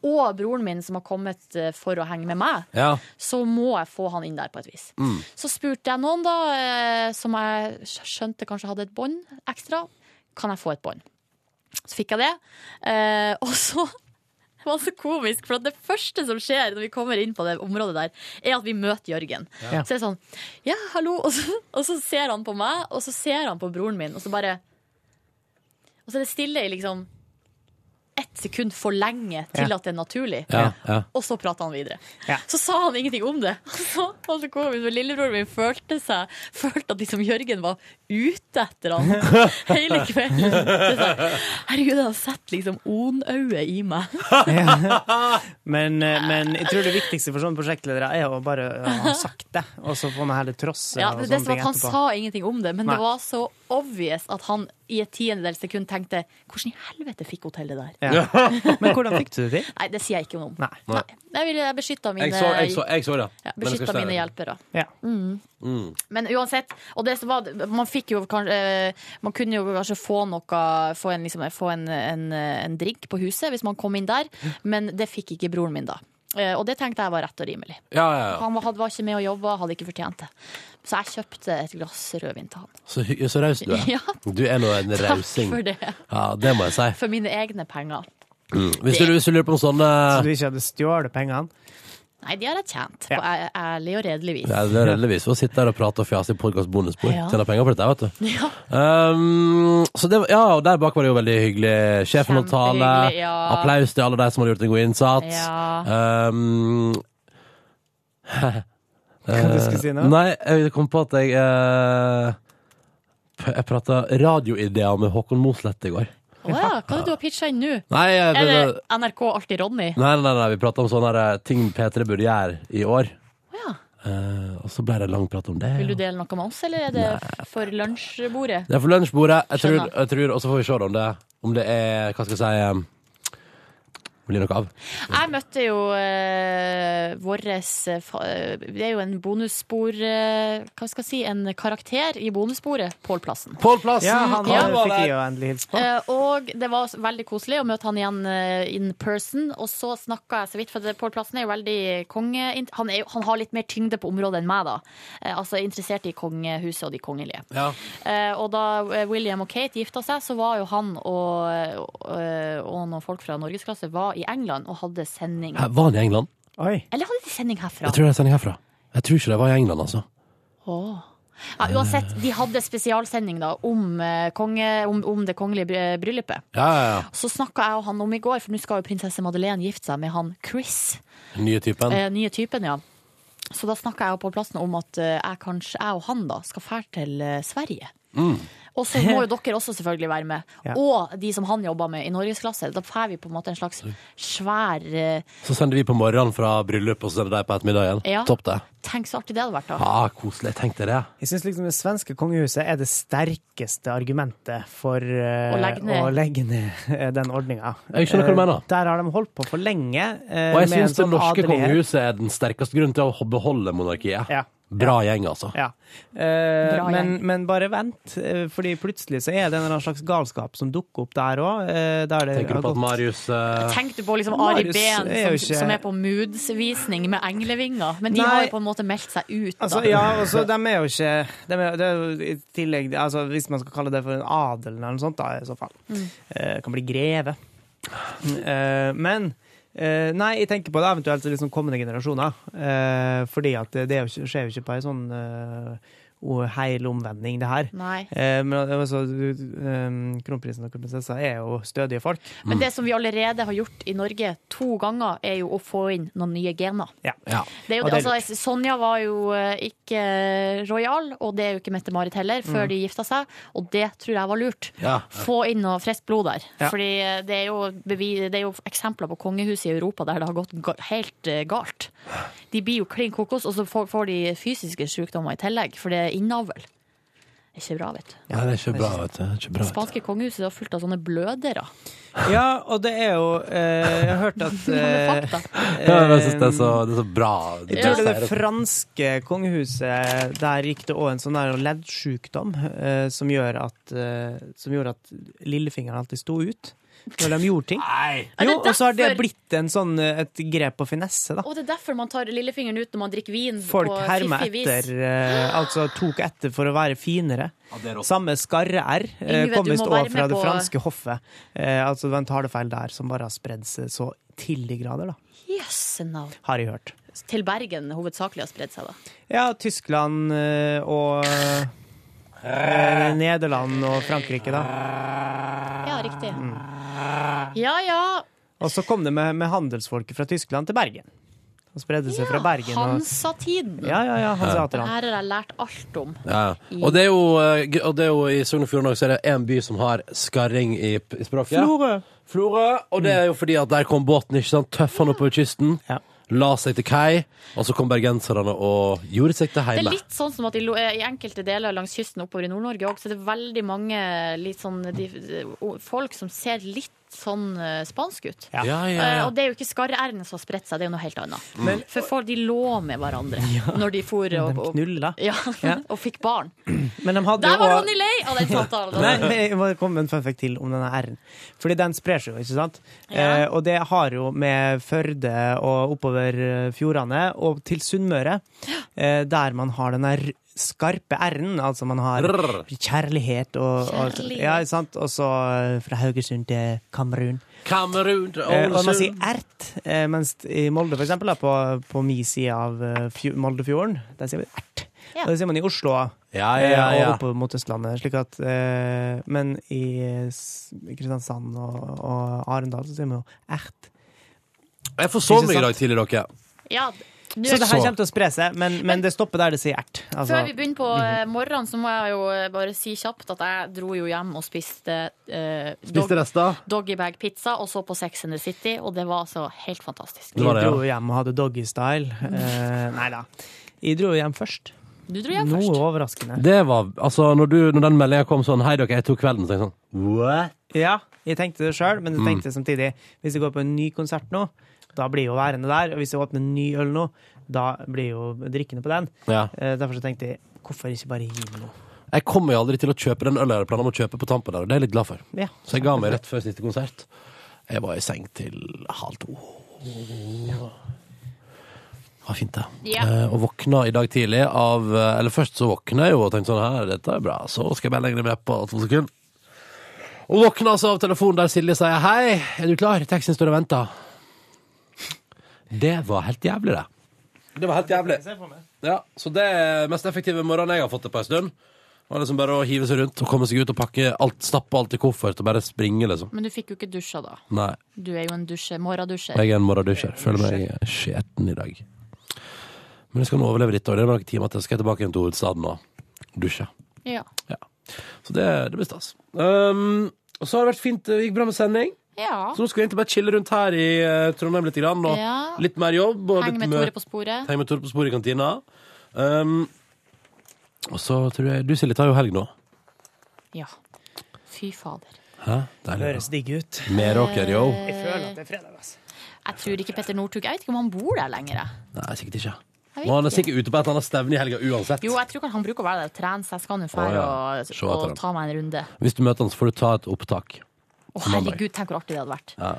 og broren min som har kommet eh, for å henge med meg, Ja. så må jeg få han inn der på et vis. Mm. Så spurte jeg noen da, eh, som jeg skjønte kanskje hadde et bånd ekstra. Kan jeg få et bånd? Så fikk jeg det. Eh, og så *laughs* det var så komisk, for at det første som skjer når vi kommer inn på det området der, er at vi møter Jørgen. Ja. Så det er sånn Ja, hallo. Og så, og så ser han på meg, og så ser han på broren min, og så bare Og så er det stille i liksom ett sekund for lenge til Ja. at det er naturlig. Ja, ja. Og så prata han videre. Ja. Så sa han ingenting om det. *laughs* Så, og så kom vi, så Lillebroren min følte seg Følte at liksom Jørgen var ute etter *laughs* han hele kvelden. Det er sånn, Herregud, han setter liksom onauet i meg. Men, eh, men jeg tror det viktigste for sånne prosjektledere er å bare eh, ha sagt det, og så får man heller trosse Ja, og det, sånne er det som ting at Han etterpå. sa ingenting om det, men Nei. det var så obvious at han i et tiendedels sekund tenkte Hvordan i helvete fikk hun til det der? Ja. Men hvordan fikk du det til? Nei, det sier jeg ikke noe om. Nei. Nei. Jeg, vil, jeg beskytter mine, Jeg så, jeg så, jeg så det. men jeg ja, skal beskytter ikke si mine det. hjelpere. Ja. Mm. Mm. Men uansett, og det som var, man fikk jo kanskje eh, Man kunne jo kanskje få noe Få en, liksom, få en, en, en drink på huset hvis man kom inn der, men det fikk ikke broren min da. Eh, Og det tenkte jeg var rett og rimelig. Ja, ja, ja. Han var, hadde- var ikke med og jobba, hadde ikke fortjent det. Så jeg kjøpte et glass rødvin til han. Så, hy- så raus du er. Ja. Du er nå en Takk rausing. for det. Ja, det må jeg si. For mine egne penger. Mm. Hvis, du, hvis du lurer på noe sånn Så du ikke hadde stjålet pengene? Nei, de har jeg tjent, på æ- ærlig og redelig vis. ja, det er heldigvis for å sitte der og prate og fjase i podkast bonusbord. Ja. Tjener penger på dette, vet du. Ja. Um, så det, var- ja, og der bak var det jo veldig hyggelig. Sjefen holdt tale. Kjempehyggelig, ja. Applaus til alle de som hadde gjort en god innsats. Ja. Um, Hva du skulle si nå? Eh, Nei, jeg kom på at jeg eh, p- Jeg prata radioideer med Håkon Mosleth i går. Å ja, hva er det du har pitcha inn nå? Nei, jeg- er det NRK Alltid Ronny? Nei, nei, nei, vi prata om sånne her ting P3 burde gjøre i år. Ja. Eh, og så ble det lang prat om det. Vil du dele noe med oss, eller er det for lunsjbordet? Det er for lunsjbordet. Jeg tror, Skjønner. jeg tror, og så får vi se om det, om det er Hva skal jeg si um, Blir noe av. Jeg møtte jo uh, våres eh, fa- eh, Det er jo en bonusspor eh, Hva skal jeg si? En karakter i bonussporet. Pål Plassen. Pål Plassen! Ja, han Ja. fikk jeg jo endelig hilse på. Eh, og det var veldig koselig å møte han igjen eh, in person. Og så snakka jeg så vidt, for det- Pål Plassen er jo veldig konge... Han, er, jo- han har litt mer tyngde på området enn meg, da. Eh, altså interessert i kongehuset og de kongelige. Ja. Eh, og da eh, William og Kate gifta seg, så var jo han og, og, og noen folk fra norgesklasse var i England og hadde sending. Her, var han i England? Eller hadde de sending herfra? Jeg tror det er sending herfra. Jeg tror ikke det var i England, altså. Åh. Ja, uansett, de hadde spesialsending da om, eh, konge, om, om det kongelige bry- eh, bryllupet. Ja, ja, Så snakka jeg og han om i går, for nå skal jo prinsesse Madeleine gifte seg med han Chris. ja. Nye typen. Eh, nye typen, ja. Så da snakka jeg jo på plassen om at eh, jeg kanskje, jeg og han da, skal fære til eh, Sverige. Mm. Og så må jo dere også selvfølgelig være med. Ja. Og de som han jobber med i norgesklasse. Da får vi på en måte en slags svær eh, Så sender vi på morgenen fra bryllup, og så sender de på ettermiddagen. Ja. Topp det. Tenk så artig det hadde vært, da. Ja, koselig. Tenk deg det. Jeg syns liksom det svenske kongehuset er det sterkeste argumentet for eh, Å legge ned. å legge ned eh, den ordninga. Jeg skjønner hva du mener. Der har de holdt på for lenge. eh, Og jeg med en syns det sånn norske adelighet. kongehuset er den sterkeste grunnen til å beholde monarkiet. Ja. Bra gjeng, altså. Ja. Eh, Bra men, men bare vent, eh, fordi plutselig så er det en eller annen slags galskap som dukker opp der Eh, òg. Tenker du på at Marius eh, Tenk du på liksom Ari Marius Behn som, er jo ikke- som er på moodsvisning med englevinger. Men de Nei. har jo på en måte meldt seg ut, da. Altså, ja, og så dem er jo ikke dem er, Det er jo i tillegg altså, Hvis man skal kalle det for en adel eller noe sånt, da, i så fall. Mm. Eh, kan bli greve. Eh, men eh, Nei, jeg tenker på det eventuelt til liksom kommende generasjoner. Eh, fordi at det, det er jo ikke, skjer jo ikke på ei sånn eh, o- heil omvending, det her. Nei. Eh, men altså, du- eh, kronprinsen og kronprinsessa er jo stødige folk. Men det som vi allerede har gjort i Norge to ganger, er jo å få inn noen nye gener. Ja. Det er jo, Og det er altså, Sonja var jo eh, ikke eh, royal, og det er jo ikke Mette-Marit heller, før Mm. de gifta seg. Og det tror jeg var lurt. Ja. Få inn noe friskt blod der. Ja. Fordi eh, det er, jo bevi, det er jo eksempler på kongehuset i Europa der det har gått ga helt eh, galt. De blir jo klin kokos, og så får, får de fysiske sykdommer i tillegg, for det er innavl. Det er ikke bra, vet du. Nei, det er ikke bra, vet du. Det er ikke bra. Det spanske kongehuset er fullt av sånne blødere. Ja, og det er jo eh, Jeg har hørt at eh, Ja, men jeg synes det, er så, det er så bra. Jeg tror det, er det franske kongehuset, der gikk det òg en sånn der leddsjukdom eh, som, gjør at, eh, som gjorde at lillefingeren alltid sto ut når de gjorde ting. Er det Jo, og så har det derfor- blitt en sånn, eh, et grep på finesse, da. Og det er derfor man tar lillefingeren ut når man drikker vin Folk på hermer fiffig vis. etter, eh, altså tok etter for å være finere. Samme skarre-r eh, Yngve, du kom må visst være òg fra med det på- franske hoffet. Eh, altså det var en talefeil der som bare har spredd seg så til de grader, da. Jøsse navn. Har jeg hørt. Til Bergen hovedsakelig har spredd seg, da. Ja, Tyskland eh, og eh, Nederland og Frankrike, da. Ja, riktig. Ja ja, Og så kom det med, med handelsfolket fra Tyskland til Bergen. Og spredde seg fra Bergen. og- Hansa-tiden. Ja, ja, ja, Det Hanseaterne. her har jeg lært alt om. Ja. Og, det er jo, eh, g- og det er jo i Sogn og Fjordane også er det én by som har skarring i, p- i språket. Florø. Og det er jo fordi at der kom båten, ikke sant? Tøff han oppover kysten. La seg til kai, og så kom bergenserne og gjorde seg til Det er heime. litt sånn som at i, lo- i enkelte deler langs kysten oppover i Nord-Norge også, så er det veldig mange litt sånn, de, o- folk som ser litt sånn eh, spansk ut. Ja. Ja, ja, ja. Eh, og det er jo ikke skarre-r-en som har spredt seg, det er jo noe helt annet. Mm. Men- For folk de lå med hverandre når de for og, og, Knulla. ja, *laughs* og fikk barn. Men de hadde Der jo var også- Ronny lei av den samtalen! Nei, men *laughs* jeg må komme med en fun fact til om denne r-en. Fordi den sprer seg jo, ikke sant? Eh, og det har jo med Førde og oppover eh, fjordene og til Sunnmøre, eh, der man har den der skarpe r-en, altså man har Rrr. kjærlighet og, og Kjærlighet. Ja, ikke sant? Og så eh, fra Haugesund til Kamerun. Kamerun til Eh, og man Ålesund. sier ert, eh, mens i Molde, for eksempel, da, på, på mi side av eh, fjo- Moldefjorden, der sier vi ert. Og det sier man i Oslo Ja, ja, ja, eh, ja. og oppover mot Østlandet. Slik at, eh, men i eh, s- Kristiansand og, og Arendal så sier man jo ert. Jeg forsov meg Ikke i dag tidlig, dere. Ja, nå- Så det her kommer til å spre seg, men, men det stopper der det sier ert. Altså- Før vi begynner på mhm. eh, morgenen, så må jeg jo eh, bare si kjapt at jeg dro jo hjem og spiste eh, dog, Spiste rester? doggybag-pizza og så på Sex and the City, og det var altså helt fantastisk. Vi dro hjem og hadde doggystyle. Eh, nei da. Jeg dro hjem først. Du dro hjem Noe først. overraskende. Det var, altså, når, du, når den meldinga kom sånn Hei, dere, jeg tok kvelden. Så tenkte jeg sånn What? Ja, jeg tenkte det sjøl, men jeg Mm. tenkte samtidig hvis jeg går på en ny konsert nå, da blir jeg jo værende der. Og hvis jeg åpner en ny øl nå, da blir jeg jo drikkende på den. Ja. Eh, Derfor så tenkte jeg hvorfor ikke bare gi meg noe? Jeg kommer jo aldri til å kjøpe den ølen jeg hadde planer om å kjøpe på tampen der, og det er jeg litt glad for. Ja. Så jeg ga meg rett før siste konsert. Jeg var i seng til halv to. Det var fint, det. Ja. Eh, og våkna i dag tidlig av eh, Eller først så våkna jeg jo og tenkte sånn her, dette er bra, så skal jeg bare legge meg på to sekunder. Og våkna altså av telefonen der Silje sier hei, er du klar? Teksten står og venter. Det var helt jævlig, det. Det var helt jævlig. Ja, så det er mest effektive morgenen jeg har fått det på en stund. Det var liksom bare å hive seg rundt og komme seg ut og pakke alt, stappe alt i koffert og bare springe, liksom. Men du fikk jo ikke dusja da. Nei. Du er jo en dusje, morgendusjer. Jeg er en morgendusjer. Føler meg skjeten i dag. Men jeg skal nå overleve litt, og det er noen timer til. Skal jeg tilbake igjen til hovedstaden og dusje. Ja. Så det, det blir stas. Um, og så har det vært fint. Det gikk bra med sending. Ja. Så nå skal vi egentlig bare chille rundt her i eh, Trondheim litt, grann, og Ja. litt mer jobb. Og Henge litt med mø- Tore på sporet. Henge med Tore på sporet i kantina. Um, og så tror jeg Du, Silje, tar jo helg nå. Ja. Fy fader. Hæ? Deilig, Høres digg ut. Meråker, yo. Eh, Jeg føler at det er fredag, altså. Jeg tror ikke Petter Northug Jeg vet ikke om han bor der lenger. jeg. Nei, sikkert ikke. Jeg vet Og han er ikke. sikkert ute på et eller annet stevne i helga uansett. Jo, jeg tror ikke han bruker å være der og trene, så jeg skal nå dra Å, ja. og, Se etter og han. ta meg en runde. Hvis du møter han, så får du ta et opptak. Å, På mandag. herregud, tenk hvor artig det hadde vært. Ja.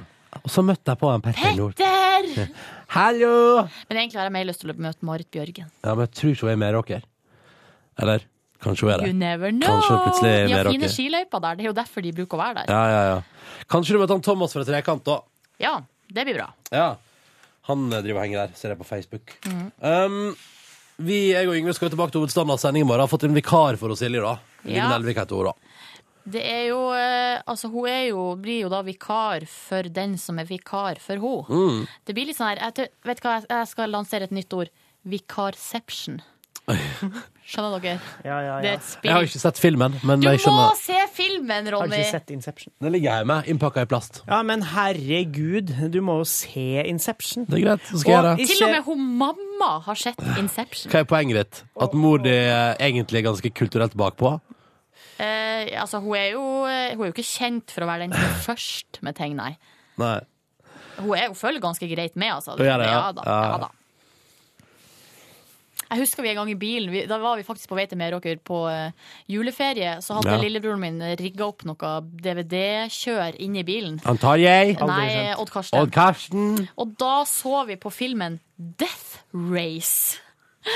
Og så møtte jeg på en Petter Nord. Der! *laughs* Hallo! Men egentlig har jeg mer lyst til å møte Marit Bjørgen. Ja, men jeg tror ikke hun er Meråker. Eller kanskje hun er You det. never know! Kanskje hun plutselig er de har fine Meråker. skiløyper der, det er jo derfor de bruker å være der. Ja, ja, ja. Kanskje du møter han Thomas fra Trekant, da. Ja, det blir bra. Ja. Han eh, driver og henger der, ser jeg på Facebook. Mhm. Um, vi, jeg og Yngve skal jo tilbake til hovedstaden av sending i morgen. Har fått en vikar for oss, Silje, da. Liv Ja. Nelvik heter hun, da. Det er jo eh, Altså, hun er jo, blir jo da vikar for den som er vikar for henne. Mm. Det blir litt sånn her jeg, tror- Vet du hva, jeg- jeg skal lansere et nytt ord. Vikarception. Skjønner dere? Det er et spill. Jeg har ikke sett filmen, men du jeg må skjønner. se filmen, Ronny! Inception? Den ligger hjemme, innpakka i plast. Ja, men herregud, du må jo se Inception. Det er greit, så skal jeg gjøre det. Til og med hun mamma har sett Inception. Hva er poenget ditt? At mor di eh, egentlig er ganske kulturelt bakpå? Eh, altså, hun er, jo, hun er jo ikke kjent for å være den *clears throat* som er først med ting, nei. Nei. Hun, er, hun følger ganske greit med, altså. Hun gjør det, ja. da, Ja, ja. ja. da. Jeg husker vi en gang i bilen, vi, da var vi faktisk på vei til Meråker på eh, juleferie, så hadde Ja. lillebroren min rigga opp noe DVD-kjør inni bilen. Han tar jeg. Nei, Odd Karsten. Odd Karsten. Og da så vi på filmen Death Race. *laughs*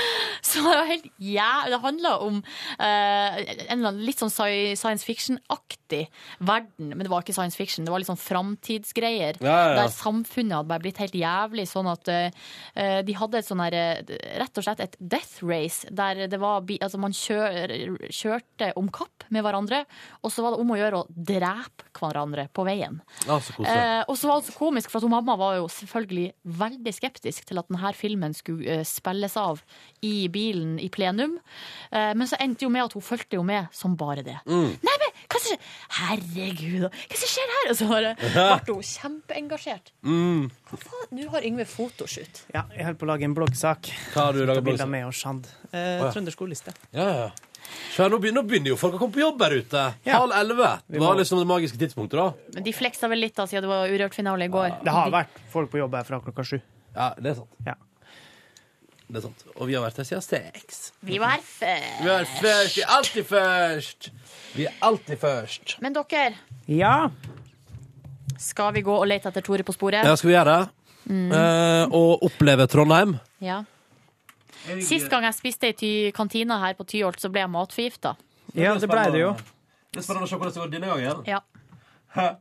Så det var helt jæv- Det handla om eh, en eller annen litt sånn sci- science fiction-aktig verden. Men det var ikke science fiction, det var litt sånn framtidsgreier. Ja, ja, ja. Der samfunnet hadde bare blitt helt jævlig, sånn at eh, de hadde et sånn her eh, Rett og slett et death race, der det var bi- Altså, man kjør, kjørte om kapp med hverandre, og så var det om å gjøre å drepe hverandre på veien. Ja, så koselig. Eh, og så var det så komisk, for at hun mamma var jo selvfølgelig veldig skeptisk til at denne filmen skulle eh, spilles av i bilen i plenum. Eh, men så endte jo med at hun fulgte jo med som bare det. Mm. Nei, men hva som skjer? Herregud, hva som skjer her? Og så bare ble hun kjempeengasjert. Mm. Hva faen? Nå har Yngve fotoshoot. Ja, jeg holder på å lage en bloggsak. Hva har du laget Ta bilder bloggsak? med og Shand. Eh, Å, ja. Trøndersk ordliste. Ja, ja. Så nå begynner, nå begynner jo folk å komme på jobb her ute. Ja. Halv elleve Vi må- var liksom det magiske tidspunktet, da. Men de fleksa vel litt da, siden det var Urørt-finale i går. Det har vært folk på jobb her fra klokka sju. Ja, det er sant. Det er sant. Og vi har vært her siden seks. Vi var her før. Vi er først, vi er alltid først. Vi er alltid først. Men dere, Ja. skal vi gå og lete etter Tore på sporet? Ja, skal vi gjøre det? Mm. Eh, og oppleve Trondheim. Ja. Sist gang jeg spiste i ty kantina her på Tyholt, så ble jeg matforgifta. Ja, det ble det jo. Det er spennende å se hvordan det går denne gangen. Ja.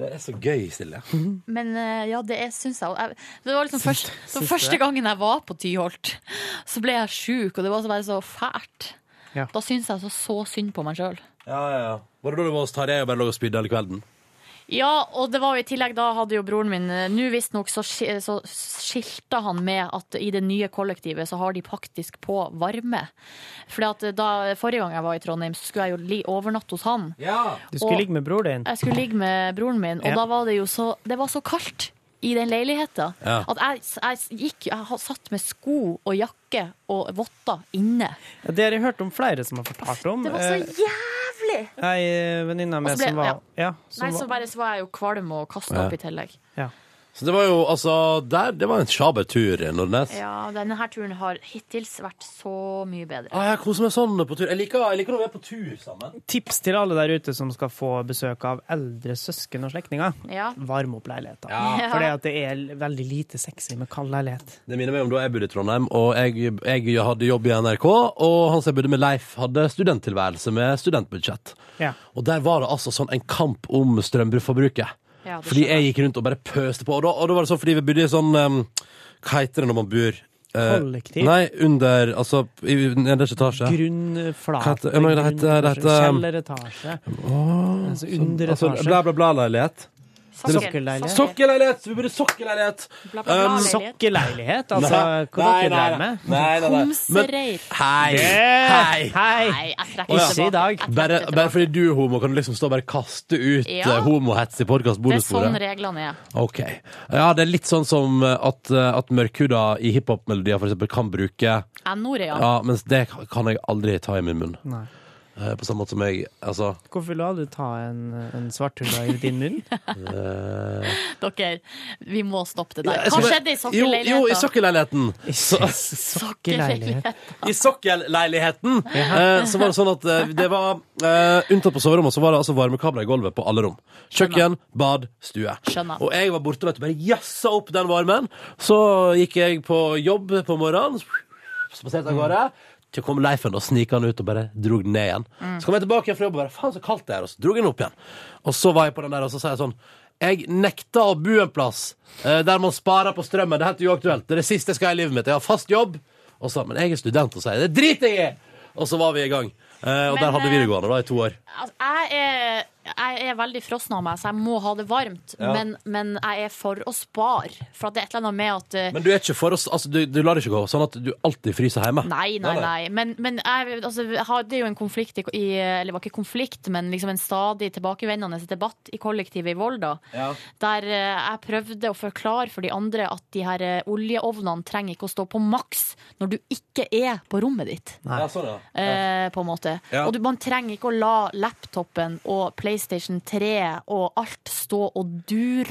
Det er så gøy, Silje. Men eh, ja, det er, syns jeg, jeg Det var liksom først, så syns første det. gangen jeg var på Tyholt, så ble jeg sjuk, og det var så bare så fælt. Ja. Da syns jeg så, så synd på meg sjøl. Ja, ja, ja. Var det da du var hos Tarjei og bare lå og spydde hele kvelden? Ja, og det var jo i tillegg da hadde jo broren min eh, Nå visstnok så, ski- så skilta han med at i det nye kollektivet så har de faktisk på varme. Fordi at eh, da forrige gang jeg var i Trondheim, så skulle jeg jo li overnatte hos han. Du skulle Og- ligge med bror din. Jeg skulle ligge med broren min, og Ja. da var det jo så Det var så kaldt i den leiligheten Ja. at jeg, jeg gikk Jeg har satt med sko og jakke og votter inne. Ja, Det har jeg hørt om flere som har fortalt om. Det var så Eh, jævlig! Ei eh, venninne av Og så meg ble- som var Ja. som Nei, var- så bare så var jeg jo kvalm og kasta Ja. opp i tillegg. Så det var jo altså der, Det var en sjaber tur i Nordnes. Ja, denne her turen har hittil vært så mye bedre. Ah, jeg koser meg sånn på tur. Jeg liker, jeg liker når vi er på tur sammen. Tips til alle der ute som skal få besøk av eldre søsken og slektninger. Ja. Varm opp leiligheten. *laughs* Ja. Ah, Fordi at det er veldig lite sexy med kald leilighet. Det minner meg om da jeg bodde i Trondheim, og jeg, jeg hadde jobb i NRK, og han som jeg bodde med, Leif, hadde studenttilværelse med studentbudsjett. Ja. Og der var det altså sånn en kamp om strømforbruket. Ja, det fordi jeg gikk rundt og bare pøste på. Og da, og da var det sånn fordi vi bodde i sånn um, Hva heter det når man bor eh, Kollektiv? Nei, under Altså i nederste etasje. Hva Grunnflate, heter- ja, men det heter- det heter- kjelleretasje. altså under altså, etasje. Bla, bla, bla-leilighet. Sokkelleilighet. Sokkelleilighet! Vi burde sokkelleilighet! Bla, bla, bla, Um, leilighet. Sokkelleilighet, altså, Nei, hva nei, dere nei, drev med? Nei, nei, nei. Men- Komsereir. Hei! Hei! Nei, jeg trekker Å, ja. tilbake. Bare, bare fordi du er homo, kan du liksom stå og bare kaste ut Ja. eh, homohets i Det er sånn podkast-bonusbordet? reglene er. Ok. Ja, det er litt sånn som eh, at, eh, at mørkhuda i hiphop-melodier for eksempel kan bruke N-ordet, ja. Ja, mens det kan jeg aldri ta i min munn. Nei. Eh, På samme måte som jeg Altså Hvorfor la du ta en, en svarthulla i din *laughs* munn? eh, Dere, vi må stoppe det Ja, jeg der. Hva skal bare- skjedde i Jo, jo, i sokkelleiligheten? sokkelleiligheten. Sokkelleilighet. I sokkelleiligheten eh, så var det sånn at eh, det var eh, Unntatt på soverommet så var det altså varmekabler i gulvet på alle rom. Kjøkken, bad, stue. Skjønner. Og jeg var borte vet du, bare jassa opp den varmen. Så gikk jeg på jobb på morgenen, spaserte av gårde. Så kom Leifen og snika han ut og bare drog den ned igjen. Så kom jeg tilbake igjen fra jobb og bare faen så kaldt det er, og så drog jeg den opp igjen. Og så var jeg på den der, og så sa jeg sånn jeg nekter å bo en plass eh, der man sparer på strømmen. Det er helt uaktuelt. Det er det siste jeg skal ha i livet mitt. Jeg har fast jobb. Og så, men jeg er student, og så er det driter jeg i! Og så var vi i gang. Eh, og Men, der hadde vi eh, videregående da, i to år. Altså, jeg, er, jeg er veldig frossen av meg, så jeg må ha det varmt. Ja. Men, men jeg er for å spare. For at det er et eller annet med at eh, Men du er ikke for oss, altså, du, du lar det ikke gå sånn at du alltid fryser hjemme? Nei, nei, nei. Men, men jeg altså, jeg hadde jo en konflikt i, i Eller det var ikke konflikt, men liksom en stadig tilbakevendende debatt i kollektivet i Volda. Ja. Der eh, jeg prøvde å forklare for de andre at de her eh, oljeovnene trenger ikke å stå på maks når du ikke er på rommet ditt. Ja, sånn, ja. Eh, på en måte. Ja. Og du, man trenger ikke å la laptopen og PlayStation 3 og alt stå og dure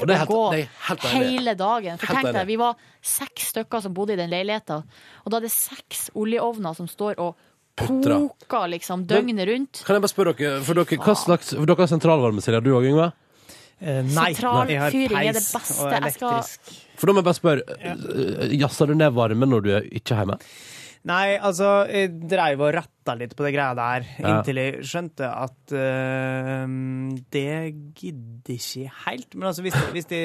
Og og, det er helt- gå det er helt enig. hele dagen. For Helt tenk enig. deg, vi var seks stykker som bodde i den leiligheten, og da er det seks oljeovner som står og Putra. koker liksom døgnet rundt. Kan jeg bare spørre dere, for dere, hva slags, for dere har sentralvarme, Silja, du òg, Yngve? Eh, nei, Sentral jeg har fyring er det peis beste. og Jeg skal elektrisk. For da må jeg bare spørre, eh, jazzer du ned varmen når du er ikke hjemme? Nei, altså, jeg dreiv og retta litt på det greia der, Ja. inntil jeg skjønte at eh, det gidder ikke helt. Men altså, hvis, hvis de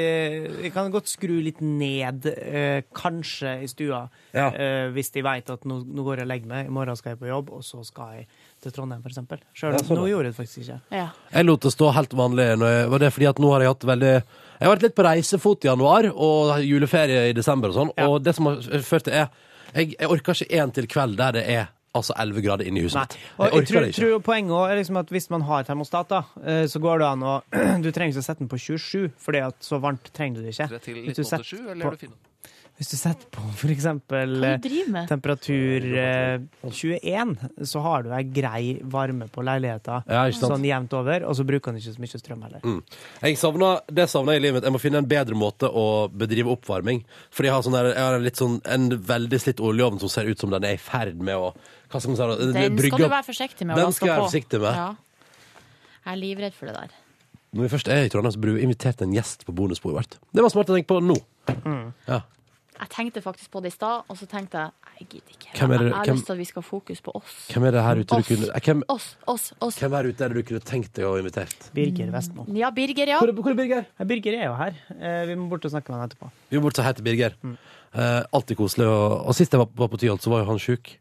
Jeg kan godt skru litt ned, eh, kanskje, i stua, Ja. eh, hvis de veit at nå, nå går jeg og legger meg, i morgen skal jeg på jobb, og så skal jeg til Trondheim, for eksempel. Sjøl Ja, sånn, nå ja. gjorde jeg det faktisk ikke. Ja. Jeg lot det stå helt vanlig. Når jeg, var det fordi at nå har jeg hatt veldig Jeg har vært litt på reisefot i januar og juleferie i desember og sånn. Og det som har ført til, er jeg, jeg orker ikke en til kveld der det er altså 11 grader inne i huset mitt. Og Jeg jeg orker tror, det ikke. tror poenget også er liksom at hvis man har termostat, da, eh, så går det an å *clears throat* Du trenger ikke å sette den på 27, fordi at så varmt trenger du det ikke. Hvis du setter på- Hvis du setter på *laughs* for eksempel Hva du driver med? temperatur eh, 21, så har du ei grei varme på leiligheta Ja, ikke sant. sånn jevnt over, og så bruker den ikke så mye strøm heller. Mm. Jeg savner, det savner jeg i livet mitt. Jeg må finne en bedre måte å bedrive oppvarming. Fordi jeg har, sånn der, jeg har en, litt sånn, en veldig slitt oljeovn som ser ut som den er i ferd med å hva skal man si, da? Den brygge skal du opp. være forsiktig med. å la Den skal jeg være stå på. forsiktig med. Ja. Jeg er livredd for det der. Når vi først er i Trondheim, så burde vi invitert en gjest på bonusbordet vårt. Det var smart å tenke på nå. Ja. Jeg tenkte faktisk på det i stad, og så tenkte jeg jeg gidder ikke. Hvem er det- jeg har hvem- lyst til at vi skal ha fokus på oss. Hvem er det her ute du Oss. kunne eh, hvem, Oss, oss, oss. hvem er det ute der du kunne tenkt deg å ha invitert? Birger Vestmo. Ja, Birger, ja. Hvor er, Birger? Birger er jo her. Eh, Vi må bort og snakke med han etterpå. Vi må bort til hete Birger. Eh, alltid koselig. Og, og sist jeg var, var på Tyholt, så var jo han sjuk.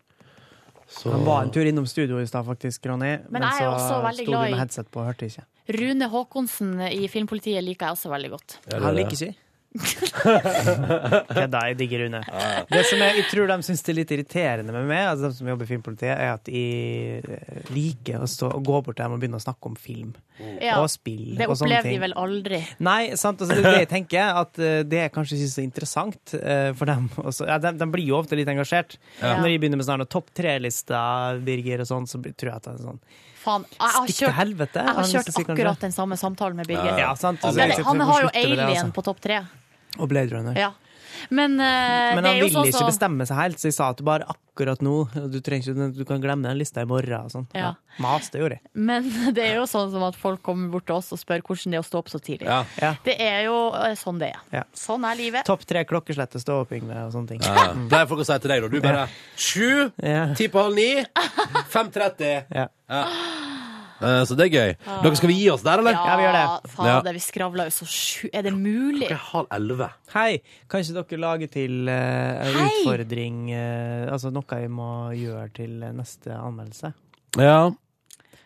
Så Han var en tur innom studio i stad, faktisk, Ronny. Men jeg er også veldig sto du glad i- med headset på og hørte ikke. Rune Håkonsen i Filmpolitiet liker jeg også veldig godt. Han liker *laughs* ikke. Kødda, jeg digger Rune. Ah. Det som jeg, jeg tror de syns det er litt irriterende med meg, altså de som jobber i filmpolitiet, er at de eh, liker å, stå, å gå bort til dem og begynne å snakke om film Ja, Eh, og spill Det og sånne opplever de ting. vel aldri. Nei, sant, altså, det er det jeg tenker, at eh, det er kanskje ikke så interessant eh, for dem. Også. Ja, de, de blir jo ofte litt engasjert. Ja. Når de begynner med sånn topp tre-lista, Birger og sånn, så blir- tror jeg at det er sånn Faen, jeg har Stikk til kjørt, helvete, jeg har han kjørt skal si kanskje. akkurat den samme samtalen med Birger. Ja, sant, Men så jeg han må har jo slutte med det, Alien altså. på topp tre. Og Blade Runner. Ja. Men Men, eh, det han er jo ville sånn ikke som- bestemme seg helt, så jeg sa at bare akkurat nå. og Du, trenger ikke, du kan glemme den lista i morgen. Og sånn. Ja. ja. Mas, det gjorde jeg. Men *laughs* det er jo sånn som at folk kommer bort til oss og spør hvordan det er å stå opp så tidlig. Ja. Ja. Det er jo eh, sånn det er. Ja. Sånn er livet. Topp tre klokkeslettet stå opp, Yngve, og sånne ting. Ja. Pleier folk å si til deg, da. Du bare Sju, ti på halv ni, 5.30. Ja. Eh, så det er gøy. Dere skal vi gi oss der, eller? Ja, Ja. Fader, vi skravla jo så sju... Er det mulig? Halv elleve. Hei, kan ikke dere lage til eh, en Hei! utfordring eh, Altså noe jeg må gjøre til eh, neste anmeldelse? Ja.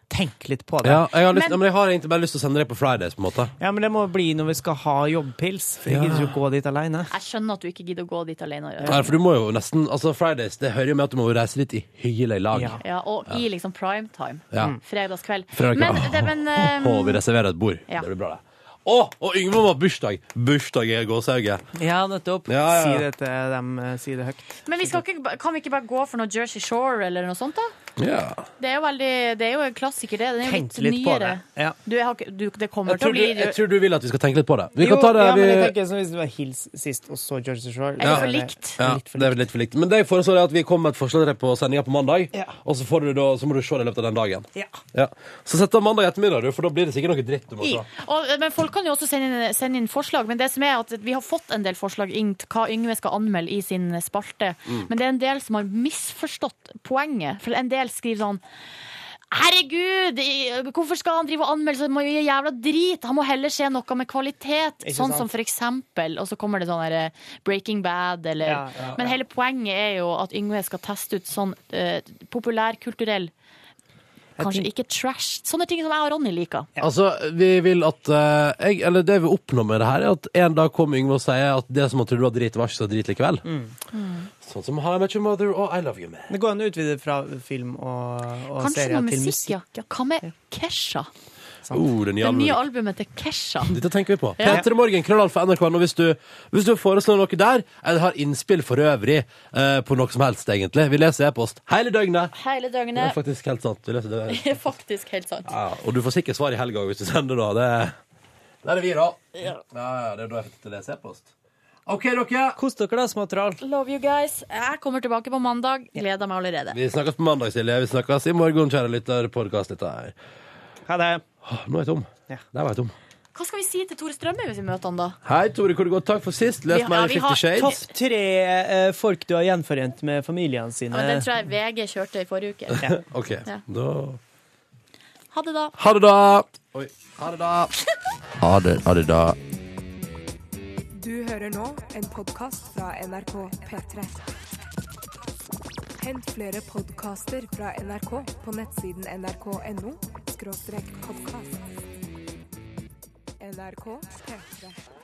Tenk litt på det. Ja, jeg, har lyst, Men- ja, men jeg har egentlig bare lyst til å sende deg på Fridays, på en måte. Ja, men det må bli når vi skal ha jobbpils, for jeg Ja. gidder jo ikke gå dit alene. Jeg skjønner at du ikke gidder å gå dit alene og gjøre Nei, for du må jo nesten Altså, Fridays, det hører jo med at du må reise litt i hyggelig lag. Ja. og i liksom primetime. Ja. Mm. Fredagskveld. Fredag- Men, det, men eh, Å, vi reserverer et bord. Ja. Det blir bra, det. Å, og Yngve må ha bursdag! Bursdag er gåsehauget. Ja, nettopp. Ja, ja. Si det til dem. eh, Si det høyt. men vi skal ikke, ba- kan vi ikke bare gå for noe Jersey Shore eller noe sånt, da? Ja. Det er jo, veldig, det er jo en klassiker, det. Den er jo Tenk litt, litt på nyere. det. Ja. Du, jeg har ikke, du, det kommer Jeg til tror, å du, bli jeg tror du vil at vi skal tenke litt på det. Vi jo, kan ta det ja, vi... men jeg tenker som Hvis det var Hills sist, og så Jersey Shore Ja. Ja, det er litt for likt. Men det jeg foreslår er at vi kommer med et forslag til deg på sendinga på mandag, Ja. og så, får du da, så må du se det i løpet av den dagen. Ja. Ja. Så sett av mandag ettermiddag, du, for da blir det sikkert noe dritt du må I. se. Og, eh, men Folk kan jo også sende inn, sende inn forslag, men det som er at vi har fått en del forslag inn til hva Yngve skal anmelde i sin spalte. Mm. Men det er en del som har misforstått poenget. For en del skriver sånn Herregud, i- hvorfor skal han drive og anmelde så mye jævla drit? Han må heller se noe med kvalitet. Ikke sånn sant? som for eksempel, og så kommer det sånn der, eh, Breaking Bad eller Ja, ja, ja. Men hele poenget er jo at Yngve skal teste ut sånn eh, populærkulturell Kanskje ikke trash. Sånne ting som jeg og Ronny liker. Altså, vi vil at eh, jeg, Eller det vi oppnår med det her, er at en dag kommer Yngve og sier at det som han trodde var drit, var ikke så drit likevel. Sånn som How I Met Your Mother og I Love You Man. Det går an å utvide fra film og, og Kanskje serier noe til musikk, musikk. ja. ja. Hva med Kesha? Oh, det nye Det nye albumet. albumet til Kesha. Dette tenker vi på. Ja. Peter Morgen, krøllalfa NRK. Og hvis du, hvis du foreslår noe der, eller har innspill for øvrig eh, på noe som helst, egentlig Vi leser e-post hele døgnet. *laughs* Hele Det er døgnet. faktisk helt sant. Vi leser det. Det er faktisk helt sant. Ja, og du får sikkert svar i helga hvis du sender, da. Det, det er det vi, da. Ja. Ja, ja, det er da jeg fikk til å lese e-post. OK, dere. Kos dere, da, småtroll. Love you guys. Jeg kommer tilbake på mandag. Gleder meg allerede. Vi snakkes på mandag, Silje. Vi snakkes i morgen, kjære lytter. Podkast, dette er Ha det. Åh, Nå er jeg tom. Der var jeg tom. Hva skal vi si til Tore Strømme hvis vi møter han da? Hei, Tore, hvor det går? Takk for sist. Les Vi har- mer ja, vi har- Fifty Shades. Topp tre eh, folk du har gjenforent med familiene sine. Ja, den tror jeg VG kjørte i forrige uke. OK, Eh. Ja. da Ha det, da. Ha det, da! Oi. Ha det, da. Ha det, ha det, da. Du hører nå en podkast fra NRK P3. Hent flere podkaster fra NRK på nettsiden nrk.no podkast. NRK P3.